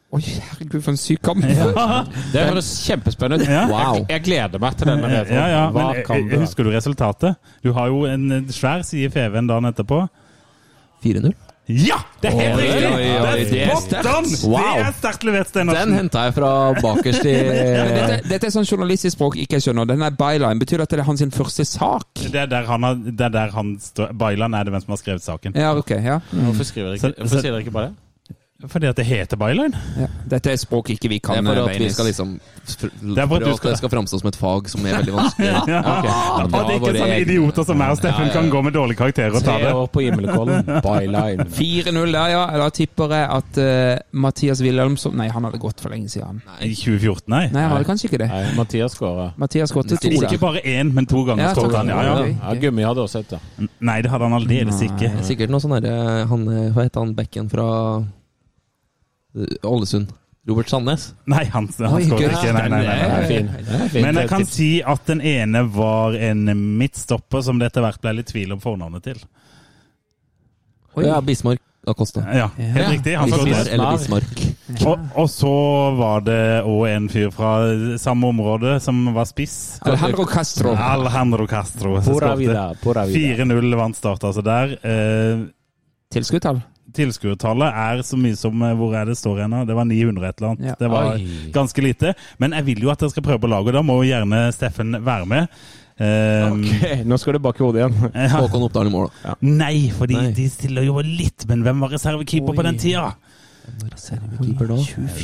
Speaker 4: Oi, herregud, for en syk kamp!
Speaker 5: Det høres kjempespennende ut.
Speaker 3: Ja.
Speaker 5: Jeg, jeg gleder meg til denne
Speaker 3: Ja,
Speaker 5: retroen.
Speaker 3: ja,
Speaker 5: Hva
Speaker 3: men
Speaker 5: kan
Speaker 3: eh,
Speaker 5: det være?
Speaker 3: husker du resultatet? Du har jo en eh, svær side i FV-en dagen etterpå.
Speaker 6: 4-0.
Speaker 3: Ja! Det er helt
Speaker 6: Oi,
Speaker 3: riktig!
Speaker 6: oi, oi,
Speaker 3: Det
Speaker 6: det
Speaker 3: er
Speaker 6: er
Speaker 3: spot on!
Speaker 6: Wow.
Speaker 3: Det er sterkt levert,
Speaker 6: Den
Speaker 3: Stenersen.
Speaker 6: henta jeg fra bakerst i
Speaker 4: Men Dette, dette er sånn journalistisk språk ikke jeg skjønner. Den er byline. Betyr det at det er hans sin første sak?
Speaker 3: Det er der han, har- det er der han står Bailand er det hvem som har skrevet saken.
Speaker 4: Ja, ok. ja.
Speaker 5: Hvorfor skriver dere ikke,
Speaker 3: Så- så-
Speaker 5: hvorfor sier dere ikke bare det?
Speaker 3: Fordi at det heter Bailand.
Speaker 4: ja. Dette er språk ikke vi
Speaker 6: Det
Speaker 4: kan. eh,
Speaker 6: er for at vi
Speaker 4: Beinis.
Speaker 6: skal liksom for,
Speaker 3: Det er for at du skal-
Speaker 6: det skal framstå som et fag som er veldig vanskelig.
Speaker 3: Ja.
Speaker 6: Ok.
Speaker 3: Og det er sånn ikke
Speaker 6: Våre
Speaker 3: sånne
Speaker 6: egne-
Speaker 3: idioter som meg og Steffen
Speaker 6: Ja, ja,
Speaker 3: kan gå med dårlige karakterer og ta
Speaker 5: Tre
Speaker 3: det.
Speaker 5: år på himmelkålen. Byline.
Speaker 4: 4-0 der, ja. Da tipper jeg at eh, Mathias Wilhelmsson Nei, han hadde gått for lenge siden. han.
Speaker 3: I 2014, nei.
Speaker 4: Nei, han hadde kanskje ikke det.
Speaker 5: Nei, Mathias skåra.
Speaker 4: Mathias gått til to
Speaker 3: Ikke
Speaker 4: der.
Speaker 3: bare én, men to ganger
Speaker 4: Ja, to
Speaker 3: skåret han. Ja, ja.
Speaker 4: ganger. Oi.
Speaker 5: Ja, Gummi hadde også et, ja.
Speaker 3: Nei, det hadde han aldeles ikke.
Speaker 6: Det er Sikkert noe sånn derre han, eh, Hva heter han bekken fra eh, Ålesund? Robert Sandnes.
Speaker 3: Nei, han, han skåret ikke. Nei, nei, nei, nei.
Speaker 5: fin.
Speaker 3: Men jeg kan si at den ene var en midtstopper som det etter hvert ble litt tvil om fornavnet til.
Speaker 4: Oi.
Speaker 6: Ja, Bismarck Acosta.
Speaker 3: Ja, helt
Speaker 4: Ja.
Speaker 3: riktig. Han skåret.
Speaker 6: Bismarck eller Bismarck.
Speaker 3: Og, og så var det òg en fyr fra samme område som var spiss.
Speaker 4: Alejandro Castro.
Speaker 3: Alejandro Castro. som
Speaker 5: Pura
Speaker 3: skårte.
Speaker 5: vida, pura vida.
Speaker 3: 4-0 vant Start altså der. Eh,
Speaker 4: Tilskuddstall.
Speaker 3: Tilskuertallet er så mye som eh, Hvor er det står igjen? nå? Det var 900 et eller annet.
Speaker 4: Ja.
Speaker 3: Det var
Speaker 5: Oi.
Speaker 3: ganske lite. Men jeg vil jo at jeg skal prøve på laget, og da må jo gjerne Steffen være med. Eh,
Speaker 5: Ok, Nå skal du bak i hodet igjen.
Speaker 3: ja.
Speaker 6: Håkon Oppdal i mål. da.
Speaker 3: Nei, fordi
Speaker 6: Nei.
Speaker 3: de stiller jo litt, men hvem var reservekeeper på den tida?
Speaker 6: Keeper da.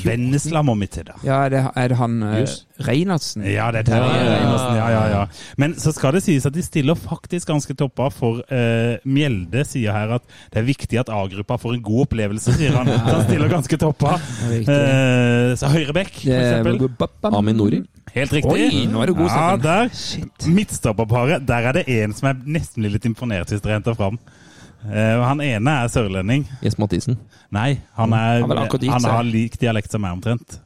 Speaker 3: Vennesla må vi til, da.
Speaker 4: Ja, er det, er det han eh,
Speaker 5: Just.
Speaker 4: Reinhardsen?
Speaker 3: Ja, det er Terje
Speaker 6: Ja, ja, ja.
Speaker 3: Reinersen. Ja, ja, ja. Men så skal det sies at de stiller faktisk ganske toppa, for eh, Mjelde sier her at det er viktig at A-gruppa får en god opplevelse, sier han. Så han stiller ganske toppa.
Speaker 4: Riktig.
Speaker 3: Eh, så Høyrebekk, for eksempel.
Speaker 6: Amin Nori.
Speaker 3: Helt riktig.
Speaker 4: Oi, nå er du god,
Speaker 3: ja,
Speaker 4: Steffen.
Speaker 3: der. Midtstopperparet, der er det en som jeg nesten blir litt imponert hvis dere henter fram. Eh, han ene er sørlending.
Speaker 6: Jes Mathisen.
Speaker 3: Nei, han, er,
Speaker 4: Han er vel akkurat dit,
Speaker 3: han
Speaker 4: så.
Speaker 3: har lik dialekt som meg omtrent.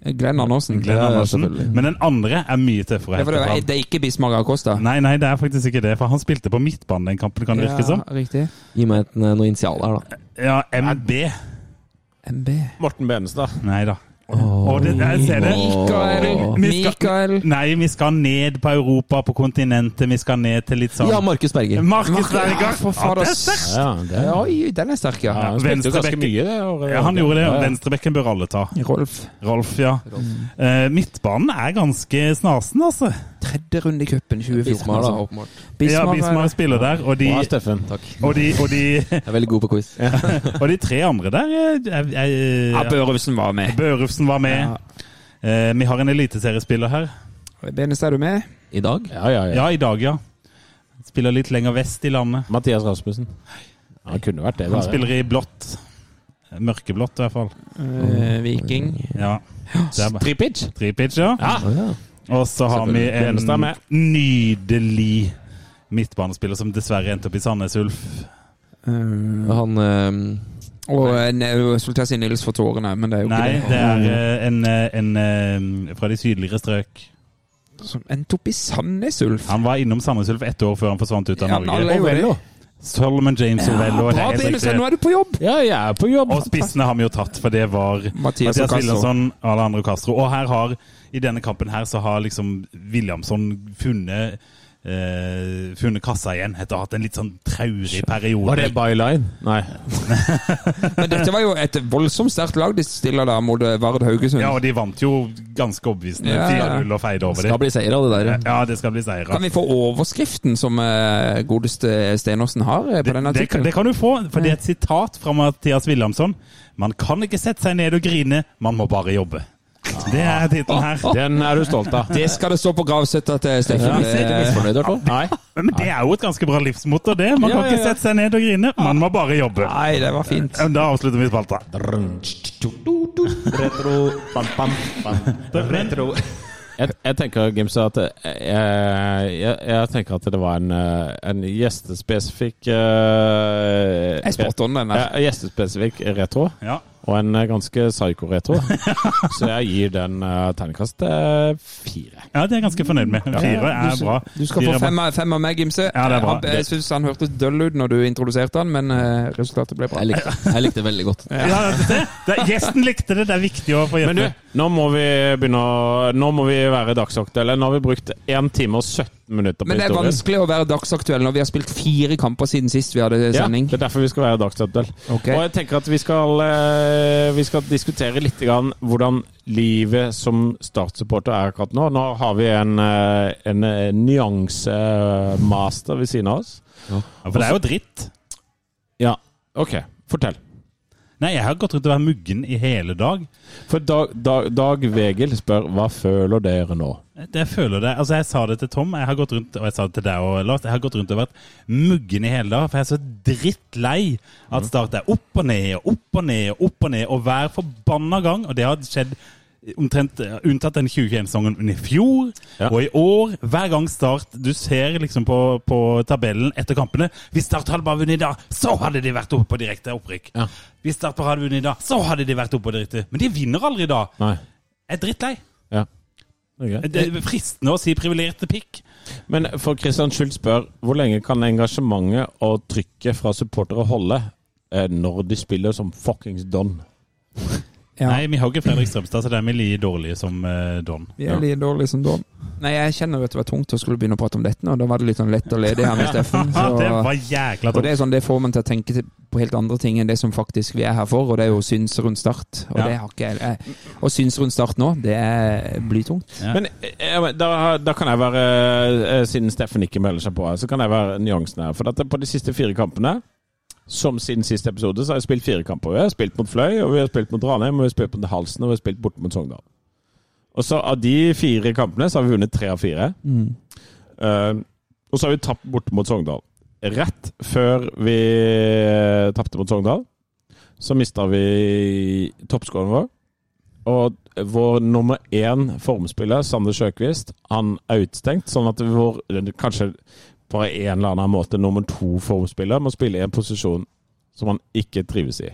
Speaker 4: Glenn Andersen.
Speaker 3: Glenn
Speaker 6: Ja, ja,
Speaker 3: Andersen.
Speaker 6: selvfølgelig.
Speaker 3: Men den andre er mye tøffere. å
Speaker 4: Ja, for det,
Speaker 3: hente
Speaker 4: er,
Speaker 3: fram.
Speaker 4: det er ikke Bismarck Acosta?
Speaker 3: Nei, nei, det er faktisk ikke det. For han spilte på midtbanen den kampen, kan det virke som.
Speaker 4: Ja, riktig.
Speaker 6: Gi meg et, eh, noe initial her, da.
Speaker 3: Ja, MB.
Speaker 4: MB.
Speaker 5: Morten Benestad.
Speaker 3: Nei da. Og det, jeg ser det.
Speaker 4: Mikael!
Speaker 3: Vi skal-
Speaker 4: Mikael!
Speaker 3: Nei, vi skal ned på Europa, på kontinentet. Vi skal ned til litt sånn
Speaker 6: Ja, Markus Berger.
Speaker 3: Markus Berger!
Speaker 4: for
Speaker 3: Ja,
Speaker 4: fader.
Speaker 3: det er sterkt!
Speaker 5: Ja, det er
Speaker 4: Oi, den er sterk, ja.
Speaker 5: Han spilte jo ganske
Speaker 3: Venstrebekken.
Speaker 5: mye det året.
Speaker 3: Ja, han gjorde det.
Speaker 5: Ja, ja.
Speaker 3: Venstrebekken bør alle ta.
Speaker 4: Rolf.
Speaker 3: Rolf, ja. Eh, midtbanen er ganske snasen, altså.
Speaker 4: Tredje runde i cupen 2014.
Speaker 6: Bismarck, da,
Speaker 4: altså.
Speaker 6: åpenbart.
Speaker 3: Ja,
Speaker 4: Bismarck,
Speaker 3: Bismar spiller der, og de,
Speaker 5: Bra, Steffen.
Speaker 3: og, de, og, de,
Speaker 6: Jeg er veldig god på quiz.
Speaker 3: og de tre andre der eh, er- er-
Speaker 4: Ja, Børufsen var med.
Speaker 3: Børufsen var med. Eh, vi har en eliteseriespiller her.
Speaker 4: Benestad, er du med?
Speaker 6: I dag?
Speaker 5: Ja, ja, ja.
Speaker 3: Ja, i dag, ja. Spiller litt lenger vest i landet.
Speaker 5: Mathias Rasmussen. Han kunne vært det.
Speaker 3: Han
Speaker 5: bare.
Speaker 3: spiller i blått. Mørkeblått, i hvert fall.
Speaker 4: Eh, Viking.
Speaker 3: Ja. Det er
Speaker 5: Tripic.
Speaker 3: Tripic, ja.
Speaker 6: Å, ja.
Speaker 3: Og så har vi
Speaker 6: Selvfølgelig.
Speaker 3: en
Speaker 5: Benestad er med.
Speaker 3: nydelig midtbanespiller som dessverre endte opp i Sandnes Ulf.
Speaker 4: Eh,
Speaker 6: Han eh,
Speaker 4: og uh, Soltesi Nils for tårene, men det er jo
Speaker 3: Nei,
Speaker 4: ikke
Speaker 3: det er eh, en, eh, en eh, fra de sydligere strøk.
Speaker 4: det. Mm. Som endte opp i Sandnes, Ulf.
Speaker 3: Han var innom Sandnes Ulf ett år før han forsvant ut av
Speaker 4: Ja, men alle
Speaker 3: Norge.
Speaker 4: er jo det.
Speaker 3: Solomon James Ovello. det er
Speaker 4: Bra,
Speaker 3: helt
Speaker 4: Benestad,
Speaker 3: riktig.
Speaker 4: nå er du på jobb!
Speaker 5: Ja, jeg er på jobb.
Speaker 3: Og spissene har vi jo tatt, for det var
Speaker 4: Mathias
Speaker 3: Mathias,
Speaker 4: og Castro.
Speaker 3: Williamson, Alejandro Castro. Og her har, i denne kampen her, så har liksom Williamson funnet eh, funnet kassa igjen etter å ha hatt en litt sånn traurig periode.
Speaker 5: Var det byline? Nei.
Speaker 4: Men dette var jo et voldsomt sterkt lag de stiller der mot eh, Vard Haugesund.
Speaker 3: Ja, og de vant jo ganske overbevisende.
Speaker 4: Ja, ja.
Speaker 3: 4-0 og feide over
Speaker 6: skal
Speaker 3: det.
Speaker 6: bli seier av det der.
Speaker 3: Ja, det skal bli seier.
Speaker 4: Kan vi få overskriften som eh, godeste Stenersen har eh, på
Speaker 3: Det,
Speaker 4: den
Speaker 3: det, kan-
Speaker 4: artikkelen?
Speaker 3: det kan du få, for det er et sitat fra Mathias Williamson. Man kan ikke sette seg ned og grine, man må bare jobbe. Det
Speaker 4: Ah.
Speaker 3: er tittelen her.
Speaker 5: Den er du stolt av.
Speaker 4: Det skal det stå på gravsøtta til Steffen.
Speaker 6: Ja, er du
Speaker 4: Eh,
Speaker 6: misfornøyd, i hvert fall?
Speaker 5: Nei.
Speaker 3: Men det er jo et ganske bra livsmotto, det. Man
Speaker 4: Ja,
Speaker 3: kan
Speaker 4: ja, Ah.
Speaker 3: ikke
Speaker 4: ja.
Speaker 3: sette seg ned og grine, man må bare jobbe.
Speaker 4: Nei, det var fint.
Speaker 3: Ja, men Da avslutter vi spalta.
Speaker 5: Retro. Bam, bam, bam. Retro. Jeg, jeg tenker Gims, at jeg, jeg, jeg tenker at det var en, eh, en gjestespesifikk eh,
Speaker 4: Jeg spurte om den der.
Speaker 5: Ja, Gjestespesifikk retro,
Speaker 3: Ja.
Speaker 5: og en eh, ganske psyko-retro. Så jeg gir den eh, terningkast eh, fire.
Speaker 3: ja, det er jeg ganske fornøyd med. Fire er bra.
Speaker 4: Du skal
Speaker 3: Fire
Speaker 4: få
Speaker 3: er bra.
Speaker 4: fem av, fem av meg, Gimse.
Speaker 3: Ja, det er bra.
Speaker 4: Han- Jeg syns han hørtes døll ut når du introduserte han, men eh, resultatet ble bra.
Speaker 6: Jeg likte, jeg likte det veldig godt.
Speaker 3: Ja, det, det, det, gjesten likte det, det er viktig å få
Speaker 5: Men du,
Speaker 3: gjette.
Speaker 5: nå må vi begynne å Nå må vi være dagsaktuelle. Nå har vi brukt 1 time og 17 minutter på
Speaker 4: Men det er
Speaker 5: historien.
Speaker 4: vanskelig å være dagsaktuell når vi har spilt fire kamper siden sist vi hadde
Speaker 5: Ja,
Speaker 4: sending.
Speaker 5: det er derfor vi skal være dagsaktuelle.
Speaker 4: Ok.
Speaker 5: Og jeg tenker at vi skal, eh, vi skal diskutere litt grann hvordan livet som Start-supporter er akkurat nå. Nå har vi en, eh, en eh, nyansemaster ved siden av oss.
Speaker 3: Ja, for det er jo dritt.
Speaker 5: Ja, OK. Fortell.
Speaker 3: Nei, jeg har gått rundt og vært muggen i hele dag.
Speaker 5: For Dag, Dag, Dag Vegel spør hva føler dere nå?
Speaker 3: Det jeg føler det, altså jeg sa det til Tom, jeg har gått rundt, og jeg sa det til deg og Lars, jeg har gått rundt og vært muggen i hele dag, for jeg er så drittlei
Speaker 5: Mhm.
Speaker 3: at Start er opp og ned, og opp og ned, og opp og ned, og hver forbanna gang, og det har skjedd omtrent eh, unntatt den 2021-sesongen men i fjor
Speaker 5: Ja.
Speaker 3: og i år. Hver gang Start Du ser liksom på, på tabellen etter kampene Hvis Start hadde bare vunnet i dag, så hadde de vært oppe på direkte opprykk.
Speaker 5: Ja.
Speaker 3: Hvis Start bare hadde vunnet i dag, så hadde de vært oppe på direkte. Men de vinner aldri i dag.
Speaker 5: Nei.
Speaker 3: Jeg er drittlei.
Speaker 5: Ja. Det er greit.
Speaker 3: Eh, Det er fristende å si privilegerte pikk.
Speaker 5: Men for Christian Schultz spør hvor lenge kan engasjementet og trykket fra supportere holde eh, når de spiller som fuckings Don?
Speaker 4: Ja.
Speaker 3: Nei, vi har ikke Fredrik Strømstad, så det er vi like dårlige som eh, Don.
Speaker 4: Vi er litt dårlige som Don. Nei, jeg kjenner jo at det var tungt å skulle begynne å prate om dette nå. Da var det litt sånn lett og ledig her med Steffen.
Speaker 3: Ja, det
Speaker 4: Så,
Speaker 3: var jækla
Speaker 4: og det
Speaker 3: dumt.
Speaker 4: er sånn, det får man til å tenke til- på helt andre ting enn det som faktisk vi er her for, og det er jo syns rundt start. Og
Speaker 3: Ja.
Speaker 4: det har ikke jeg- jeg Og syns rundt start nå, det er blytungt.
Speaker 3: Ja.
Speaker 5: Men eh, men da, da kan jeg være, eh, siden Steffen ikke melder seg på her, så kan jeg være nyansen her. For dette på de siste fire kampene, som siden siste episode, så har jeg spilt fire kamper. Vi har spilt mot Fløy, og vi har spilt mot Ranheim, og vi har spilt mot Halsen, og vi har spilt borte mot Sogndal. Og så av de fire kampene så har vi vunnet tre av fire. Eh, og så har vi tapt borte mot Sogndal. Rett før vi eh, tapte mot Sogndal, så mista vi toppskåren vår. Og vår nummer én formspiller, Sander Sjøkvist, han er utestengt. Sånn at vår kanskje på en eller annen måte nummer to formspiller må spille i en posisjon som han ikke trives i.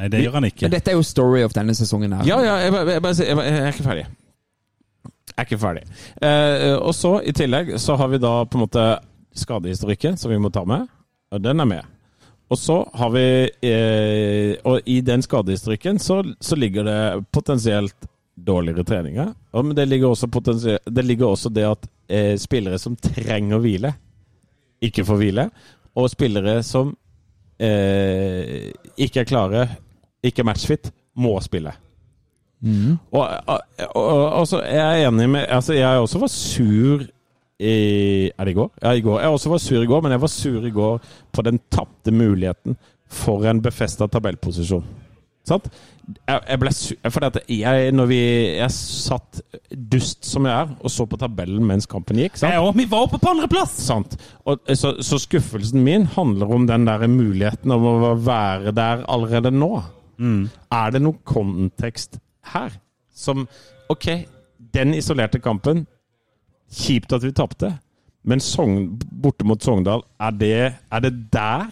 Speaker 3: Nei, det gjør han ikke.
Speaker 4: Men dette er jo story of denne sesongen her.
Speaker 5: Ja, ja, jeg, bare- jeg, bare sier- jeg, bare- jeg er ikke ferdig. Jeg er ikke ferdig. Eh, og så, i tillegg, så har vi da på en måte skadehistorikken som vi må ta med. Og den er med. Og så har vi eh, Og i den skadehistorikken så, så ligger det potensielt dårligere treninger. Og, men det ligger også, potensie- det ligger også det at eh, spillere som trenger å hvile, ikke får hvile. Og spillere som eh, ikke er klare, ikke er matchfit, må spille. Og, og, og, og så er jeg enig med Altså, jeg også var sur i Er det i går? Ja, i går. Jeg også var sur i går, men jeg var sur i går på den tapte muligheten for en befesta tabellposisjon. Sant? Jeg, jeg ble sur Fordi at jeg, når vi Jeg satt dust som jeg er, og så på tabellen mens kampen gikk. Sant?
Speaker 3: Jeg òg. Vi var oppe på andreplass!
Speaker 5: Sant. Og, eh, så, så skuffelsen min handler om den der muligheten om å være der allerede nå. Er det noen kontekst her som OK, den isolerte kampen Kjipt at vi tapte, men Sogn, borte mot Sogndal, er det, er det der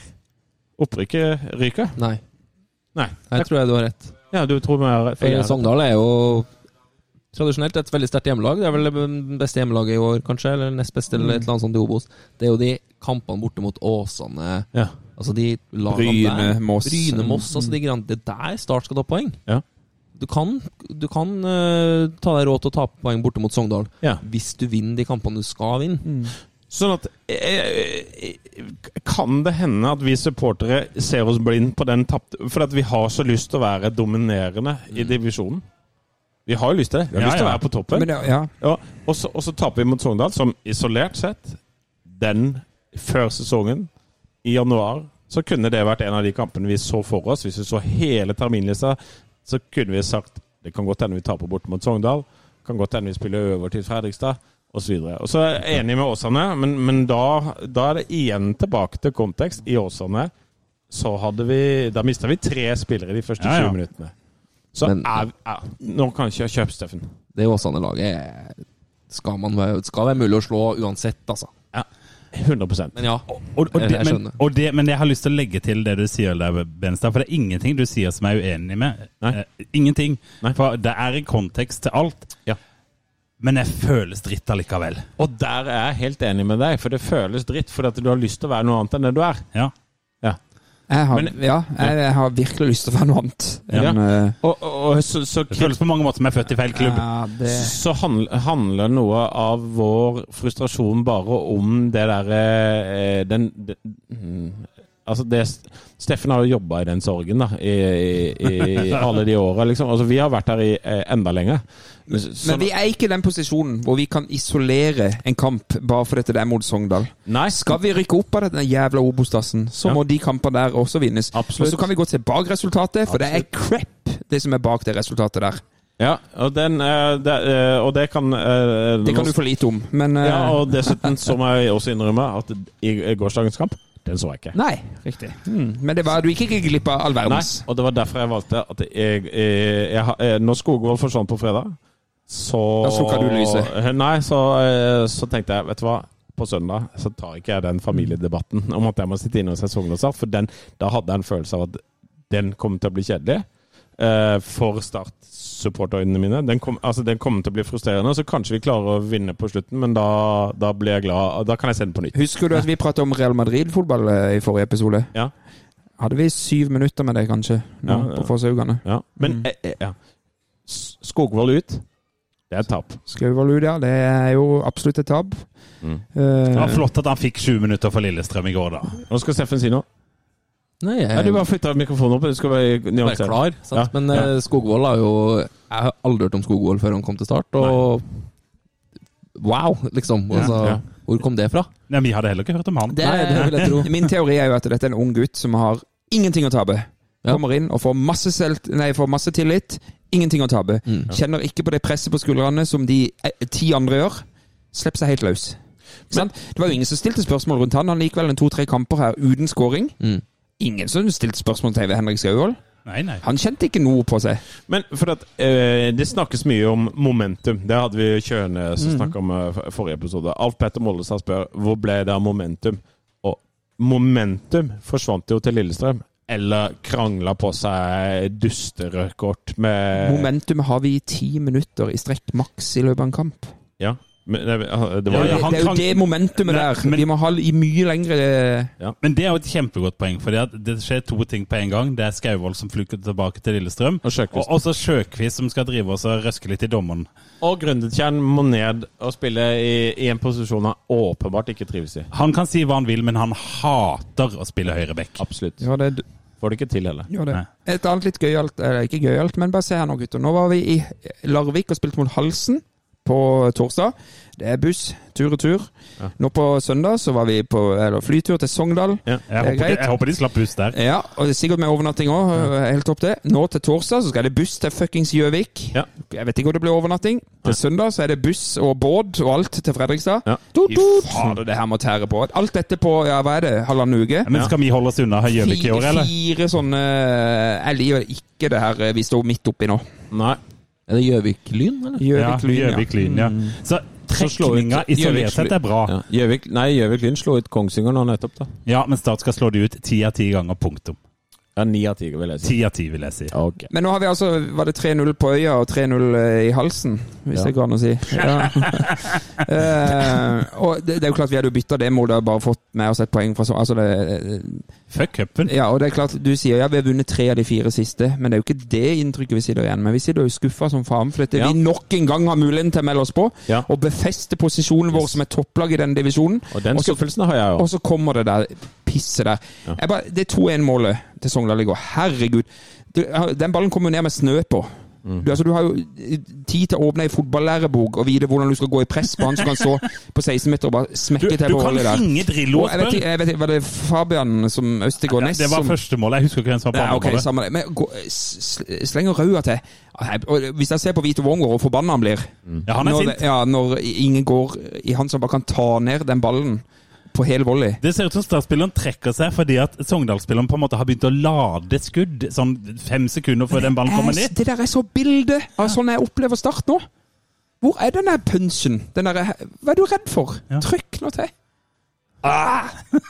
Speaker 5: opprykket ryker?
Speaker 6: Nei,
Speaker 5: Nei.
Speaker 6: her tror jeg du har rett.
Speaker 5: Ja, du tror vi har
Speaker 6: For Sogndal er jo tradisjonelt et veldig sterkt hjemmelag. Det er vel det beste hjemmelaget i år, kanskje, eller nest beste, eller et eller annet sånt i Obos. Det er jo de kampene borte mot Åsane
Speaker 5: Ja.
Speaker 6: Altså de lagene
Speaker 4: Bryne,
Speaker 6: der.
Speaker 4: Moss.
Speaker 6: Bryne, Moss. Altså de greiene Det er der Start skal ta poeng.
Speaker 5: Ja.
Speaker 6: Du kan, du kan eh, ta deg råd til å tape poeng borte mot Sogndal
Speaker 5: Ja.
Speaker 6: hvis du vinner de kampene du skal vinne.
Speaker 5: Sånn at eh, eh, Kan det hende at vi supportere ser oss blind på den tapte For at vi har så lyst til å være dominerende i divisjonen. Vi har jo lyst til det. Vi har
Speaker 3: Mm. Ja,
Speaker 5: lyst til å
Speaker 3: ja.
Speaker 5: være på toppen.
Speaker 4: Men det, ja.
Speaker 5: Ja, og, så, og så taper vi mot Sogndal, som isolert sett Den før sesongen, i januar, så kunne det vært en av de kampene vi så for oss. Hvis vi så hele terminlista, så kunne vi sagt det kan godt hende vi taper bort mot Sogndal. Kan godt hende vi spiller over til Fredrikstad, osv. Og så er jeg enig med Åsane, men, men da, da er det igjen tilbake til kontekst. I Åsane så hadde vi Da mista vi tre spillere de første
Speaker 3: Ja, ja.
Speaker 5: 20 minuttene. Så
Speaker 6: Men-
Speaker 5: er, er, nå kan ikke jeg kjøpe Steffen.
Speaker 6: Det Åsane-laget skal, man være- skal være mulig å slå uansett, altså.
Speaker 5: 100
Speaker 6: Men ja.
Speaker 3: Og, og
Speaker 6: Jeg-
Speaker 3: det,
Speaker 6: jeg
Speaker 3: men,
Speaker 6: skjønner.
Speaker 3: og det, men jeg har lyst til å legge til det du sier der, Benstad. For det er ingenting du sier som jeg er uenig med.
Speaker 5: Nei.
Speaker 3: Eh, ingenting.
Speaker 5: Nei.
Speaker 3: For det er en kontekst til alt.
Speaker 5: Ja.
Speaker 3: Men jeg føles dritt allikevel.
Speaker 5: Og der er jeg helt enig med deg, for det føles dritt fordi at du har lyst til å være noe annet enn det du er.
Speaker 3: Ja.
Speaker 4: Jeg har,
Speaker 5: Men-
Speaker 4: ja, jeg, jeg har virkelig lyst til å være noe annet enn eh,
Speaker 5: Og, og, og så, så,
Speaker 3: Det føles på mange måter som jeg er født i feil klubb.
Speaker 4: ja, det,
Speaker 5: så handl- handler noe av vår frustrasjon bare om det derre eh, Den den- mm, Altså det Steffen har jo jobba i den sorgen, da, i, i, i alle de åra, liksom. Altså, vi har vært her i eh, enda lenger. Men, så,
Speaker 4: Men vi er ikke i den posisjonen hvor vi kan isolere en kamp bare fordi at det er mot Sogndal.
Speaker 5: Nei,
Speaker 4: Skal vi rykke opp av denne jævla Obos-dassen, så
Speaker 5: Ja.
Speaker 4: må de kampene der også vinnes.
Speaker 5: Absolutt.
Speaker 4: Og så kan vi gå til bak resultatet, for det er crap, det som er bak det resultatet der.
Speaker 5: ja, og, den, eh, det, eh, og det kan eh,
Speaker 4: Det kan du for lite om, men eh,
Speaker 5: Ja, og dessuten så må jeg også innrømme at i i gårsdagens kamp Den så jeg ikke.
Speaker 4: Nei, riktig. Mm. Men det var, du gikk ikke glipp av all
Speaker 5: Nei,
Speaker 4: verdens.
Speaker 5: og det var derfor jeg valgte at jeg, jeg, jeg, har- eh, Når Skogvold forsvant på fredag, så
Speaker 4: Da slukka du lyset.
Speaker 5: Nei, så, eh, så tenkte jeg, vet du hva. På søndag så tar ikke jeg den familiedebatten om at jeg må sitte inne hos en sognoppstart, for den, da hadde jeg en følelse av at den kom til å bli kjedelig. eh, for Start-supporterne mine. Den, kom, altså, den kommer til å bli frustrerende, så kanskje vi klarer å vinne på slutten, men da, da blir jeg glad. Da kan jeg se den på nytt.
Speaker 4: Husker du at vi pratet om Real Madrid-fotball eh, i forrige episode?
Speaker 5: Ja.
Speaker 4: Hadde vi syv minutter med det, kanskje, nå,
Speaker 5: Ja, ja.
Speaker 4: på Forsøkene?
Speaker 5: Ja. Men eh, eh, ja. S- Skogvold ut, det er et tap.
Speaker 4: Sklauvold ut, ja. Det er jo absolutt et tap.
Speaker 5: Mm.
Speaker 4: Eh,
Speaker 3: Det var flott at han fikk 20 minutter for Lillestrøm i går, da.
Speaker 5: Nå skal Steffen si noe.
Speaker 6: Nei, jeg
Speaker 5: Ja, du bare flytta mikrofonen opp. Du skal være
Speaker 6: være
Speaker 5: nyansert.
Speaker 6: Eh. klar. Sant?
Speaker 5: Ja,
Speaker 6: Men eh, Skogvold har jo Jeg har aldri hørt om Skogvold før han kom til start, og wow, liksom. Altså,
Speaker 5: ja.
Speaker 6: Hvor kom det fra?
Speaker 3: Nei, vi hadde heller ikke hørt om han.
Speaker 6: Det, vil jeg tro.
Speaker 4: Min teori er jo at dette er en ung gutt som har ingenting å tape.
Speaker 6: Ja.
Speaker 4: Kommer inn og får masse, selv, nei, får masse tillit. Ingenting å tape.
Speaker 6: Mm.
Speaker 4: Kjenner ikke på det presset på skuldrene som de eh, ti andre gjør. Slipper seg helt løs. Ikke sant? det var jo ingen som stilte spørsmål rundt han. Han gikk vel en to-tre kamper her uten scoring.
Speaker 6: Mm.
Speaker 4: Ingen som stilte spørsmål til Henrik Skauvold.
Speaker 3: Nei, nei.
Speaker 4: Han kjente ikke noe på seg.
Speaker 5: Men for at eh, Det snakkes mye om momentum. Det hadde vi Kjøne som snakka om eh, for- forrige episode. Alf Petter Mollestad spør hvor ble det av momentum. Og momentum forsvant jo til Lillestrøm. Eller krangla på seg dustere kort
Speaker 3: Eh.
Speaker 5: med
Speaker 4: Momentum har vi i ti minutter i strekk maks i løpet av en kamp.
Speaker 5: Ja. Men, eh, det, det
Speaker 3: Ja,
Speaker 5: var,
Speaker 4: Det,
Speaker 3: ja. han
Speaker 4: det er jo
Speaker 3: kan-
Speaker 4: det momentumet
Speaker 3: Nei,
Speaker 4: der.
Speaker 3: men-
Speaker 4: Vi må ha i mye lengre
Speaker 3: Men det er jo et kjempegodt poeng, for det skjer to ting på en gang. Det er Skauvold som flyr tilbake til Lillestrøm,
Speaker 5: Og Sjøkvist.
Speaker 3: og så Sjøkvist som skal drive oss og røske litt i dommeren.
Speaker 5: Og Grundetjern må ned og spille i, i en posisjon han åpenbart ikke trives i.
Speaker 3: Han kan si hva han vil, men han hater å spille høyre back.
Speaker 5: Absolutt.
Speaker 4: Ja, det,
Speaker 5: Får det ikke til heller.
Speaker 4: Gjør det.
Speaker 3: Nei.
Speaker 4: Et annet litt gøyalt, eller ikke gøyalt, men bare se her nå, gutter. Nå var vi i Larvik og spilte mot Halsen på torsdag. Det er buss, tur og tur. Nå på søndag så var vi på eller, flytur til Sogndal.
Speaker 5: Ja.
Speaker 3: Jeg
Speaker 4: Det er
Speaker 3: håper, de,
Speaker 4: greit.
Speaker 3: jeg håper de slapp buss der.
Speaker 4: Ja, og det er sikkert med overnatting òg. Helt topp, det. Nå til torsdag så skal det buss til fuckings Gjøvik.
Speaker 5: Ja.
Speaker 4: Jeg vet ikke hvor det blir overnatting. Til søndag så er det buss og båt og alt til Fredrikstad.
Speaker 5: Ja.
Speaker 4: Tut, tut. Fader, det her må tære på. Alt dette på ja, hva er det, halvannen uke?
Speaker 3: Men skal vi holde oss unna Gjøvik i
Speaker 4: Fire,
Speaker 3: år, eller?
Speaker 4: fire sånne Jeg liker ikke det her eh, vi står midt oppi nå.
Speaker 5: Nei.
Speaker 6: Er det Gjøvik-Lyn, eller?
Speaker 3: Ja, Gjøvik Lyn, ja. Så
Speaker 5: slå ut-
Speaker 3: trekninga isolert
Speaker 4: Gjøvik Mm. slår-
Speaker 3: sett er bra.
Speaker 5: Ja. Gjøvik, nei, Gjøvik Lyn slo ut Kongsvinger nå nettopp, da.
Speaker 3: Ja, men Start skal slå de ut ti av ti ganger, punktum.
Speaker 5: Ja, Ni av ti, vil jeg si.
Speaker 3: Ti av ti, vil jeg si.
Speaker 5: Ok.
Speaker 4: Men nå har vi altså Var det 3-0 på øya og 3-0 i halsen, hvis
Speaker 5: Ja.
Speaker 4: det går an å si. Ja. Eh, og det, det er jo klart vi hadde jo bytta det målet og bare fått med oss et poeng fra så altså det,
Speaker 3: Fuck cupen.
Speaker 4: Ja, og det er klart du sier ja, vi har vunnet tre av de fire siste, men det er jo ikke det inntrykket vi sitter igjen med. Vi sitter jo skuffa som faen for dette
Speaker 5: Ja.
Speaker 4: vi nok en gang har muligheten til å melde oss på
Speaker 5: Ja.
Speaker 4: og befeste posisjonen vår som et topplag i denne divisjonen.
Speaker 5: Og den
Speaker 4: Og så-
Speaker 5: skuffelsen har jeg
Speaker 4: Og
Speaker 5: òg.
Speaker 4: så kommer det der pisset der. Jeg bare, det er 2-1-målet til Sogndal i går. Herregud. Du, den ballen kommer jo ned med snø på. Du, altså, du har jo tid til å åpne ei fotballærebok og vite hvordan du skal gå i press på han som kan stå på 16 meter og bare
Speaker 3: Du,
Speaker 4: smekke til
Speaker 3: du
Speaker 4: på
Speaker 3: kan
Speaker 4: hullet der.
Speaker 3: ringe Drillo
Speaker 4: Og
Speaker 3: og
Speaker 4: jeg vet,
Speaker 3: spørre.
Speaker 4: ikke- jeg vet, ikke, var det Fabian som Østegård Næss
Speaker 3: Det var
Speaker 4: som
Speaker 3: første målet. Jeg husker ikke hvem som var på
Speaker 4: ja,
Speaker 3: andre
Speaker 4: ok,
Speaker 3: målet.
Speaker 4: samme det. Men gå, sl- slenger røda til. Nei, og Hvis jeg ser på Vito Wongo, hvor forbanna han blir
Speaker 3: Ja, han er
Speaker 4: når,
Speaker 3: sint.
Speaker 4: det- ja, når ingen går i han som bare kan ta ned den ballen på hel volley.
Speaker 3: Det ser ut som Start-spilleren trekker seg fordi at Sogndal-spilleren på en måte har begynt å lade skudd sånn fem sekunder før den ballen kommer
Speaker 4: Jeg-
Speaker 3: ned.
Speaker 4: Det der er så bildet av sånn jeg opplever Start nå. Hvor er den der punchen? Den der, hva er du redd for? Trykk nå til. Ah!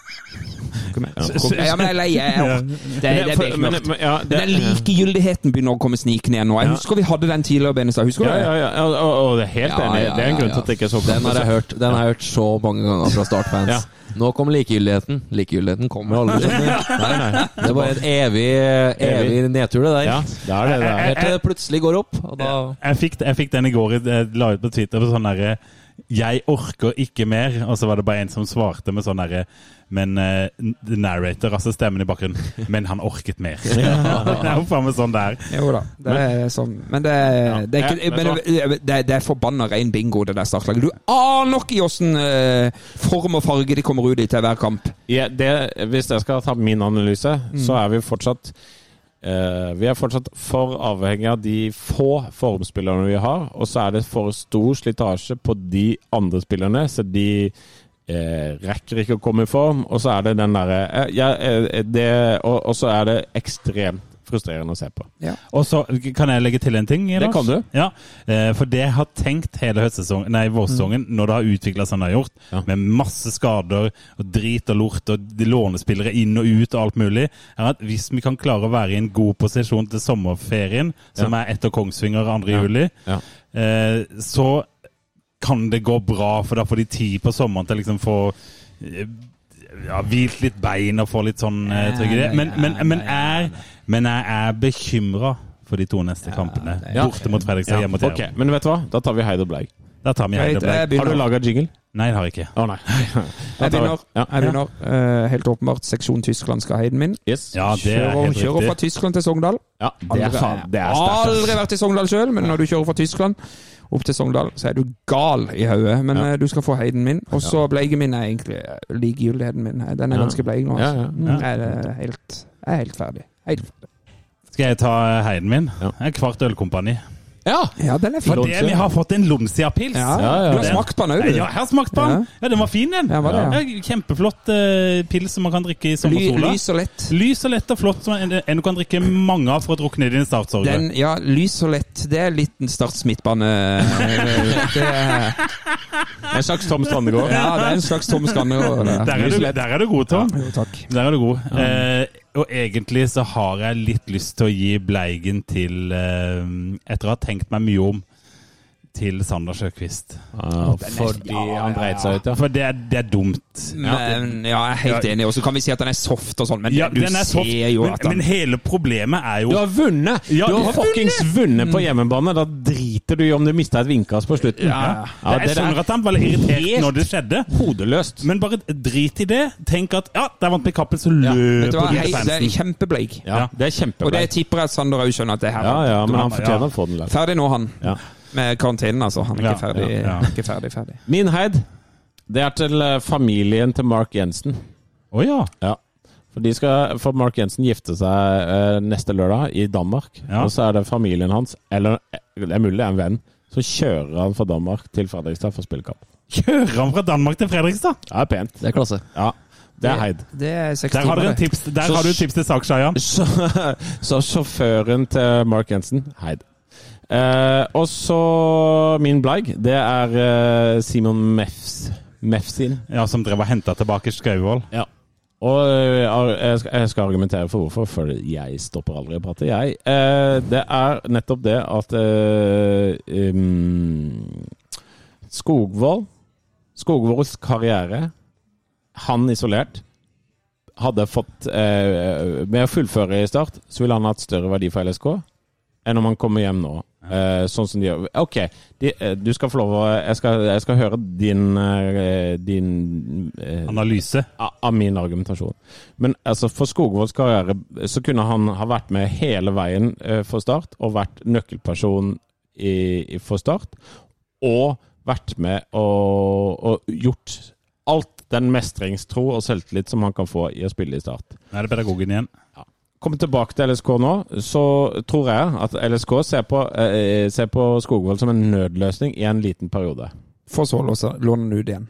Speaker 4: Kom her. Kom. Ja, men jeg er lei. Jeg er opp. Det, er- det er
Speaker 5: for- men-
Speaker 4: bekmørkt.
Speaker 5: men- ja, det-
Speaker 4: Den likegyldigheten begynner å komme snikende igjen nå. Jeg husker vi hadde den tidligere, Benestad. Husker du
Speaker 5: Ja, ja,
Speaker 4: det?
Speaker 5: ja, ja, og, og det er helt
Speaker 6: Ja,
Speaker 5: enig.
Speaker 6: ja,
Speaker 5: Det er en grunn
Speaker 6: ja,
Speaker 5: til at det ikke er så
Speaker 6: Den har jeg hørt Den har jeg hørt så mange ganger fra Start-fans.
Speaker 5: Ja.
Speaker 6: Nå kom likegyldigheten. Likegyldigheten kommer aldri. Nei, nei. Det var en evig, evig nedtur, det der.
Speaker 5: Ja, det er det det er.
Speaker 6: Helt til det plutselig går opp. Og da
Speaker 3: Jeg fikk, jeg fikk den i går, jeg la ut på Twitter på sånn derre Jeg orker ikke mer. Og så var det bare en som svarte med sånn derre Men eh, the narrator, altså stemmen i bakgrunnen Men han orket mer. det er jo faen meg sånn der.
Speaker 4: Jo da. Det er sånn. Men det er, det er,
Speaker 5: Ja,
Speaker 4: ikke,
Speaker 5: men
Speaker 4: men det er, det er forbanna rein bingo, det der startlaget. Du aner ikke i åssen eh, form og farge de kommer ut i til hver kamp.
Speaker 5: Ja, det, hvis jeg skal ta min analyse,
Speaker 3: Mm.
Speaker 5: så er vi fortsatt eh, Vi er fortsatt for avhengig av de få formspillerne vi har, og så er det for stor slitasje på de andre spillerne. Så de eh, rekker ikke å komme i form, og så er det den derre eh, ja, eh, det- Og og så er det ekstremt frustrerende å se på.
Speaker 3: Og så kan jeg legge til en ting. Lars?
Speaker 5: kan du.
Speaker 3: Ja, eh, For det jeg har tenkt hele høstsesongen, nei, vårsesongen, når det har utvikla seg som det har gjort,
Speaker 5: Mm. Ja.
Speaker 3: med masse skader og drit og lort og de lånespillere inn og ut og alt mulig, er at hvis vi kan klare å være i en god posisjon til sommerferien, som er etter Kongsvinger 2. juli,
Speaker 5: Ja.
Speaker 3: eh, så kan det gå bra, for da får de tid på sommeren til å liksom få eh, ja, hvilt litt bein og få litt sånn eh, tryggere. Men, men, men, er, men jeg er bekymra for de to neste kampene.
Speaker 5: Ja.
Speaker 3: Borte mot Fredrikstad, hjemme mot
Speaker 5: Ok,
Speaker 3: Jerv.
Speaker 5: men vet du hva? Da tar vi Heide og Bleig.
Speaker 3: Da tar vi
Speaker 4: Greit,
Speaker 3: Heide
Speaker 4: jeg
Speaker 3: Blekk.
Speaker 5: Har du
Speaker 4: begynner.
Speaker 5: laga jingle?
Speaker 3: Nei, det har jeg ikke.
Speaker 5: Å nei.
Speaker 4: Jeg begynner.
Speaker 5: Ja.
Speaker 4: Jeg begynner. Eh, helt åpenbart seksjon Tyskland skal ha heiden min.
Speaker 5: Yes.
Speaker 3: Ja, det er
Speaker 4: Kjører,
Speaker 3: helt
Speaker 4: kjører fra
Speaker 3: riktig.
Speaker 4: Tyskland til Sogndal.
Speaker 5: Ja, det er, faen- det er sterkt. ass.
Speaker 4: Aldri vært i Sogndal sjøl, men når du kjører fra Tyskland opp til Sogndal, så er du gal i hodet. Men
Speaker 5: Ja.
Speaker 4: eh, du skal få heiden min. Og så bleigen min er egentlig eh, likegyldigheten min. Eh, Den er
Speaker 5: Ja.
Speaker 4: ganske bleik nå.
Speaker 5: Ja,
Speaker 4: Altså.
Speaker 5: ja.
Speaker 4: Mm, Jeg, er helt, jeg er helt ferdig. Helt ferdig.
Speaker 3: Skal jeg ta eh, heiden min?
Speaker 5: Ja.
Speaker 3: En kvart ølkompani.
Speaker 5: Ja.
Speaker 4: Ja, den er fin.
Speaker 3: For det vi har fått en Lomsia-pils.
Speaker 4: Ja.
Speaker 5: Ja, ja,
Speaker 4: Du har
Speaker 5: ja.
Speaker 4: smakt på den òg,
Speaker 3: Ja,
Speaker 4: du.
Speaker 3: jeg har smakt på den. Ja, den var fin, den.
Speaker 4: Ja, var det, ja.
Speaker 3: Kjempeflott eh, pils som man kan drikke i
Speaker 4: Ly,
Speaker 3: sommersola.
Speaker 4: lys og lett.
Speaker 3: Lys og lett og flott, som en, en du kan drikke mange av for å drukne i dine startsorger.
Speaker 4: Den, ja, lys og lett. Det er litt en Starts midtbane. Det er,
Speaker 5: En slags Tom Strandegård.
Speaker 4: ja, det er en slags Tom Skanderud.
Speaker 3: Der er, du, der er du god, Tom.
Speaker 4: Jo, takk.
Speaker 3: Der er du god. Eh, og egentlig så har jeg litt lyst til å gi Bleigen til eh, Etter å ha tenkt meg mye om til Sander Sjøkvist.
Speaker 5: Ja, fordi han dreit seg ut, ja.
Speaker 3: For det er, det er dumt.
Speaker 4: Men ja, jeg er helt enig. Og så kan vi si at han er soft og sånn, men
Speaker 3: Ja,
Speaker 4: du
Speaker 3: den er
Speaker 4: ser
Speaker 3: soft,
Speaker 4: jo
Speaker 3: men,
Speaker 4: at han
Speaker 3: men hele problemet er jo
Speaker 5: Du har vunnet!
Speaker 3: Ja,
Speaker 5: du
Speaker 3: du
Speaker 5: har
Speaker 3: har
Speaker 5: fuckings vunnet på hjemmebane. Da driter du i om du mista et vindkast på slutten.
Speaker 3: ja,
Speaker 5: Ja,
Speaker 3: Jeg
Speaker 5: det der-
Speaker 3: skjønner at han var litt irritert
Speaker 5: Helt-
Speaker 3: når det skjedde,
Speaker 5: Hodeløst.
Speaker 3: men bare drit i det. Tenk at ja, der vant vi kappen, så
Speaker 4: Vet du
Speaker 3: løper
Speaker 4: hva,
Speaker 3: du
Speaker 4: hei,
Speaker 3: til
Speaker 4: det er
Speaker 3: fansen.
Speaker 4: kjempebleik.
Speaker 5: Ja, det er
Speaker 4: Og det
Speaker 5: kjempebra.
Speaker 4: tipper jeg at Sander òg skjønner at det er her.
Speaker 5: Ja, ja, men han
Speaker 3: Ja.
Speaker 5: fortjener å få den der.
Speaker 4: Ferdig nå, han.
Speaker 5: Ja.
Speaker 4: Med karantenen, altså. Han er
Speaker 3: Ja,
Speaker 4: ikke ferdig.
Speaker 3: ja, ja.
Speaker 4: Ikke ferdig, ferdig.
Speaker 5: Min heid, det er til eh, familien til Mark Jensen.
Speaker 3: Å ja.
Speaker 5: Ja. For, de skal, for Mark Jensen gifte seg eh, neste lørdag i Danmark.
Speaker 3: Ja.
Speaker 5: Og så er det familien hans, eller eh, det er mulig det er en venn, så kjører han fra Danmark til Fredrikstad for å spille kamp.
Speaker 3: Kjører han fra Danmark til Fredrikstad?
Speaker 5: Det er pent.
Speaker 6: Det er klasse.
Speaker 5: Ja, det er heid.
Speaker 4: Det er seks
Speaker 3: Der har
Speaker 4: timer,
Speaker 3: du en
Speaker 4: det.
Speaker 3: tips, der
Speaker 5: Så-
Speaker 3: har du et tips til sak, Shayan.
Speaker 5: Så, så sjåføren til Mark Jensen, heid. Eh, og så min bleig, det er eh, Simon Mefs, Mefsin.
Speaker 3: Ja, som drev og henta tilbake Skauvoll.
Speaker 5: Ja. Og eh, jeg skal, jeg skal argumentere for hvorfor, for jeg stopper aldri å prate, jeg. Eh, det er nettopp det at eh, um, Skogvold Skogvolds karriere, han isolert, hadde fått eh, Med å fullføre i start, så ville han hatt større verdi for LSK enn om han kommer hjem nå. Eh, sånn som de gjør. OK, de, eh, du skal få lov å Jeg skal, jeg skal høre din, eh, din eh,
Speaker 3: Analyse.
Speaker 5: av av min argumentasjon. Men altså, for Skogvolds karriere så kunne han ha vært med hele veien eh, for Start, og vært nøkkelperson i, i, for Start. Og vært med og, og gjort alt den mestringstro og selvtillit som han kan få i å spille i Start.
Speaker 3: Nå er det pedagogen igjen.
Speaker 5: Kommer tilbake til LSK nå, så tror jeg at LSK ser på, eh, ser på Skogvold som en nødløsning i en liten periode.
Speaker 4: For så låse- låne den ut igjen.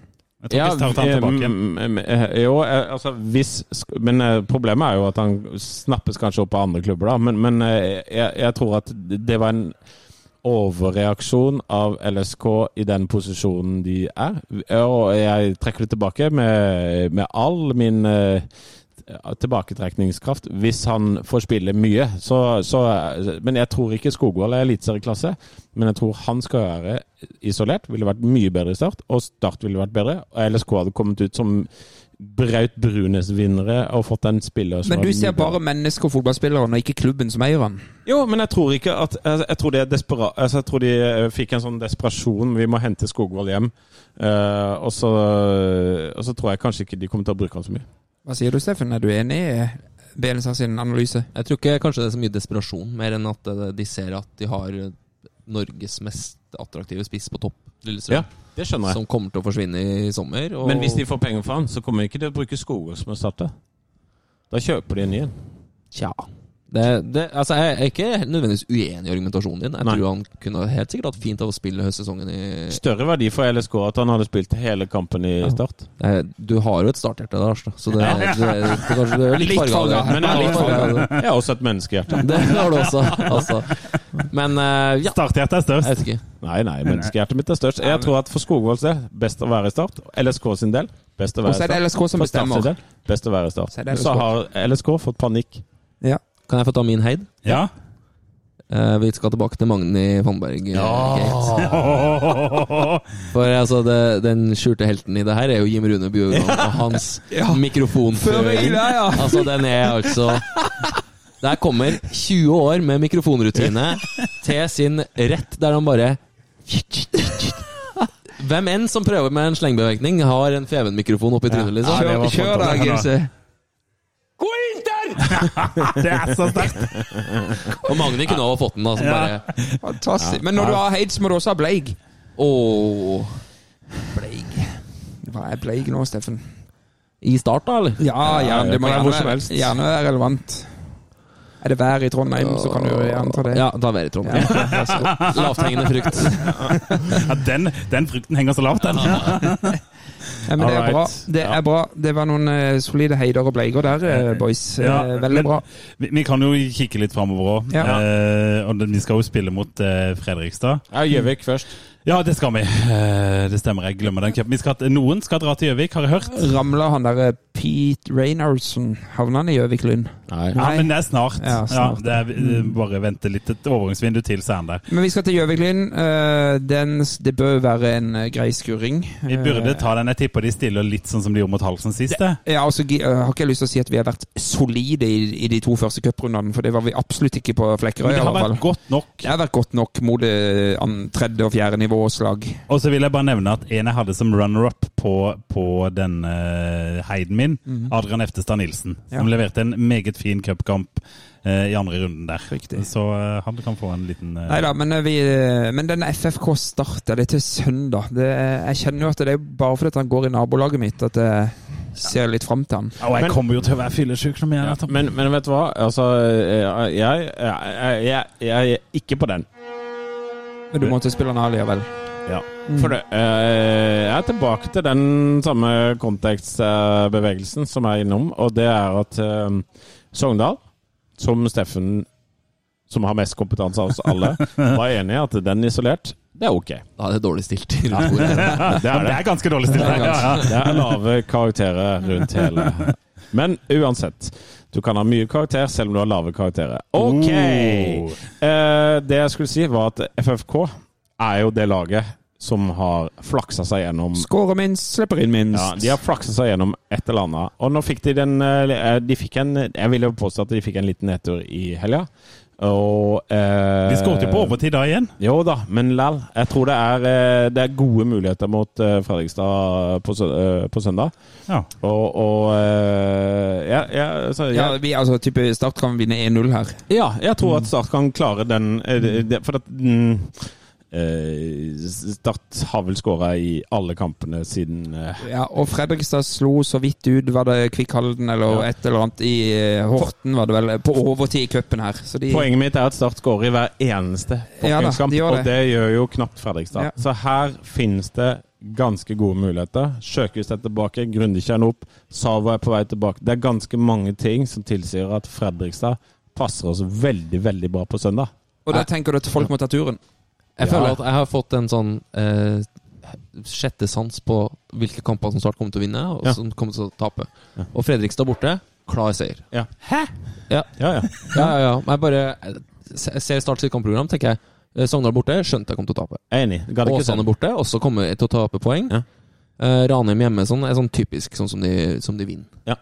Speaker 3: Jeg tror ikke Start har han tilbake.
Speaker 5: mm, mm, eh, Jo, eh, altså hvis sk- Men eh, problemet er jo at han snappes kanskje opp av andre klubber, da. Men, men eh, jeg, jeg tror at det var en overreaksjon av LSK i den posisjonen de er. Og jeg trekker det tilbake med, med all min eh, tilbaketrekningskraft hvis han får spille mye. Så, så, men jeg tror ikke Skogvold er eliteserieklasse. Men jeg tror han skal være isolert. Ville vært mye bedre i Start, og Start ville vært bedre. Og LSK hadde kommet ut som Braut Brunes-vinnere og fått en spiller som
Speaker 4: Men du
Speaker 5: var
Speaker 4: ser
Speaker 5: mye bedre.
Speaker 4: bare mennesker og fotballspilleren, og ikke klubben som eier han.
Speaker 5: Jo, men jeg tror ikke at Jeg, jeg tror de er desperat altså, Jeg tror de eh, fikk en sånn desperasjon. Vi må hente Skogvold hjem. Eh, og, så, og så tror jeg kanskje ikke de kommer til å bruke han så mye.
Speaker 4: Hva sier du, Steffen? Er du enig i BNSR sin analyse?
Speaker 6: Jeg tror ikke kanskje det er så mye desperasjon, mer enn at eh, de ser at de har eh, Norges mest attraktive spiss på topp, Lillestrøm,
Speaker 5: det skjønner
Speaker 6: som kommer til å forsvinne i sommer. Og
Speaker 5: Men hvis de får penger for han, så kommer ikke de å bruke Skogvold som erstatter. Da kjøper de en ny en.
Speaker 6: Tja. Det, det, altså jeg er ikke nødvendigvis uenig i argumentasjonen din. Jeg
Speaker 5: Nei.
Speaker 6: tror han kunne helt sikkert hatt fint av å spille høstsesongen i
Speaker 5: Større verdi for LSK at han hadde spilt hele kampen i start.
Speaker 6: Eh, Du har jo et starthjerte, Lars, da, så det er, det, er- det, er kanskje det er litt farga av det. Ja,
Speaker 5: Men jeg har,
Speaker 6: litt farget av det.
Speaker 4: altså.
Speaker 5: jeg har også et menneskehjerte.
Speaker 6: Det har du også, altså. Men eh, ja,
Speaker 3: Starthjertet er
Speaker 6: jeg
Speaker 3: størst.
Speaker 6: vet ikke.
Speaker 5: Nei, nei, menneskehjertet mitt er størst. Jeg tror at for Skogvolds del, best å være i start. LSK sin del, best
Speaker 4: Og
Speaker 5: å være
Speaker 4: så
Speaker 5: i
Speaker 4: er det
Speaker 5: start.
Speaker 4: LSK som
Speaker 5: For Start sin
Speaker 4: bestemmer.
Speaker 5: del, best å være i start.
Speaker 4: Så er det LSK.
Speaker 5: Så har LSK fått panikk.
Speaker 4: Ja.
Speaker 6: Kan jeg få ta min heid?
Speaker 3: Ja.
Speaker 6: Eh, vi skal tilbake til Magni Fannberg. eh, Gates. For altså, det, den skjulte helten i det her er jo Jim Rune Bjurgården og hans mikrofonføring. Altså, den er altså Der kommer 20 år med mikrofonrutine til sin rett, der han bare Hvem enn som prøver med en slengbevirkning, har en Feven-mikrofon oppi trynet, liksom.
Speaker 3: det var
Speaker 4: Kjør da,
Speaker 3: fantastisk.
Speaker 4: Gimse.
Speaker 1: Gå Inter!
Speaker 3: Det er så sterkt.
Speaker 6: Og Magni kunne også fått den, da. Som
Speaker 3: Ja.
Speaker 6: bare
Speaker 4: Fantastisk. Men når du har Heid, så må du også ha Bleig.
Speaker 6: Åh.
Speaker 4: Hva er Bleig nå, Steffen?
Speaker 6: I start, da, eller?
Speaker 4: Ja, ja, det må
Speaker 5: kan være hvor som
Speaker 4: gjerne,
Speaker 5: helst.
Speaker 4: gjerne være relevant. Er det vær i Trondheim, så kan du jo gjerne ta det.
Speaker 6: Ja, da var det Trond. Lavthengende frukt.
Speaker 3: Ja, den, den frukten henger så lavt, den.
Speaker 4: Ja, men det er
Speaker 5: Alright.
Speaker 4: bra. Det er
Speaker 5: Ja.
Speaker 4: bra. Det var noen eh, solide heider og bleiger der, eh, boys. Eh,
Speaker 3: Ja,
Speaker 4: Veldig
Speaker 3: men
Speaker 4: bra.
Speaker 3: Vi, vi kan jo kikke litt framover òg.
Speaker 4: Ja.
Speaker 3: og det- vi skal jo spille mot eh, Fredrikstad.
Speaker 5: Ja, Gjøvik først.
Speaker 3: Ja, det skal vi. Eh, det stemmer, jeg glemmer den cupen. Vi skal at- Noen skal dra til Gjøvik, har jeg hørt.
Speaker 4: Ramla han derre Pete Reynardson Havna han i Gjøvik Lund?
Speaker 5: Nei.
Speaker 3: Ja, men det er snart.
Speaker 4: Ja,
Speaker 3: Ja,
Speaker 4: snart.
Speaker 3: det er, eh, bare vente litt, et overgangsvindu til, så er han der.
Speaker 4: Men vi skal til Gjøvik Lund. Eh, den- Det bør være en eh, grei skuring.
Speaker 3: Vi
Speaker 4: Eh,
Speaker 3: burde ta den. Jeg tipper de stiller litt sånn som de gjorde mot Halsen sist. det.
Speaker 4: Ja, altså, gi- eh, har ikke jeg lyst til å si at vi har vært solide i, i de to første cuprundene, for det var vi absolutt ikke på Flekkerøy.
Speaker 3: Men det
Speaker 4: i
Speaker 3: har
Speaker 4: hvert fall.
Speaker 3: vært godt nok.
Speaker 4: Det har vært godt nok mot eh, an- tredje- og fjerde nivåslag.
Speaker 3: Og så vil jeg bare nevne at en jeg hadde som runner-up på, på den eh, heiden min, Adrian Eftestad Nilsen, som
Speaker 4: Mhm. Ja.
Speaker 3: leverte en meget fin cupkamp eh, i andre runden der.
Speaker 4: Riktig.
Speaker 3: Så eh, han kan få en liten eh,
Speaker 4: Nei da, men, eh, vi, eh, men den FFK starter det er til søndag. Det, er- jeg kjenner jo at det er bare fordi at han går i nabolaget mitt at jeg ser litt fram til han.
Speaker 3: Å, jeg
Speaker 5: Men-
Speaker 3: kommer jo til å være fyllesyk når vi er der. Tom.
Speaker 5: Men, men vet du hva? Altså, jeg, jeg, jeg, jeg, jeg er ikke på den.
Speaker 4: Men du måtte spille han av likevel.
Speaker 5: Ja. For det, eh, jeg er tilbake til den samme kontekstbevegelsen som jeg er innom, og det er at eh, Sogndal, som Steffen, som har mest kompetanse av oss alle, var enig i at den isolert, det er ok.
Speaker 6: Da er det dårlig stilt. i rundt bordet.
Speaker 5: Det er
Speaker 3: det
Speaker 5: det.
Speaker 3: er ganske dårlig stilt.
Speaker 4: Det er ganske-
Speaker 3: Ja, ja.
Speaker 5: Det er lave karakterer rundt hele. Men uansett, du kan ha mye karakter selv om du har lave karakterer. OK!
Speaker 3: Oh.
Speaker 5: Eh, det jeg skulle si, var at FFK er jo det laget som har flaksa seg gjennom
Speaker 4: Skårer minst, slipper inn minst.
Speaker 5: ja, De har flaksa seg gjennom et eller annet. Og nå fikk de den eh, de fikk en, Jeg vil jo påstå at de fikk en liten nedtur i helga. Og eh,
Speaker 3: De skåret jo på overtid da igjen.
Speaker 5: jo da, men lell. Jeg tror det er, eh, det er gode muligheter mot eh, Fredrikstad på, sø- eh, på søndag.
Speaker 3: Ja.
Speaker 5: Og, og eh, ja, ja, så, ja,
Speaker 4: Ja, vi, altså, type Start kan vinne 1-0 her.
Speaker 5: ja, jeg tror
Speaker 3: Mm.
Speaker 5: at Start kan klare den eh, det- det- For at den eh, Start har vel skåra i alle kampene siden eh,
Speaker 4: Ja, og Fredrikstad slo så vidt ut, var det Kvikk Halden eller
Speaker 5: Ja.
Speaker 4: et eller annet i eh, Horten, var det vel, på overtid i cupen her. Så de,
Speaker 5: Poenget mitt er at Start skårer i hver eneste
Speaker 4: Ja da, de
Speaker 5: fuckingskamp,
Speaker 4: gjør det.
Speaker 5: og det gjør jo knapt Fredrikstad.
Speaker 4: Ja.
Speaker 5: Så her finnes det ganske gode muligheter. Sjøkust er tilbake, Grundekjern opp, Savo er på vei tilbake. Det er ganske mange ting som tilsier at Fredrikstad passer oss veldig, veldig bra på søndag.
Speaker 4: Og da tenker du at folk må ta turen.
Speaker 6: Jeg
Speaker 5: Ja.
Speaker 6: føler at jeg har fått en sånn eh, sjette sans på hvilke kamper som Start kommer til å vinne, og
Speaker 5: Ja.
Speaker 6: som kommer til å tape. Og Fredrikstad borte, klar seier.
Speaker 5: Ja.
Speaker 6: Hæ?! Ja,
Speaker 5: Ja,
Speaker 6: ja,
Speaker 5: ja.
Speaker 6: ja. ja. Men Jeg bare se- jeg ser Start sitt kampprogram, tenker jeg. Eh, Sogndal borte, skjønte jeg kom til å tape.
Speaker 5: Jeg er enig. Gadd ikke
Speaker 6: Åsane
Speaker 5: sånn.
Speaker 6: borte, også kommer jeg til å tape poeng.
Speaker 5: Ja.
Speaker 6: Eh, Ranheim hjemme sånn, er sånn typisk sånn som de, som de vinner.
Speaker 5: Ja.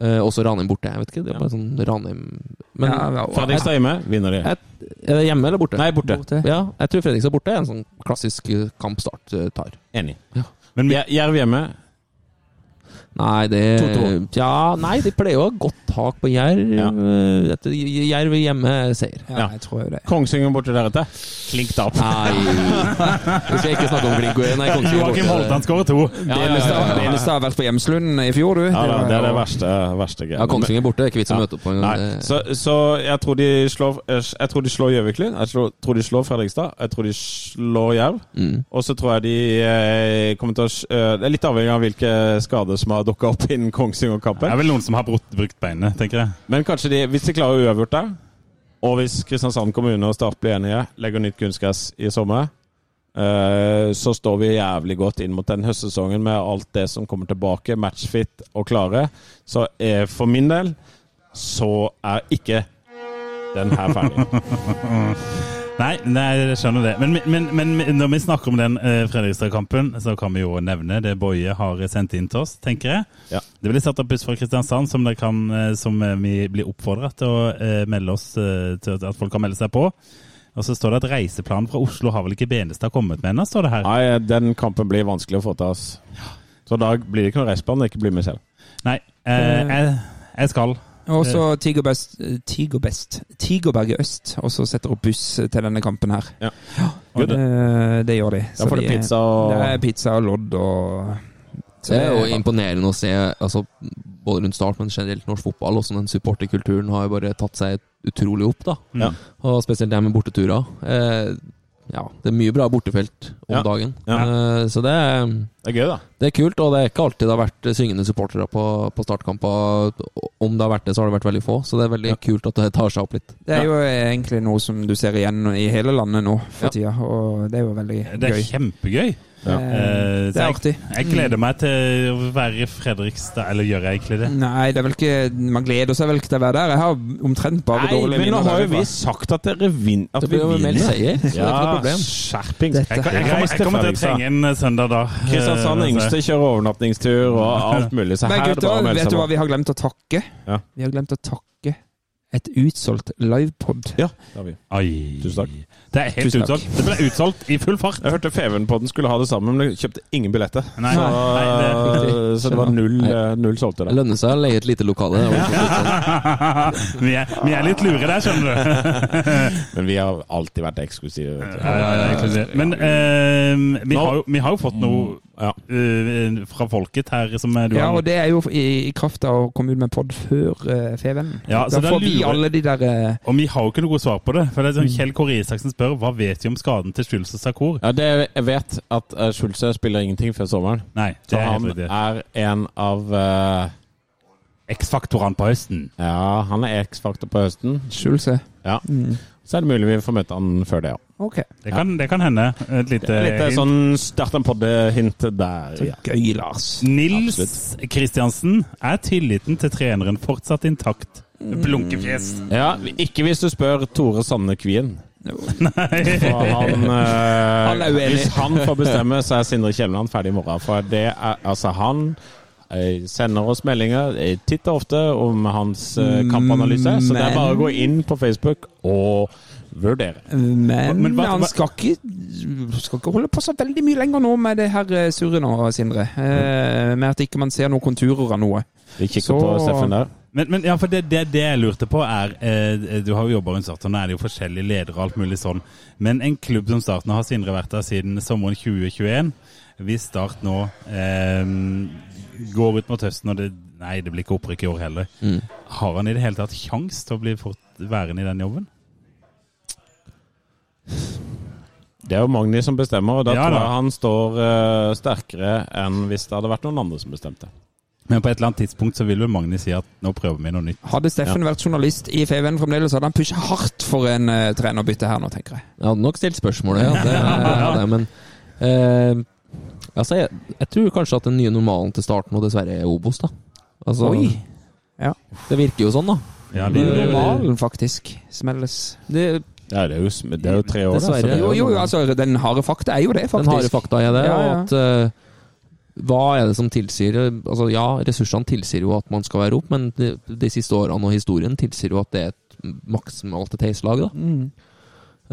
Speaker 6: Eh, også Ranheim borte. Jeg vet ikke, det er bare sånn Ranheim Men
Speaker 4: Ja, ja, og-
Speaker 5: Fredrikstad hjemme, vinner de.
Speaker 6: Jeg- er det hjemme eller borte?
Speaker 5: Nei, borte.
Speaker 6: Ja, jeg tror Fredrikstad borte er en sånn klassisk eh, kampstart eh, tar.
Speaker 5: Enig.
Speaker 3: Men,
Speaker 5: Jer- Jerv hjemme.
Speaker 6: Nei, det Tja, nei, de pleier jo å ha godt tak på Jerv.
Speaker 5: Ja.
Speaker 6: Eh, dette- Jerv er hjemme seier.
Speaker 4: Ja, jeg tror jo det.
Speaker 5: Kongsvinger borte deretter. Klink tap.
Speaker 6: Nei Vi skal ikke snakke om Glingoen. Nei, Kongsvinger
Speaker 3: Joakim
Speaker 6: borte.
Speaker 3: Holtan skårer to.
Speaker 5: Ja,
Speaker 4: Det
Speaker 5: ja,
Speaker 4: eneste,
Speaker 5: ja,
Speaker 4: det
Speaker 5: ja.
Speaker 4: eneste har vært på Hjemslund i fjor, du.
Speaker 5: Ja, da,
Speaker 4: var-
Speaker 5: det er det verste, verste
Speaker 6: Ja, Kongsvinger borte. Det er ikke vits å møte opp på eh,
Speaker 5: Nei,
Speaker 6: engang.
Speaker 5: så, så jeg tror de slår eh, Jeg tror de slår Gjøviklyn. Jeg tror- tror de slår Fredrikstad. Jeg tror de slår Jerv.
Speaker 6: Mm.
Speaker 5: Og så tror jeg de eh, kommer til å s- eh, Det er litt avhengig av hvilke skader som har dukka opp innen
Speaker 3: Det
Speaker 5: Kongsvinger-kampen.
Speaker 3: er vel noen som har brukt, brukt beinet, tenker jeg.
Speaker 5: Men kanskje de, hvis de klarer uavgjort der, og hvis Kristiansand kommune og Start blir enige, legger nytt kunstgress i sommer, eh, så står vi jævlig godt inn mot den høstsesongen med alt det som kommer tilbake, matchfit og klare. Så eh, for min del så er ikke den her ferdig.
Speaker 3: Nei, nei, jeg skjønner det. Men, men, men, men når vi snakker om den eh, Fredrikstad-kampen, så kan vi jo nevne det Boje har sendt inn til oss, tenker jeg.
Speaker 5: Ja.
Speaker 3: Det blir satt opp buss fra Kristiansand, som, det kan, eh, som eh, vi blir oppfordra til å eh, melde oss eh, til at folk kan melde seg på. Og så står det at reiseplanen fra Oslo har vel ikke Benestad kommet med ennå, står det her.
Speaker 5: Nei, den kampen blir vanskelig å få til, ass. Så da blir det ikke noe reiseplan, det ikke blir med selv.
Speaker 3: Nei. eh, jeg, jeg skal.
Speaker 4: Og så Tigerbest, Tigerbest, Tigerberget Øst, og så setter opp buss til denne kampen her.
Speaker 5: Ja.
Speaker 4: Og det, det gjør de.
Speaker 5: Da får
Speaker 4: de
Speaker 5: du pizza og
Speaker 4: Det er pizza og lodd og så
Speaker 6: Det er jo
Speaker 4: det-
Speaker 5: Eh,
Speaker 6: imponerende å se, altså, både rundt start, men generelt norsk fotball. Også den supporterkulturen har jo bare tatt seg utrolig opp, da.
Speaker 5: Ja.
Speaker 6: Og spesielt det her med borteturer. Eh, ja, det er mye bra bortefelt om
Speaker 5: Ja.
Speaker 6: dagen.
Speaker 5: Ja.
Speaker 6: Eh, så det er
Speaker 5: Det er gøy, da.
Speaker 6: Det er kult, og det er ikke alltid det har vært syngende supportere på, på startkamper. Om det har vært det, så har det vært veldig få, så det er veldig kult at det tar seg opp litt.
Speaker 4: Det er jo eh, egentlig noe som du ser igjen i hele landet nå for
Speaker 6: Ja.
Speaker 4: tida, og det er jo veldig
Speaker 3: Det er
Speaker 4: gøy.
Speaker 3: kjempegøy.
Speaker 5: Ja.
Speaker 4: Eh,
Speaker 3: Eh,
Speaker 4: Det er
Speaker 3: så jeg,
Speaker 4: artig.
Speaker 3: jeg gleder meg til å være i Fredrikstad, eller gjør jeg egentlig det?
Speaker 5: Mm.
Speaker 4: Nei, det er vel ikke Man gleder seg vel ikke til å være der. Jeg har omtrent bare
Speaker 5: Nei,
Speaker 4: dårlige
Speaker 5: men nå
Speaker 4: minner.
Speaker 5: har jo
Speaker 4: derfra.
Speaker 5: vi sagt at dere vinner. At
Speaker 6: Det blir jo
Speaker 5: vi
Speaker 6: mer
Speaker 5: vinner.
Speaker 6: seier, så det er ikke noe
Speaker 5: Ja,
Speaker 6: problem.
Speaker 5: skjerpings.
Speaker 4: Dette
Speaker 5: Jeg, kan-
Speaker 3: Jeg,
Speaker 5: jeg kommer
Speaker 3: jeg kommer til å trenge en eh, søndag da. Eh,
Speaker 5: Kristiansand
Speaker 3: altså.
Speaker 5: yngste kjører overnattingstur og alt mulig. Så
Speaker 4: Men
Speaker 5: her er det bare å
Speaker 4: gutter,
Speaker 5: melde
Speaker 4: vet
Speaker 5: seg
Speaker 4: du hva
Speaker 5: på.
Speaker 4: vi har glemt å takke?
Speaker 5: Ja.
Speaker 4: Vi har glemt å takke et utsolgt livepod.
Speaker 5: Ja, det har vi.
Speaker 3: Oi.
Speaker 5: Tusen takk.
Speaker 3: Det er helt
Speaker 4: Tusen takk.
Speaker 3: utsolgt. Det ble utsolgt i full fart.
Speaker 5: Jeg hørte Feven-podden skulle ha det sammen, men de kjøpte ingen billetter.
Speaker 3: Nei,
Speaker 5: så,
Speaker 3: nei,
Speaker 4: det-
Speaker 5: så det var null, eh, null
Speaker 6: Det
Speaker 5: solgte der.
Speaker 6: lønner seg å leie et lite lokale. det er jo ikke sånn.
Speaker 3: vi, er, vi er litt lure der, skjønner du.
Speaker 5: Men vi har alltid vært eksklusive. vet du.
Speaker 3: Ja, ja, ja, egentlig det. Men eh, vi, har jo, vi har jo fått noe
Speaker 5: Ja.
Speaker 3: eh, fra folket her som eh, du
Speaker 4: Ja,
Speaker 3: har
Speaker 4: og det er jo i, i kraft av å komme ut med pod før uh, Feven.
Speaker 3: Ja, så
Speaker 4: da
Speaker 3: da
Speaker 4: får vi
Speaker 3: lurer-
Speaker 4: alle de der eh,
Speaker 3: Og vi har jo ikke noe godt svar på det. For det er sånn Kjell Kåre Isaksen spør hva vet vi om skaden til Schulz og Sarkor?
Speaker 5: Ja, det, jeg vet at uh, Schulze spiller ingenting før sommeren.
Speaker 3: Nei,
Speaker 5: Så
Speaker 3: det er
Speaker 5: han
Speaker 3: helt riktig.
Speaker 5: er en av eh,
Speaker 3: X-faktorene på høsten.
Speaker 5: Ja, han er X-faktor på høsten.
Speaker 4: Schulze.
Speaker 5: Ja.
Speaker 4: Mm.
Speaker 5: Så er det mulig vi får møte han før det, ja.
Speaker 4: Ok.
Speaker 3: Det kan, det kan hende. Et lite
Speaker 5: Litt eh,
Speaker 3: hint.
Speaker 5: sånn start en podde-hint der. Ja.
Speaker 4: Gøy, Lars.
Speaker 3: Nils Kristiansen, er tilliten til treneren fortsatt intakt? Blunkefjes.
Speaker 5: ja, Ikke hvis du spør Tore Sanne Kvien. For han, eh,
Speaker 4: Han er uenig.
Speaker 5: Hvis han får bestemme, så er Sindre Kielland ferdig i morgen. For det er altså han eh, sender oss meldinger eh, titt og ofte om hans eh, kampanalyse. Så det
Speaker 4: Men-
Speaker 5: er bare å gå inn på Facebook og vurdere.
Speaker 4: Men,
Speaker 3: Men hva-
Speaker 4: han
Speaker 3: hva-
Speaker 4: skal ikke, skal ikke holde på så veldig mye lenger nå med det her eh, surret nå, Sindre. Eh, med at ikke man ser noen konturer av noe.
Speaker 5: Vi kikker
Speaker 4: Så-
Speaker 5: på Steffen der.
Speaker 3: Men, men ja, for det, det, det jeg lurte på er eh, Du har jo jobba rundt Start, og nå er det jo forskjellige ledere og alt mulig sånn. Men en klubb som Start nå har Sindre vært der siden sommeren 2021. Hvis Start nå eh, går ut mot høsten, og det Nei, det blir ikke opprykk i år heller.
Speaker 6: Mm.
Speaker 3: Har han i det hele tatt kjangs til å bli fort værende i den jobben?
Speaker 5: Det er jo Magni som bestemmer, og da
Speaker 3: Ja,
Speaker 5: tror
Speaker 3: da.
Speaker 5: jeg han står eh, sterkere enn hvis det hadde vært noen andre som bestemte.
Speaker 3: Men på et eller annet tidspunkt så vil vel Magni si at nå prøver vi noe nytt.
Speaker 4: Hadde Steffen vært journalist i FVN fremdeles, hadde han pusha hardt for en eh, trenerbytte her nå, tenker jeg.
Speaker 6: Jeg hadde nok stilt spørsmålet, ja, det, ja, det, men eh, altså, jeg, jeg tror kanskje at den nye normalen til start nå dessverre er Obos, da. Altså,
Speaker 4: Oi. Ja.
Speaker 6: Det virker jo sånn, da.
Speaker 3: Ja,
Speaker 4: Det
Speaker 3: det-
Speaker 4: er eh, normalen, faktisk. Smelles.
Speaker 6: Det,
Speaker 5: Ja, det er jo, sm- det er jo tre år, da.
Speaker 6: Dessverre.
Speaker 5: så det er
Speaker 4: Jo, jo, altså, den harde fakta er jo det,
Speaker 6: den
Speaker 4: faktisk.
Speaker 6: harde fakta er det.
Speaker 4: Ja, ja.
Speaker 6: Og at eh, hva er det som tilsier Altså Ja, ressursene tilsier jo at man skal være opp, men de, de siste årene og historien tilsier jo at det er et maksimalt et heislag, da.
Speaker 4: Mm.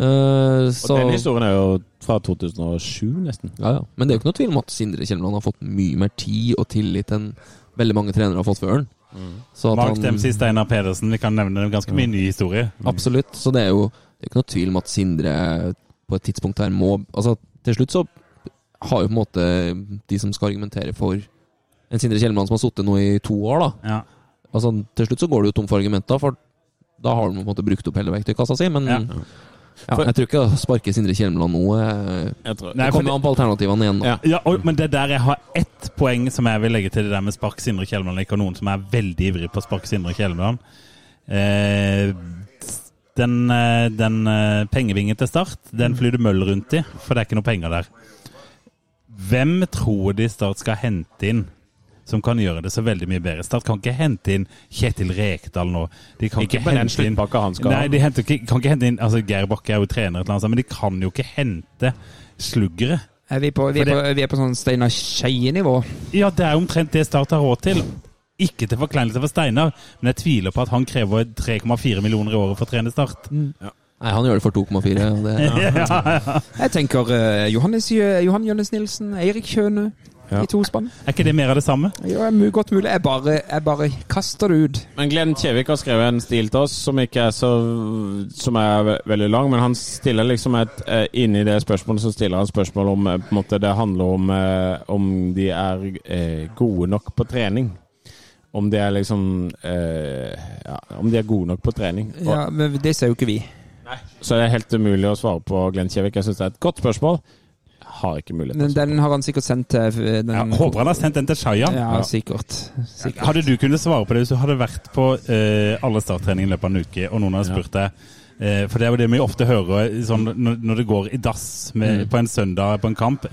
Speaker 6: Eh,
Speaker 5: Og
Speaker 6: så,
Speaker 5: den historien er jo fra 2007, nesten.
Speaker 6: ja, ja. Men det er jo ikke noe tvil om at Sindre Kjelmeland har fått mye mer tid og tillit enn veldig mange trenere har fått før han. Så
Speaker 3: Mm.
Speaker 6: at
Speaker 3: Mark
Speaker 6: han-
Speaker 3: Dempsey, Steinar Pedersen. Vi kan nevne ganske mye ny historie.
Speaker 6: Absolutt. Så det er jo det er ikke noe tvil om at Sindre på et tidspunkt her må Altså, til slutt så har jo på en måte de som skal argumentere for en Sindre Kjellmann som har sittet nå i to år, da.
Speaker 3: Ja.
Speaker 6: Altså, til slutt så går du jo tom for argumenter, for da har du på en måte brukt opp hele verktøykassa si. Men ja.
Speaker 3: Ja.
Speaker 5: For-
Speaker 6: jeg tror ikke å sparke Sindre Kjellmann nå eh,
Speaker 5: Jeg tror,
Speaker 3: Nei,
Speaker 6: Det
Speaker 3: for
Speaker 6: kommer an på alternativene igjen, da.
Speaker 5: Ja.
Speaker 3: Ja, og, men det der jeg har ett poeng som jeg vil legge til det der med spark Sindre Kjellmann Like, og noen som er veldig ivrig på å sparke Sindre Kjellmann. Eh, den eh, den eh, pengevingen til start, den flyr det møll rundt i, for det er ikke noe penger der. Hvem tror de Start skal hente inn som kan gjøre det så veldig mye bedre? Start kan ikke hente inn Kjetil Rekdal nå. De kan
Speaker 5: Ikke
Speaker 3: ikke,
Speaker 5: med den
Speaker 3: hente inn
Speaker 5: sluttpakka han skal
Speaker 3: Nei,
Speaker 5: ha.
Speaker 3: de henter, ikke- kan ikke hente inn altså Geir Bakke er jo trener, et eller annet, sånt, men de kan jo ikke hente sluggere.
Speaker 4: Er vi, på, vi, er
Speaker 3: For
Speaker 4: på, vi er på sånn Steinar Skeie-nivå.
Speaker 3: Ja, det er omtrent det Start har råd til. Ikke til forkleinelse for Steinar, men jeg tviler på at han krever 3,4 millioner i året for å trene Start.
Speaker 6: Nei, han gjør det for 2,4. og det-
Speaker 4: Jeg tenker eh, Johannes, Jø- Johan Jønnes Nilsen, Eirik Kjøne
Speaker 5: Ja.
Speaker 4: i tospann.
Speaker 3: Er ikke det mer av det samme?
Speaker 4: Ja, mu- godt mulig. Jeg bare, jeg bare kaster det ut.
Speaker 5: Men Glenn Kjevik har skrevet en stil til oss som ikke er så Som er ve- veldig lang, men han stiller liksom et eh, Inni det spørsmålet så stiller han spørsmål om eh, på en måte Det handler om eh, om de er eh, gode nok på trening. Om de er liksom eh, Ja, om de er gode nok på trening. Og,
Speaker 4: Ja, men det ser jo ikke vi.
Speaker 5: Så det er helt umulig å svare på Glenn Kjevik. Jeg syns det er et godt spørsmål. Har ikke mulighet. til å
Speaker 4: Men den har han sikkert sendt til eh, den,
Speaker 3: Ja, håper han har sendt den til Shayan.
Speaker 4: Ja, sikkert. sikkert.
Speaker 3: Hadde du kunnet svare på det hvis du hadde vært på eh, alle starttreninger i løpet av en uke, og noen hadde spurt deg eh, For det er jo det vi ofte hører sånn, når, når det går i dass med, på en søndag på en kamp.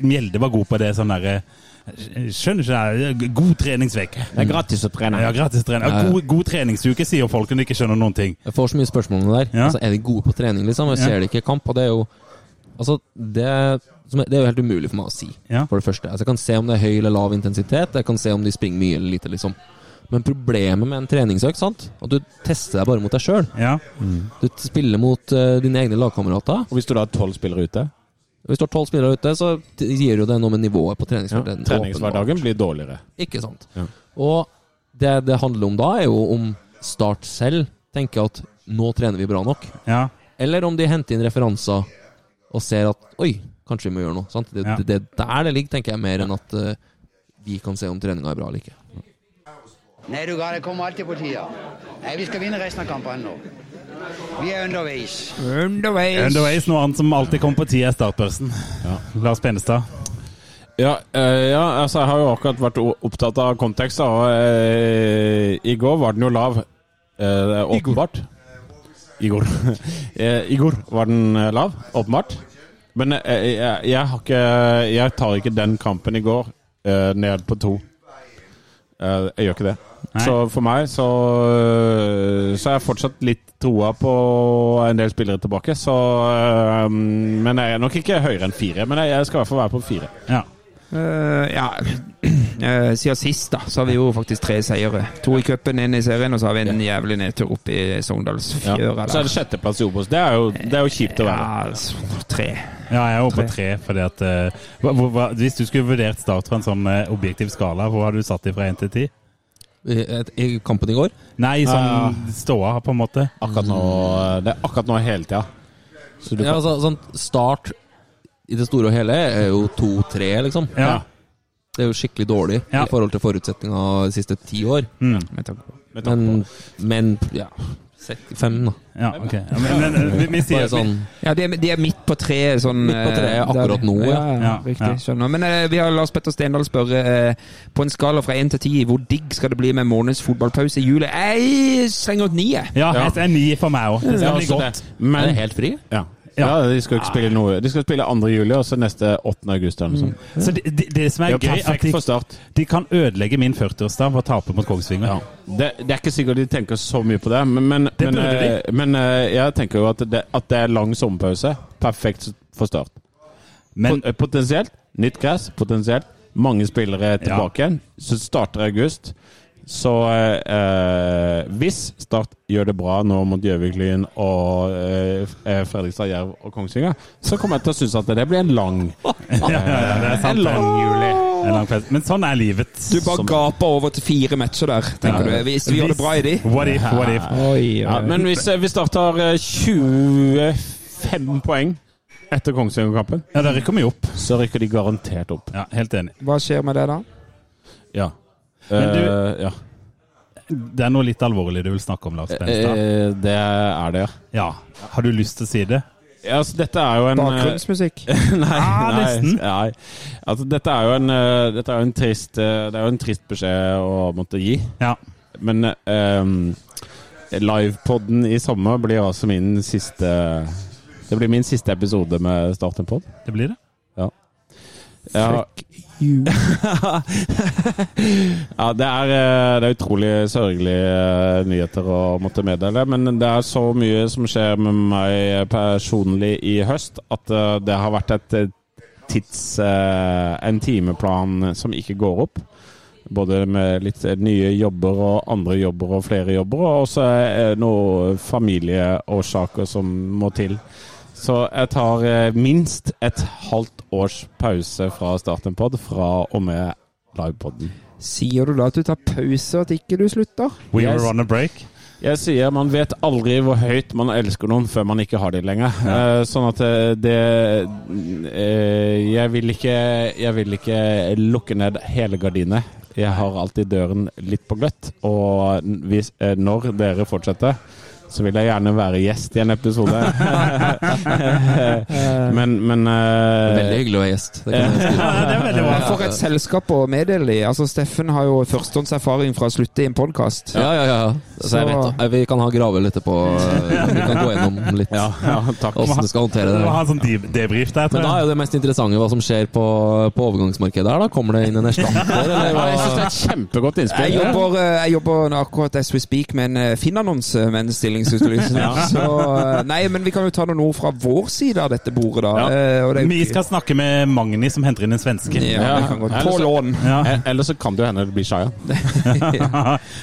Speaker 3: Mjelde var god på det sånn derre Skjønner ikke det her. God treningsveke.
Speaker 5: svare. Det er gratis å trene.
Speaker 3: Ja, gratis trening. Ja, god, god treningsuke, sier folk når de ikke skjønner noen ting.
Speaker 6: Jeg får så mye spørsmål om det der.
Speaker 3: Ja.
Speaker 6: Altså, er de gode på trening, liksom? Jeg
Speaker 3: Ja.
Speaker 6: ser det ikke i kamp, og det er jo Altså, det, som er- det er jo helt umulig for meg å si,
Speaker 3: Ja.
Speaker 6: for det første. Altså, jeg kan se om det er høy eller lav intensitet, jeg kan se om de springer mye eller lite, liksom. Men problemet med en treningsøkt, sant, at du tester deg bare mot deg sjøl.
Speaker 3: Ja.
Speaker 6: Du spiller mot eh, dine egne lagkamerater.
Speaker 5: Og hvis du da har tolv spillere ute,
Speaker 6: Hvis du har tolv spillere ute, så gir jo det noe med nivået på
Speaker 5: ja,
Speaker 6: treningshverdagen.
Speaker 5: treningshverdagen blir dårligere.
Speaker 6: Ikke sant.
Speaker 5: Ja.
Speaker 6: Og det det handler om da, er jo om Start selv tenker at nå trener vi bra nok.
Speaker 3: ja.
Speaker 6: Eller om de henter inn referanser og ser at Oi, kanskje vi må gjøre noe. Sant? Det,
Speaker 3: Ja.
Speaker 6: det, det er der det ligger, tenker jeg, mer enn at eh, vi kan se om treninga er bra eller ikke.
Speaker 7: Nei, du ga, det kommer alltid på tida. Nei, vi skal vinne resten av kampene nå. Vi er underveis.
Speaker 4: Underveis.
Speaker 3: Underways, noe annet som alltid kommer på tid, er startbørsen. Lars Penestad.
Speaker 5: Ja, eh, ja, altså jeg har jo akkurat vært o- opptatt av kontekst, da, og eh, i går var den jo lav. Eh, det er åpenbart. I går. Eh, I går var den eh, lav, åpenbart. Men eh, jeg, jeg, har ikke, jeg tar ikke den kampen i går eh, ned på to. Eh, jeg gjør ikke det.
Speaker 3: Nei.
Speaker 5: Så for meg så eh, Så er jeg fortsatt litt troa på en del spillere tilbake. Så eh, Men jeg er nok ikke høyere enn fire. Men jeg, jeg skal i hvert fall være på fire.
Speaker 3: Ja.
Speaker 4: Eh, ja Eh, Siden sist, da, så har vi jo faktisk tre seire. To i cupen, én i serien, og så har vi en jævlig nedtur opp i
Speaker 5: Ja.
Speaker 4: Sogndalsfjøra.
Speaker 5: Så er det sjetteplass i Obos. Det er jo, det er jo kjipt å være.
Speaker 4: Ja, altså, tre.
Speaker 3: ja, jeg er oppe på tre. Fordi at, eh, hva, hva, hva- hvis du skulle vurdert Start fra en sånn eh, objektiv skala, hvor hadde du satt dem fra én til ti?
Speaker 6: I, i kampen i går
Speaker 3: Nei,
Speaker 5: Ja,
Speaker 3: sånn ståa, på en måte.
Speaker 5: Akkurat nå, det er akkurat nå hele tida. Så du
Speaker 6: ja,
Speaker 5: kan
Speaker 6: altså, sånn Start i det store og hele er jo to-tre, liksom.
Speaker 3: Ja.
Speaker 6: Det er jo skikkelig dårlig
Speaker 3: Ja.
Speaker 6: i forhold til forutsetninga de siste ti år.
Speaker 4: Med tanke på-
Speaker 5: med tanke
Speaker 6: Men, men ja sek- Fem, da.
Speaker 3: ja ok. Ja, men, men, eh, vi, vi sier
Speaker 6: Bare sånn
Speaker 4: Ja, de er, de er Mm. midt på treet. Sånn,
Speaker 6: Midt på treet
Speaker 4: eh,
Speaker 6: akkurat nå, ja.
Speaker 4: ja.
Speaker 3: Ja,
Speaker 4: riktig,
Speaker 3: ja.
Speaker 4: skjønner. Men eh, vi har Lars Petter Stendal spørre eh, på en skala fra én til ti, hvor digg skal det bli med en måneds fotballpause i juli? Jeg slenger ut nier.
Speaker 3: Ja,
Speaker 5: Ja.
Speaker 3: det er ni for meg òg. Det
Speaker 5: Ja,
Speaker 3: skal bli
Speaker 5: også
Speaker 3: godt.
Speaker 5: det.
Speaker 6: Er det
Speaker 5: Men
Speaker 6: helt fri?
Speaker 5: ja. ja, de skal jo ikke spille noe. De skal spille 2. juli, og så neste 8. august eller noe sånt.
Speaker 3: Så Mm. det, det, det som
Speaker 5: Det er
Speaker 3: er
Speaker 5: jo
Speaker 3: gøy, at
Speaker 5: perfekt
Speaker 3: de,
Speaker 5: for start.
Speaker 3: de kan ødelegge min 40-årsdag ved å tape mot Kongsvinger.
Speaker 5: Ja. Det, det er ikke sikkert de tenker så mye på det, men, men,
Speaker 3: Det
Speaker 5: men,
Speaker 3: burde de.
Speaker 5: eh, men eh, jeg tenker jo at det, at det er lang sommerpause. Perfekt for start.
Speaker 3: Men
Speaker 5: Pot- eh, Potensielt nytt gress, potensielt mange spillere tilbake
Speaker 3: Ja.
Speaker 5: igjen. Så starter august. Så eh, eh, hvis Start gjør det bra nå mot Gjøvik Lyn og eh, eh, Fredrikstad Jerv og Kongsvinger, så kommer jeg til å synes at det blir en lang
Speaker 3: ja, ja, det er sant.
Speaker 5: En lang
Speaker 3: det.
Speaker 5: juli.
Speaker 3: En lang fest. Men sånn er livet.
Speaker 4: Du bare
Speaker 3: Som-
Speaker 4: gaper over til fire matcher der, tenker du. Hvis vi gjør det bra i de.
Speaker 3: What if, what if.
Speaker 5: Ja, men hvis eh, vi starter eh, 25 poeng etter Kongsvinger-kampen,
Speaker 3: Ja, da rykker vi opp.
Speaker 5: så rykker de garantert opp.
Speaker 3: Ja, helt enig.
Speaker 4: Hva skjer med det da?
Speaker 5: Ja.
Speaker 3: Men du-
Speaker 5: Eh, ja.
Speaker 3: Det er noe litt alvorlig du vil snakke om, Lars Benstad.
Speaker 5: Eh, det er det, ja.
Speaker 4: eh.
Speaker 3: Ja. Har du lyst til å si det?
Speaker 5: ja altså, dette er jo en eh,
Speaker 4: Bakgrunnsmusikk.
Speaker 5: Nei,
Speaker 3: Ah,
Speaker 5: nei,
Speaker 3: nesten.
Speaker 5: Nei. Altså, dette er jo en, eh, dette er jo en trist eh, Det er jo en trist beskjed å måtte gi.
Speaker 3: Ja.
Speaker 5: Men um, livepodden i sommer blir altså min siste Det blir min siste episode med Start en pod.
Speaker 3: Det blir det.
Speaker 5: Ja. ja, det er, eh, det er utrolig sørgelige eh, nyheter å måtte meddele. Men det er så mye som skjer med meg personlig i høst, at eh, det har vært et eh, tids... eh, En timeplan som ikke går opp. Både med litt eh, nye jobber og andre jobber og flere jobber, og også eh, noen familieårsaker som må til. Så jeg tar eh, minst et halvt års pause fra starten pod, fra og med livepodden.
Speaker 4: Sier du da at du tar pause, at ikke du slutter?
Speaker 3: We
Speaker 5: Yes.
Speaker 3: were on a break.
Speaker 5: Jeg sier man vet aldri hvor høyt man elsker noen før man ikke har de lenger. Eh, sånn at eh, det eh, jeg, vil ikke, jeg vil ikke lukke ned hele gardinet. Jeg har alltid døren litt på gløtt. Og hvis, eh, når dere fortsetter, så vil jeg gjerne være gjest i en episode. men, men eh,
Speaker 6: Veldig hyggelig å være gjest. Det kan jeg si.
Speaker 3: Ja, det er veldig bra.
Speaker 4: Men for et selskap å meddele i. Altså, Steffen har jo førstehåndserfaring fra å slutte i en podkast.
Speaker 6: Ja, ja, ja. Så jeg vet, eh, vi kan ha Gravel etterpå. eh, Vi kan gå gjennom litt
Speaker 5: ja, ja, takk.
Speaker 6: åssen du skal håndtere
Speaker 3: Det
Speaker 6: det.
Speaker 3: var en sånn de- debrief der, tror
Speaker 6: Men da er
Speaker 3: jeg.
Speaker 6: jo det mest interessante hva som skjer på, på overgangsmarkedet her. da. Kommer det inn en erstatter, eller
Speaker 5: Ja,
Speaker 6: hva?
Speaker 5: jeg syns det er et kjempegodt innspill.
Speaker 4: Jeg jobber, eh, jeg jobber nå akkurat as we speak med en eh, Finn-annonse med en stillingsutlysning. Så eh, Nei, men vi kan jo ta noen ord fra vår side av dette bordet, da.
Speaker 5: Ja.
Speaker 4: Eh, og det er jo
Speaker 3: Vi
Speaker 4: ikke-
Speaker 3: skal snakke med Magni, som henter inn en svenske.
Speaker 4: ja, det kan godt. På lån.
Speaker 5: Eh, Eller så kan det jo hende det blir Shaya.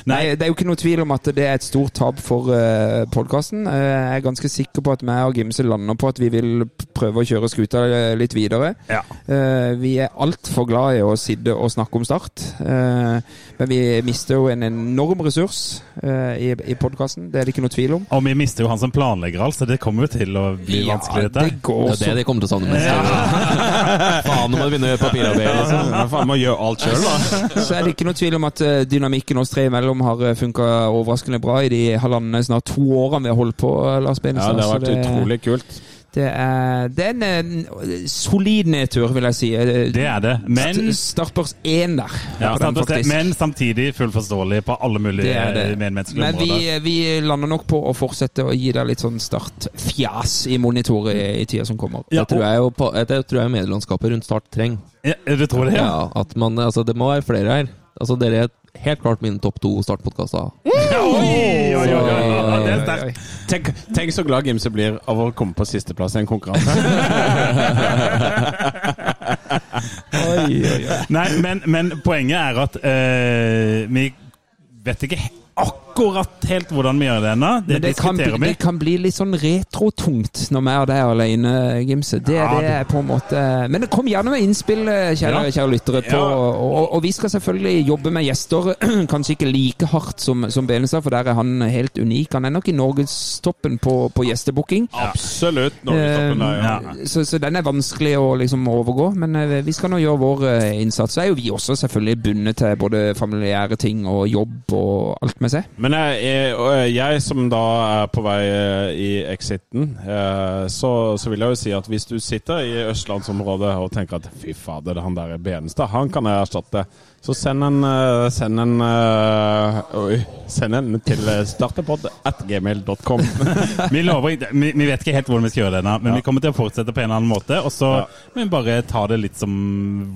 Speaker 4: Nei, det er jo ikke noe tvil om at det er et stort tap for uh, podkasten. jeg er ganske sikker på at meg og Gimse lander på at vi vil p- prøve å kjøre skuta eh, litt videre.
Speaker 3: Ja.
Speaker 4: Eh, vi er altfor glad i å sitte og snakke om Start. eh, men vi mister jo en enorm ressurs eh, i, i podkasten. Det er det ikke noe tvil om.
Speaker 3: Og vi mister jo han som planlegger alt, så det kommer jo til å bli vanskelig, dette.
Speaker 4: det går
Speaker 6: Det er
Speaker 4: så
Speaker 6: det de kommer til å savne mest. Faen, nå må du begynne å gjøre papirarbeid. Liksom.
Speaker 5: Ja, faen, må gjøre alt sjøl, da.
Speaker 4: Så er det ikke noe tvil om at eh, dynamikken oss tre imellom har funka overraskende bra i de halvannen, snart to årene vi har holdt på. eh, Lars
Speaker 5: Ja,
Speaker 4: Benestad.
Speaker 5: det
Speaker 4: Så
Speaker 5: har vært utrolig kult.
Speaker 4: Det er, det er en, eh, solid nedtur, vil jeg si. Eh,
Speaker 3: Det er det. Men,
Speaker 4: St- Startbørs 1 der.
Speaker 3: ja,
Speaker 4: på den,
Speaker 3: sant å si,
Speaker 4: faktisk.
Speaker 3: men samtidig fullt forståelig på alle
Speaker 4: det
Speaker 3: mulige
Speaker 4: er det.
Speaker 3: eh, medmenneskelige
Speaker 4: Men vi,
Speaker 3: områder.
Speaker 4: eh, vi lander nok på å fortsette å gi deg litt sånn startfjas i monitoret i, i tida som kommer.
Speaker 3: Ja,
Speaker 6: Det tror jeg jo på- det tror jeg medielandskapet rundt Start trenger.
Speaker 3: Ja, du tror det? Ja.
Speaker 6: Ja, at man, altså, det må være flere her. Altså, dere er helt klart mine topp to startpodkaster.
Speaker 3: Oi, oi, oi, oi, oi. Det er sterkt.
Speaker 5: Tenk, tenk så glad Gimse blir av å komme på sisteplass i en konkurranse.
Speaker 3: Nei, men, men poenget er at eh, vi vet ikke he- akkurat helt hvordan vi gjør det ennå. Det,
Speaker 4: Men det kan, bli-
Speaker 3: diskuterer vi.
Speaker 4: det kan bli litt sånn retrotungt når vi er der alene, Gimse. Det,
Speaker 3: Ja,
Speaker 4: det er på en måte Men kom gjerne med innspill, eh, kjære,
Speaker 3: Ja.
Speaker 4: kjære lyttere. På,
Speaker 3: Ja.
Speaker 4: og, og, og vi skal selvfølgelig jobbe med gjester, kanskje ikke like hardt som, som Benestad, for der er han helt unik. Han er nok i norgestoppen på, på gjestebooking. Eh,
Speaker 5: Absolutt. Eh,
Speaker 3: ja.
Speaker 4: Så, så den er vanskelig å liksom overgå, men eh, vi skal nå gjøre vår eh, innsats. Så er jo vi også selvfølgelig bundet til både familiære ting og jobb og alt med seg.
Speaker 5: Men jeg, jeg, og jeg som da er på vei eh, i exiten, eh, så, så vil jeg jo si at hvis du sitter i østlandsområdet og tenker at fy fader, han der er Benestad, han kan jeg erstatte, så send en, eh, send en, eh, oi, send en til eh, startepod at gmail.com.
Speaker 3: Vi, lover, ikke- vi, vi vet ikke helt hvordan vi skal gjøre det ennå, men vi kommer til å fortsette på en eller annen måte. Og så må vi bare ta det litt som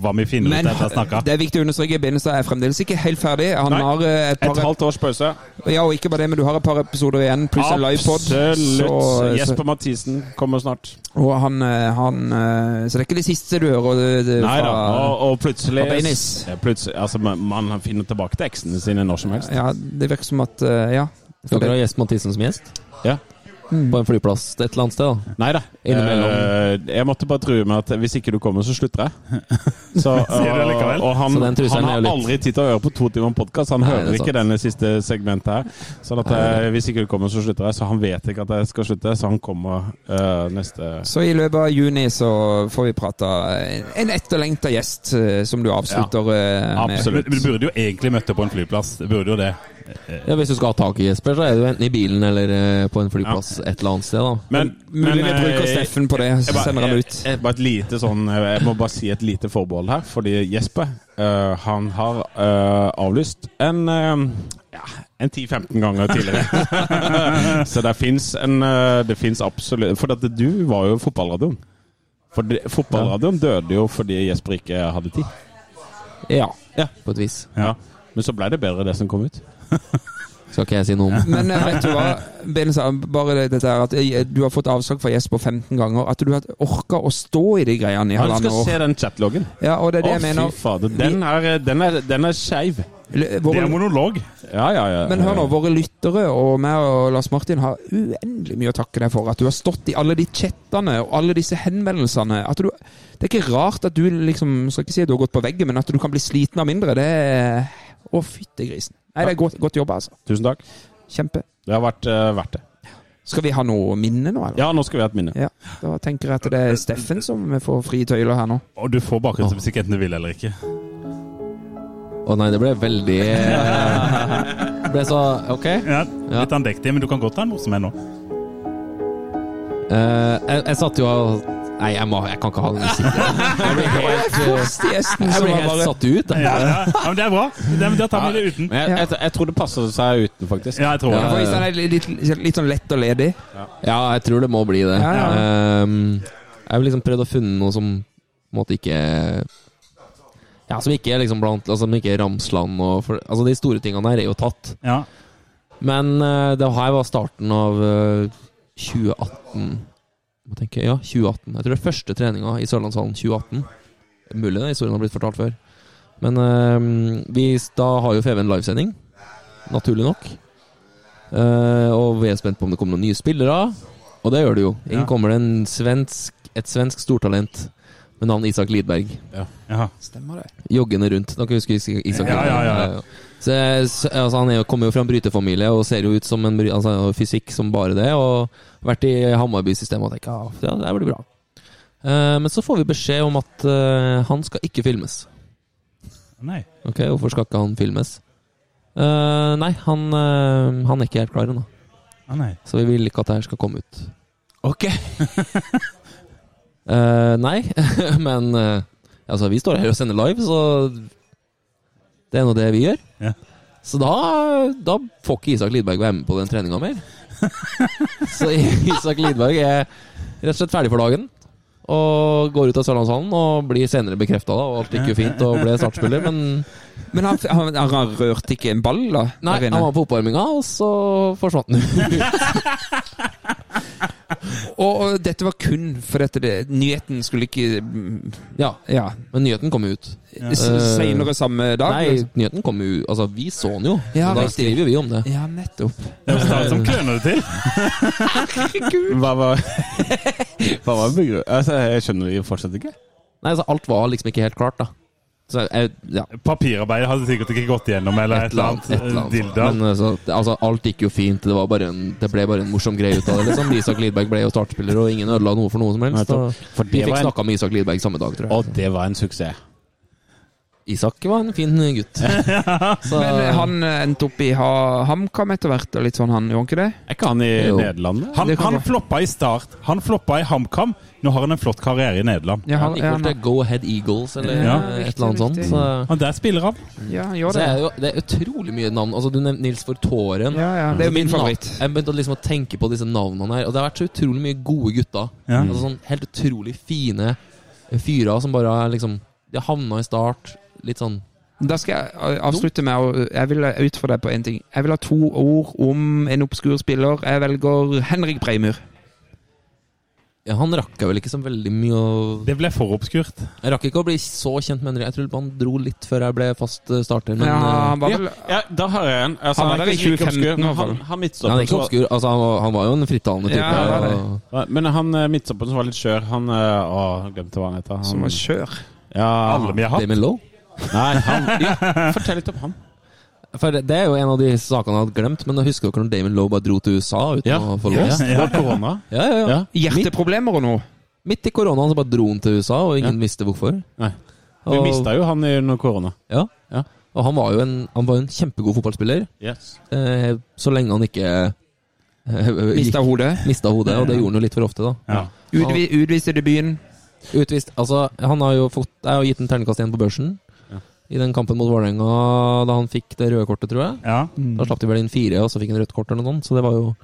Speaker 3: hva vi finner
Speaker 4: Men
Speaker 3: ut etter å ha snakka.
Speaker 4: det er viktig å understreke Benestad er fremdeles ikke helt ferdig. Han
Speaker 5: Nei.
Speaker 4: har eh, et
Speaker 5: Et
Speaker 4: par
Speaker 5: halvt års pause.
Speaker 4: Ja, og ikke bare det, men du har et par episoder igjen, pluss en livepod.
Speaker 5: Absolutt.
Speaker 4: Så- så-
Speaker 5: Jesper Mathisen kommer snart.
Speaker 4: Og han, eh, han eh, Så det er ikke det siste du hører? eh, det-
Speaker 5: Nei da. Og,
Speaker 4: fra-
Speaker 5: og plutselig,
Speaker 4: fra Bainis.
Speaker 5: Ja, plutselig altså, man- Man finner tilbake tekstene sine når som helst.
Speaker 4: Ja, det virker som at eh, Ja. For
Speaker 6: Skal dere
Speaker 4: det,
Speaker 6: ha Gjest Mathisen som gjest?
Speaker 5: Ja.
Speaker 6: på en flyplass et eller annet sted. da.
Speaker 5: Nei da.
Speaker 6: Innimellom.
Speaker 5: Eh, jeg måtte bare true med at hvis ikke du kommer, så slutter jeg. Så, eh,
Speaker 3: Sier du likevel?
Speaker 5: og han,
Speaker 6: Så den trusselen
Speaker 5: han
Speaker 6: er jo
Speaker 5: har
Speaker 6: litt-
Speaker 5: aldri tid til å høre på to timer podkast. Han
Speaker 6: Nei, det
Speaker 5: hører
Speaker 6: er
Speaker 5: ikke
Speaker 6: sant.
Speaker 5: denne siste segmentet her. Sånn at eh, hvis ikke du kommer, så slutter jeg. Så han vet ikke at jeg skal slutte, så han kommer eh, neste
Speaker 4: Så i løpet av juni så får vi prata en etterlengta gjest eh, som du avslutter eh, med.
Speaker 5: absolutt.
Speaker 3: Men men du burde jo egentlig møtt opp på en flyplass. Du burde jo det.
Speaker 6: Ja, Hvis du skal ha tak i Jesper, så er du enten i bilen eller eh, på en flyplass et eller annet sted. da.
Speaker 5: Men,
Speaker 4: Mulig vi bruker
Speaker 5: eh,
Speaker 4: Steffen på det,
Speaker 5: Jeg
Speaker 4: så
Speaker 5: bare-
Speaker 4: sender han ut.
Speaker 5: Jeg, jeg, bare et lite sånn, eh, jeg må bare si et lite forbehold her, fordi Jesper eh, han har eh, avlyst en eh, ja, en 10-15 ganger tidligere. Så det fins en eh, Det fins absolutt For at du var jo fotballradioen. For det, fotballradioen døde jo fordi Jesper ikke hadde tid.
Speaker 4: Ja.
Speaker 6: På et vis.
Speaker 5: Men så ble det bedre, det som kom ut.
Speaker 6: Skal ikke jeg si noe om.
Speaker 4: Men eh, vet du hva, Ben sa bare det- dette her at eh, du har fått avslag fra Jesper 15 ganger. At du har orka å stå i de greiene i
Speaker 5: Ja, du
Speaker 4: halvannet
Speaker 5: skal
Speaker 4: år.
Speaker 5: se den chatloggen.
Speaker 4: Ja, og det er det jeg
Speaker 5: Å, fy
Speaker 4: mener.
Speaker 5: fader. Den er, den er, den er skeiv.
Speaker 4: L-
Speaker 3: Det
Speaker 4: Våre,
Speaker 3: er monolog.
Speaker 5: Ja, ja, ja.
Speaker 4: men hør nå, våre lyttere og meg og Lars Martin har uendelig mye å takke deg for. At du har stått i alle de chattene og alle disse henvendelsene. At du, det er ikke rart at du liksom Skal ikke si at du har gått på veggen, men at du kan bli sliten av mindre, det er Å, fytti grisen. Nei, det er godt, godt jobba, altså.
Speaker 5: Tusen takk.
Speaker 4: Kjempe.
Speaker 5: Det har vært eh, verdt det.
Speaker 4: Skal vi ha noe minne nå, eller?
Speaker 5: Ja, nå skal vi ha et minne.
Speaker 4: Ja, Da tenker jeg at det er Steffen som får frie tøyler her nå.
Speaker 3: Og du får bakgrunnsmusikk enten du vil eller ikke.
Speaker 6: Å nei, det ble veldig Det ble så Ok. Eh,
Speaker 3: Ja,
Speaker 6: Ja.
Speaker 3: Litt andektig, men du kan godt ta en morsom en nå.
Speaker 6: Eh, jeg, jeg satt jo og Nei, jeg, må, jeg kan ikke ha den musikken. Jeg blir helt, eh,
Speaker 4: Første gjesten
Speaker 6: jeg
Speaker 4: som
Speaker 6: blir
Speaker 4: har
Speaker 6: helt
Speaker 4: bare
Speaker 6: satt ut. jeg.
Speaker 3: Ja, ja. ja, men Det er bra. Det, men Da tar vi det uten.
Speaker 5: Men jeg, jeg, jeg tror det passer seg uten, faktisk.
Speaker 3: Ja, jeg tror
Speaker 4: Ja, for
Speaker 3: det.
Speaker 4: hvis han er litt, litt, litt sånn lett og ledig.
Speaker 6: Ja, jeg tror det må bli det.
Speaker 4: Ja, ja.
Speaker 6: Ehm, jeg har liksom prøvd å finne noe som på en måte ikke Ja, som ikke er liksom blant Altså som ikke er Ramsland og for, Altså de store tingene her er jo tatt.
Speaker 3: Ja.
Speaker 6: Men eh, det her var starten av eh, 2018. Må tenke, ja, 2018. Jeg tror det er første treninga i Sørlandshallen 2018. Mulig den historien har blitt fortalt før. Men eh, vi, da har jo FV en livesending, naturlig nok. Eh, og vi er spent på om det kommer noen nye spillere. Og det gjør det jo. Inn
Speaker 3: Ja.
Speaker 6: kommer det en svensk, et svensk stortalent med navn Isak Lidberg
Speaker 3: Ja.
Speaker 4: Stemmer det.
Speaker 6: joggende rundt. Dere husker Isak Isak?
Speaker 3: Ja, ja, ja, ja.
Speaker 6: Så, så, altså, han er jo- kommer jo fra en brytefamilie og ser jo ut som en bry- altså, han har fysikk som bare det. Og vært i Hamarby-systemet og tenker ja, ja, det her blir bra. Eh, men så får vi beskjed om at eh, han skal ikke filmes.
Speaker 3: Nei.
Speaker 6: Ok, Hvorfor skal ikke han filmes? Eh, nei, han, eh, han er ikke helt klar ennå.
Speaker 3: Ja, nei.
Speaker 6: Så vi vil ikke at det her skal komme ut.
Speaker 4: Ok.
Speaker 6: Eh, nei, men eh, altså, vi står her og sender live, så det er nå det vi gjør.
Speaker 3: Ja.
Speaker 6: Så da, da får ikke Isak Lidberg være med på den treninga mer. så Isak Lidberg er rett og slett ferdig for dagen. Og går ut av Sørlandshallen og blir senere bekrefta, og alt gikk jo fint og ble startspiller, men
Speaker 4: Men han, han, han rørte ikke en ball, da?
Speaker 6: Nei,
Speaker 4: der inne?
Speaker 6: han var på oppvarminga, og så forsvant han.
Speaker 4: og, og dette var kun fordi at det- nyheten skulle ikke mm,
Speaker 6: ja,
Speaker 4: Ja.
Speaker 6: men nyheten kom jo ut.
Speaker 4: S- Senere samme dag?
Speaker 6: Eh, Nei,
Speaker 4: liksom.
Speaker 6: nyheten kom jo Altså, vi så den jo,
Speaker 4: Ja,
Speaker 6: og da
Speaker 4: riktig.
Speaker 6: skriver vi om det.
Speaker 4: Ja, nettopp.
Speaker 3: Det er Stahl som kløner det til.
Speaker 5: Hva var, hva var begru- altså, Jeg skjønner det fortsatt ikke.
Speaker 6: Nei, altså alt var liksom ikke helt klart da Så jeg, ja
Speaker 3: Papirarbeidet hadde sikkert ikke gått gjennom, eller et eller annet. eh, Dilda.
Speaker 6: Men altså, det- altså, alt gikk jo fint Det, var bare en, det ble bare en morsom greie ut av det liksom. Isak Lidberg ble jo startspiller Og ingen ødela noe for noe som helst
Speaker 5: Nettopp.
Speaker 6: og
Speaker 5: For
Speaker 6: Vi
Speaker 5: det
Speaker 6: fikk
Speaker 5: var en,
Speaker 6: snakket med Isak Lidberg samme dag, tror jeg
Speaker 5: og det var en suksess.
Speaker 6: Isak var en fin gutt Så
Speaker 4: Men eh, han eh, endte opp i ha, HamKam etter hvert, og litt sånn, han gjorde ikke det?
Speaker 5: Er ikke han i
Speaker 6: Jo.
Speaker 5: Nederland? da?
Speaker 3: Han,
Speaker 4: Det kan
Speaker 3: han
Speaker 4: gå.
Speaker 3: floppa i start. Han floppa i HamKam. Nå har han en flott karriere i Nederland.
Speaker 4: Ja,
Speaker 6: han
Speaker 4: han,
Speaker 6: gikk
Speaker 4: ja,
Speaker 6: vel til
Speaker 4: han,
Speaker 6: Go Ahead Eagles Eller
Speaker 4: Ja,
Speaker 6: eh, et
Speaker 4: riktig,
Speaker 6: eller annet sånt
Speaker 4: riktig.
Speaker 6: så,
Speaker 3: Han der spiller han.
Speaker 4: ja, han
Speaker 6: så
Speaker 4: gjorde det.
Speaker 6: er det, jo, det er utrolig mye navn Altså du nevnte Nils Fortåren
Speaker 4: Ja, ja. Det er jo min
Speaker 6: Navn-
Speaker 4: favoritt.
Speaker 6: Jeg begynte å liksom å tenke på disse navnene her, og det har vært så utrolig mye gode gutter.
Speaker 3: Ja.
Speaker 6: Altså sånn Helt utrolig fine fyrer som bare er liksom De havna i start. Litt sånn
Speaker 4: Da skal jeg eh, avslutte med å Jeg vil utfordre deg på én ting. Jeg vil ha to ord om en obskur spiller. Jeg velger Henrik Breimur.
Speaker 6: Ja, han rakk jeg vel ikke så veldig mye å
Speaker 3: Det ble for obskurt.
Speaker 6: Jeg rakk ikke å bli så kjent med Henry. Jeg tror han dro litt før jeg ble fast eh, starter. Men
Speaker 4: Ja,
Speaker 6: eh,
Speaker 4: han var vel
Speaker 5: Ja, da har jeg en. Altså,
Speaker 4: Han
Speaker 5: han,
Speaker 4: var
Speaker 5: er
Speaker 4: der i
Speaker 5: ikke
Speaker 4: 2015
Speaker 5: like obskur, men
Speaker 4: i hvert
Speaker 5: han,
Speaker 4: fall.
Speaker 6: ja,
Speaker 5: han
Speaker 6: han er ikke
Speaker 5: midtstopperen som
Speaker 6: obskur. Altså, han, var, han var jo en frittalende type.
Speaker 4: Ja, han var det.
Speaker 6: og-
Speaker 5: var- Men han eh, midtstopperen som var litt skjør, han eh, Å, jeg glemte hva han heter. Han,
Speaker 4: som var skjør.
Speaker 5: ja,
Speaker 3: Alle vi har hatt.
Speaker 6: Damien Lowe.
Speaker 5: Nei, han, ja, fortell litt om han.
Speaker 6: For det det er jo en av de sakene jeg hadde glemt. Men jeg husker dere når Damien Lowe bare dro til USA uten
Speaker 5: Ja.
Speaker 6: å få lås?
Speaker 5: Det var korona.
Speaker 6: Ja, ja, ja.
Speaker 5: Ja.
Speaker 4: Hjerteproblemer og noe.
Speaker 6: Midt i koronaen så bare dro han til USA, og ingen visste hvorfor.
Speaker 5: Nei. Vi
Speaker 6: Og-
Speaker 5: mista jo han under korona.
Speaker 6: Ja.
Speaker 5: Ja.
Speaker 6: Og han var jo en, han var jo en kjempegod fotballspiller,
Speaker 5: Yes.
Speaker 6: eh, så lenge han ikke eh,
Speaker 4: Mista hodet.
Speaker 6: gikk- mista hodet, og det gjorde han jo litt for ofte, da.
Speaker 4: Utvi, utviste debuten.
Speaker 6: Utvist. Altså, han har jo fått Jeg har gitt en terningkast igjen på børsen. I den kampen mot Vålerenga da han fikk det røde kortet, tror jeg.
Speaker 3: Ja.
Speaker 6: Da slapp de vel inn fire, og så fikk han rødt kort eller noe sånt. Så det var jo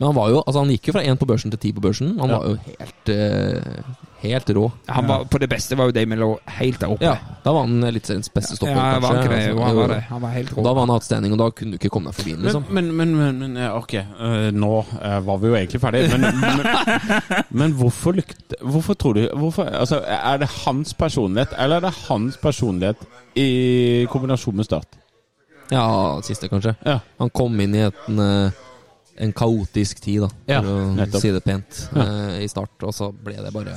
Speaker 6: Men han var jo Altså, han gikk jo fra én på børsen til ti på børsen. Han var jo helt eh, Helt rå.
Speaker 4: Han var, på det beste var jo Damien Lowe helt der oppe.
Speaker 6: Ja, da var han Eliteseriens beste stopper,
Speaker 4: Ja, var han ikke det?
Speaker 6: Altså,
Speaker 4: Jo, han var
Speaker 6: jo.
Speaker 4: det. Han var helt
Speaker 6: Og da
Speaker 4: rå.
Speaker 6: var han outstanding, og da kunne du ikke komme deg forbi den,
Speaker 5: Men,
Speaker 6: liksom.
Speaker 5: men, men, men, men eh, ok, eh, nå eh, var vi jo egentlig ferdig, men, men, men hvorfor lykte Hvorfor tror du hvorfor, altså, Er det hans personlighet, eller er det hans personlighet i kombinasjon med Start?
Speaker 6: Ja, siste, kanskje.
Speaker 5: Ja.
Speaker 6: Han kom inn i et, en, eh, en kaotisk tid, da,
Speaker 5: Ja,
Speaker 6: for å
Speaker 5: nettopp.
Speaker 6: si det pent, eh, i start. Og så ble det bare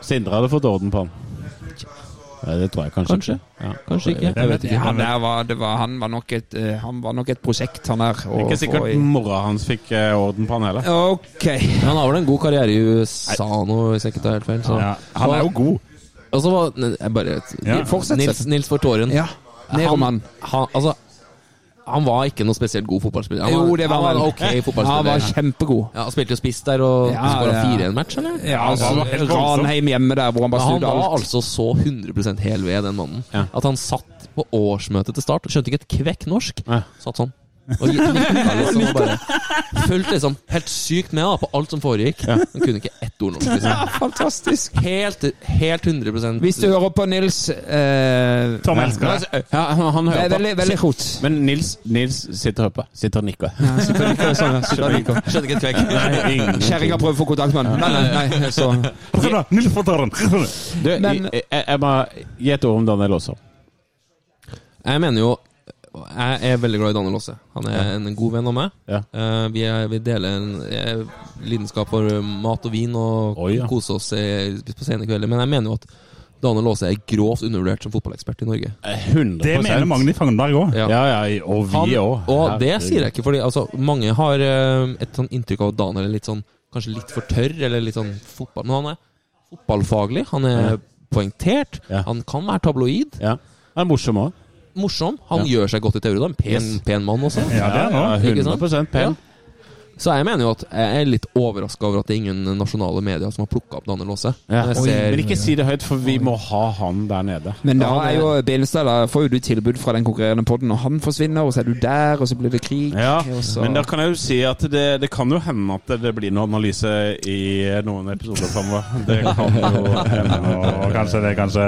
Speaker 5: Sindre hadde fått orden på han. Ja, det tror jeg kanskje.
Speaker 6: Kanskje.
Speaker 5: Ja.
Speaker 6: Kanskje ikke.
Speaker 3: Jeg vet
Speaker 4: Ja,
Speaker 3: ikke.
Speaker 4: han, der var, det var, han, var nok et, eh, han var nok et prosjekt, han der.
Speaker 5: Det er ikke sikkert mora hans fikk eh, orden på han heller.
Speaker 4: Ok.
Speaker 6: Men han har vel en god karriere i USA nå, hvis jeg ikke tar helt feil. Så.
Speaker 3: Ja. Han er jo god.
Speaker 6: Og så var ne, jeg bare
Speaker 3: Ja.
Speaker 4: Fortsett,
Speaker 6: Nils, Nils Fortåren.
Speaker 4: Ja. Neroman.
Speaker 6: Han, altså, han var ikke noe spesielt god fotballspiller. Han
Speaker 4: Jo, det var
Speaker 6: han.
Speaker 4: han.
Speaker 6: var en ok
Speaker 4: Han
Speaker 6: fotballspiller.
Speaker 4: var kjempegod.
Speaker 6: Ja, han spilte jo spiss der og
Speaker 4: Ja,
Speaker 6: skåra
Speaker 4: ja.
Speaker 6: fire i en match, eller?
Speaker 4: Ja, altså,
Speaker 3: var helt voldsom.
Speaker 4: Ranheim hjemme der, hvor han bare
Speaker 6: Men han
Speaker 4: snudde
Speaker 6: var
Speaker 4: alt.
Speaker 6: altså så 100 hel ved, den mannen.
Speaker 5: Ja.
Speaker 6: At han satt på årsmøtet til Start, skjønte ikke et kvekk norsk.
Speaker 5: Nei.
Speaker 6: Satt sånn. Og gi- nikka liksom, og bare fulgte liksom helt sykt med da på alt som foregikk. Han kunne ikke ett ord norsk. Liksom.
Speaker 4: Ja, fantastisk.
Speaker 6: Helt, helt 100
Speaker 4: Hvis du hører på Nils eh,
Speaker 3: Tom elsker det.
Speaker 5: altså, Ja, han, han
Speaker 4: Det er
Speaker 5: hører på.
Speaker 4: veldig, veldig rot.
Speaker 5: Men Nils, Nils sitter og hører på. Sitter og nikker.
Speaker 6: Skjønte ikke et kvekk.
Speaker 5: Nei, ingen-
Speaker 4: Kjerringa prøver å få kontakt med han. Nei, nei, nei, så
Speaker 3: Nils Fortåren.
Speaker 5: Du,
Speaker 4: Men-
Speaker 5: jeg, jeg, jeg må gi et ord om Daniel også.
Speaker 6: Jeg mener jo Jeg er veldig glad i Daniel Aase. Han er en god venn av meg.
Speaker 5: Ja.
Speaker 6: Eh, vi, er, vi deler en eh, lidenskap for eh, mat og vin og
Speaker 5: Oi, ja.
Speaker 6: koser oss eh, på sene kvelder. Men jeg mener jo at Daniel Aase er grovt undervurdert som fotballekspert i Norge.
Speaker 5: 100
Speaker 3: Det mener Magni Fagnberg òg.
Speaker 5: Ja, ja, og
Speaker 6: Han,
Speaker 5: vi òg.
Speaker 6: og det sier jeg ikke, fordi altså, mange har eh, et sånn inntrykk av at Daniel er litt sånn Kanskje litt for tørr, eller litt sånn fotball... Men han er fotballfaglig. Han er poengtert.
Speaker 5: Ja.
Speaker 6: Han kan være tabloid.
Speaker 5: Ja. Han er morsom òg.
Speaker 6: Morsom. Han gjør seg godt i teori. da. En pen,
Speaker 5: Yes.
Speaker 6: pen mann også.
Speaker 3: Ja, det er han også.
Speaker 6: Ikke sant?
Speaker 5: 100 pen.
Speaker 6: Så jeg mener jo at jeg er litt overraska over at det er ingen nasjonale medier som har plukka opp Daniel Aase.
Speaker 5: Ja.
Speaker 6: Jeg
Speaker 5: Oi,
Speaker 6: ser-
Speaker 5: Men ikke si det høyt, for vi må ha han der nede.
Speaker 4: Men da er jo Benestad Da får jo du tilbud fra den konkurrerende podden, og han forsvinner, og så er du der, og så blir det krig.
Speaker 5: Ja,
Speaker 4: og så...
Speaker 5: Men da kan jeg jo si at det, det kan jo hende at det blir noe analyse i noen episoder framover. Det kan jo
Speaker 3: Og kanskje det, kanskje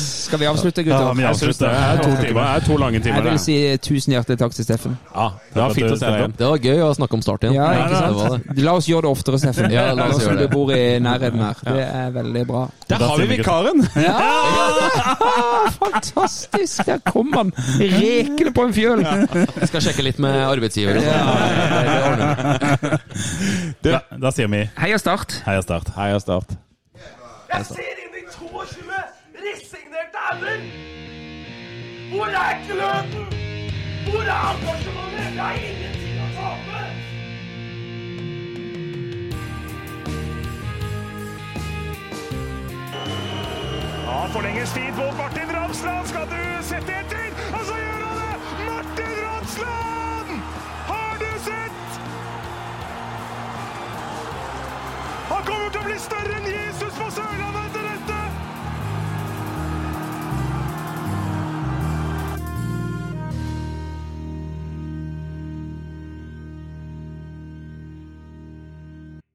Speaker 4: Skal vi
Speaker 3: Ja,
Speaker 4: avslutte, gutter?
Speaker 3: men jeg
Speaker 5: Jeg synes det er to timer. Det er to lange
Speaker 4: Jeg
Speaker 5: timer.
Speaker 4: vil
Speaker 5: Det.
Speaker 4: si tusen hjertelig takk til Steffen.
Speaker 5: Ja, det var fint å se deg igjen.
Speaker 6: Det var gøy å snakke om Start igjen.
Speaker 4: Ja, ikke
Speaker 6: Det var
Speaker 4: sant?
Speaker 6: det.
Speaker 4: La oss gjøre det oftere, Steffen.
Speaker 6: Ja, la oss
Speaker 4: Nå som
Speaker 6: gjøre det.
Speaker 4: Du bor i nærheten her. Det er veldig bra.
Speaker 5: Der har vi vikaren!
Speaker 4: Fantastisk! Der kom han rekende på en fjøl.
Speaker 6: Jeg skal sjekke litt med arbeidsgiver. og sånt. Det ordner vi.
Speaker 3: Da, da sier vi
Speaker 4: Heia Start.
Speaker 3: heia Start.
Speaker 5: Heia Start.
Speaker 1: Jeg ser inn i 22 resignerte ender! Hvor er gløden? Hvor er engasjementet? Jeg har ingenting å tape!
Speaker 2: Ja, forlenges tid på Martin Ramsland. Skal du sette etter? Og så gjør han det! Martin Ramsland! Har du sett? Han kommer til å bli større enn